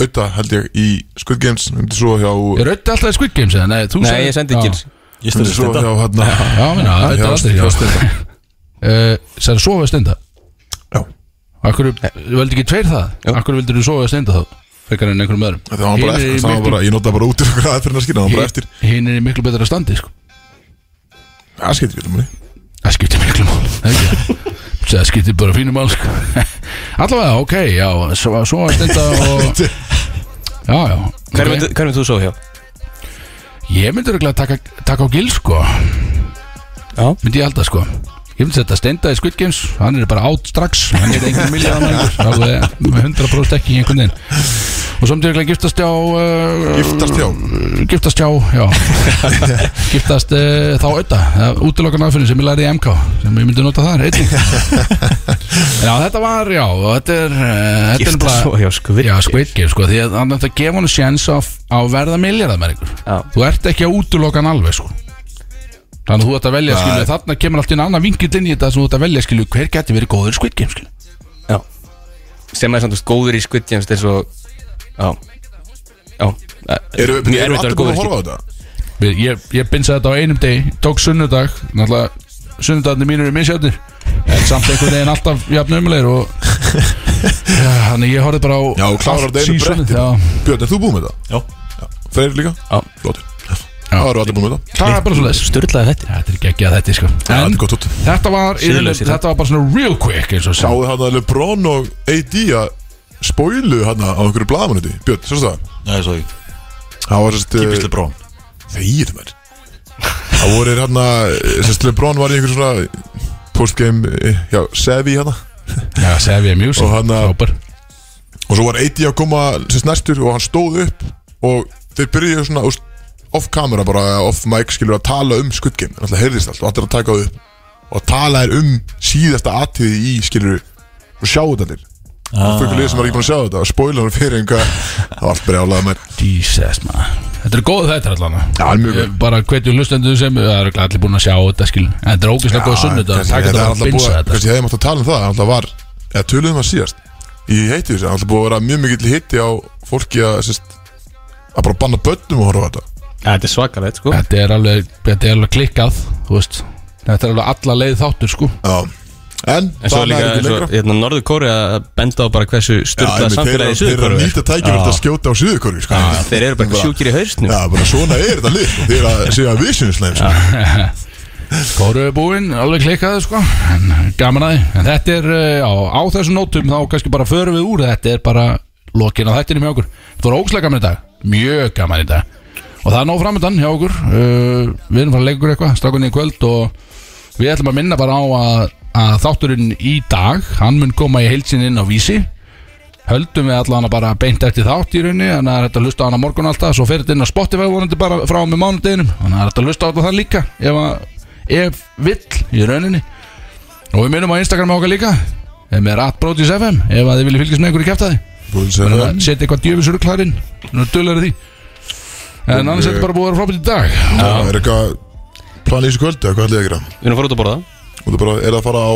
S2: Ötta held ég í Squid Games Ég myndi sofa hjá
S3: Er auðvitað alltaf í Squid Games, eða? Nei, þú
S5: Nei,
S3: sagðir-
S5: ég sendi
S3: Já.
S5: Gils
S4: Ég
S2: myndi
S4: stenda
S2: sofa
S4: steinda
S2: hjá hérna
S3: Já, minna, auðvitað
S2: hjá-
S3: alltaf í-
S2: hjá
S3: já.
S2: Steinda.
S3: [LAUGHS] uh, Sæður sofa að steinda
S2: Já.
S3: Akkur, völdi ekki tveir það?
S5: Jú.
S3: Akkur vildur þú sofa að steinda þá? Frekar en einhverjum öðrum
S2: Það var bara
S3: Hinir
S2: eftir,
S3: eru í
S2: það var
S3: miklu-
S2: bara, ég notaði bara út í okkur aðeins fyrir að skýra, það var bara eftir
S3: Hinn er í miklu betra standi sko.
S2: Það skiptir ekki um henni
S3: Það skiptir miklu mál [LAUGHS] það er ekki það? Það skiptir bara fínu mál sko. [LAUGHS] Allavega, ok, já Sofa að steinda
S2: [LAUGHS]
S3: og Já, já
S5: Hver
S3: ok.
S5: myndir okay. þú svo hjá?
S3: Ég myndi örugglega taka, taka á gil sko
S5: Já.
S3: Myndi ég halda sko Ég myndi setja steinda í Squid Games Hann er bara átt strax Hann er engin miljón
S5: [LAUGHS]
S3: Alveg með 100% ekki í einhvern veginn Og svo myndi ég örugglega giftast hjá uh,
S2: Giftast hjá
S3: Giftast hjá, já
S2: [LAUGHS]
S3: Giftast uh, þá auða Útilokan aðfinni sem ég lærði í MK Sem ég myndi nota þar
S2: [LAUGHS]
S3: einnig Já, þetta var, já og Þetta er, uh, þetta er bara
S5: Giftast svo hjá Squid
S3: Já, Squid Game, sko, því að hann ætti að gefa hann sjens á, á að verða miljardar með ykkur
S5: Já.
S3: Þú ert ekki að útloka hann alveg, sko Þannig að þú ætti að velja, skilju, þarna kemur allt í einu annan vingill inn í þetta sem þú ætti að velja, skilju, hver geti verið góður í Squid Game, skilju
S5: Já. Sem er samt þú veist, góður í Squid Games eins og Já Já
S2: Eru eru
S5: Mjög erfitt
S2: allir
S5: að vera
S2: búin að
S5: góður í
S2: horfa á þetta?
S3: Við- Ég, ég binsa þetta á einum degi, tók sunnudag, náttúrulega sunnudagarnir mínur eru misjöfnir En samt einhvern veginn alltaf jafn umleir og Já, þannig ég horfði bara á
S2: Já, og klárar
S3: allt
S2: þetta einu
S3: seasonið,
S2: bretti
S3: Já,
S2: Björn, er þú búin með það?
S4: Já.
S2: Freyr líka?
S5: Já.
S2: Flott Það eru allir búin með það
S3: það er bara svo
S5: Sturlaði þetta
S3: Þetta er ekki að þetta, sko
S2: Það
S3: En
S2: er gott út
S3: þetta var,
S5: Siðlausir,
S3: þetta var bara svona real quick, eins og sá
S2: Sáðu hann að Lebron og AD að spóilu hann á einhverju blaðmanuði Björn, svo það
S4: Nei, svo ekki
S2: Það var sérst
S4: Keep is the brown
S2: Þegir mér Það voru þér hérna Sérst LeBron var í einhver svona Postgame eh, Já, Sevi hérna
S3: Já, Sevja Music,
S2: Og hann að-
S3: frábær
S2: Og svo var Eiti að koma Sérst næstur Og hann stóð upp Og þeir byrjuðu svona úst, Off camera bara eða Off mic skilur að tala um Squid Game Þannig að heyrðist allt Og allir að taka það upp Og tala er um Síðasta atriði í skilur Og sjá þetta allir ah. Fyrir lið sem var ekki búin að sjá þetta Spoiler hann fyrir einhver Það var allt brjálað mér
S3: Jesus maður Þetta er góð þetta allan
S2: Já, hann er mjög góð.
S3: Ég Bara hvetjum hlustendur sem Það er örugglega allir búin að sjá þetta skil En þetta er ógeðslega góð sunnut
S2: kannski- þetta
S3: Takk þetta
S2: er
S3: bara að
S2: alltaf
S3: binsa
S2: búið
S3: þetta
S2: Kanski hefði mátt að tala um það Það var, eða töluðum að síðast Í heiti þessu, það er alltaf búið að vera mjög mikill hitti á fólki að, sérst, að bara banna bönnum og horfa á þetta
S5: Þetta er svakalegt sko
S3: Þetta er alveg Þetta er alveg klikkað Þú veist Þetta er alveg alla leið þáttur sko
S2: Já, en,
S5: En svo
S2: það
S5: er líka,
S2: ekki
S5: svo,
S2: lengra
S5: hérna, Norður Kóri að benda á bara hversu
S2: Já,
S5: styrla
S2: einmitt, þeir
S5: samfélagi
S2: eru- þeir eru að
S5: Suður
S2: nýta tækifært að skjóta á Suðurkóru sko.
S5: Þeir eru bara
S2: Bara-
S5: eitthvað sjúkir í hausnum
S2: Já, bara svona er þetta lið sko. Þeir eru að segja vissinsleim sko.
S3: Kóruðbúinn, alveg klikkaði sko en, Gaman að því En þetta er, eh, já, á þessum nótum þá kannski bara förum við úr Þetta er bara lokin á þættinu með okkur Þetta var ógslag gaman í dag, mjög gaman í dag Og það er nóg framöndan hjá okkur uh, Við erum fara að leika okkur eitthvað, strákunni í kvöld Og við ætlum að minna bara á að, að þátturinn í dag Hann mun koma í heilsin inn á vísi höldum við allan að bara beint eftir þátt í rauninni þannig að það er hægt að hlusta á hana morgun alltaf svo fer þetta inn á Spotify vonandi bara frá með mánudeginum þannig að það er hægt að hlusta á þetta þann líka ef, að, ef vill í rauninni og við minnum á Instagram okkar líka sem er atbrotis.fm ef að þið viljið fylgjast með einhverju kæftæði
S2: Búin að segja
S3: þannig
S2: það.
S3: að setja eitthvað djöfisruglarinn nú dullari því en annars er þetta bara búið að vera frábært í dag
S2: Já, Er eitthvað plan í þessu kvöldu, eða hvað ætlið þið að gera?
S5: Við erum að fara út að borða
S2: Og það bara, er það að fara á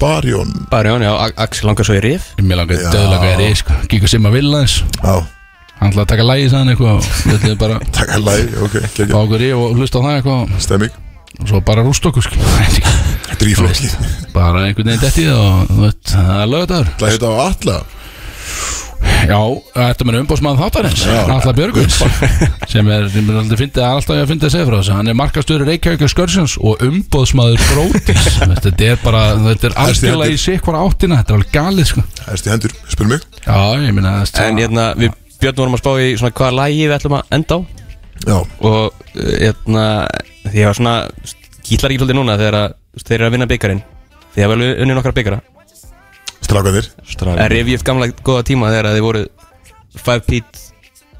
S2: Barjón?
S5: Bara Jón, já, Axel langar svo í rif
S3: mér langar
S2: Já.
S3: döðlega er ég sko kíka sem að vilja þess
S2: Já,
S3: hann ætlaði að taka lægi sann eitthvað og við ætlum bara að
S2: takk að læg, ok,
S3: fá
S2: kekja,
S3: okkur í og hlusta á það eitthvað og-
S2: stemming
S3: og svo bara rúst okkur sko. skil
S2: Dríflókið
S3: bara einhvern veginn detti og þú veist, það er lögðar
S2: Það heita á alla
S3: já, þetta er umbóðsmann þáttarins Alla Björgvins [LAUGHS] sem er, sem er alltaf, fyndi, alltaf ég að fyndi að segja frá þessu hann er markastöru Reykjavík og Skörsjans og umbóðsmaður [LAUGHS] Brótis þetta er bara, þetta er algjörlega í sig hvora áttina þetta er alveg galið sko
S2: Erst í hendur, spil mig
S3: já, ég minna
S5: En hérna, við Björn vorum að spá í svona hvaða lægi við ætlum að enda á
S2: Já,
S5: Og uh, hérna, því ég var svona Gítlar ekki svolítið núna þegar að, þú veist, þeir eru að vinna byggarinn Því að vel unni nokkra byggara
S2: strákanir
S5: En
S4: Stræði
S5: revið gamla góða tíma þegar að þið voru Five Pete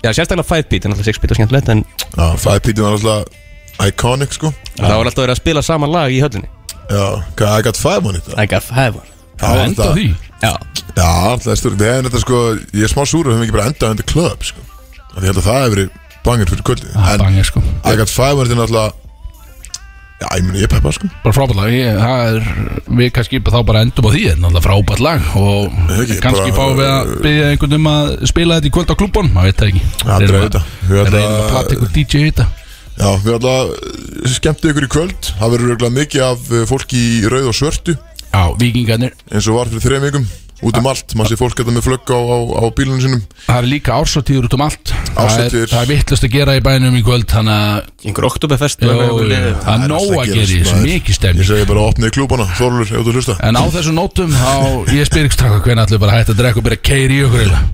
S5: Já, sérstaklega Five Pete, en alltaf Six Pete var skemmtilegt En
S2: Já, Five Pete var alltaf iconic sko
S5: það var alltaf verið að spila saman lag í höllinni
S2: Já, hvað, I got five on it
S5: I got five one
S2: Það var
S3: enda á
S2: alltaf-
S3: því
S5: Já,
S2: Já, alltaf stór Við hefum þetta sko, ég er smá súru Við hefum ekki bara endað undir club sko Það held að það hefur verið bangir fyrir kvöldi
S3: það er
S2: En
S3: bangið sko
S2: I got five on it er alltaf Já, ég meni, ég peppa sko
S3: bara frábært lag ég, það er, við kannski þá bara endum á því þetta er náttúrulega frábært lag og
S2: Ekki,
S3: kannski
S2: bara-
S3: fáum við að byggja einhvern um að spila þetta í kvöld á klúbun maður veit það ekki
S2: Ja,
S3: Þeir
S2: aldrei
S3: eru að-
S2: vita. Við
S3: þeir eru
S2: ætla-
S3: að platta ykkur DJ í þetta
S2: Já, við alltaf skemmtu ykkur í kvöld Það verður örugglega mikið af eh, fólki í rauð og svörtu
S3: já, vikingarnir
S2: Eins og var fyrir þreim vikum Út
S3: Ah.
S2: um allt, maður sé fólk þetta með flögg á, á, á bílunum sinum
S3: það er líka ársatíður út um allt það er,
S2: Árshátíðir.
S3: það er vittlust að gera í bænum í kvöld þannig að
S5: einhver oktoberfest
S3: Jó, það er nóg að gera í þessu mikið
S2: Ég
S3: stemning
S2: segi bara opnið klúbana, Þorlur, ef þú hlusta
S3: en á þessum nótum þá ég spyr ekki stráka hvernig allir bara hægt að drekka og byrja að keira í okkur eiginlega.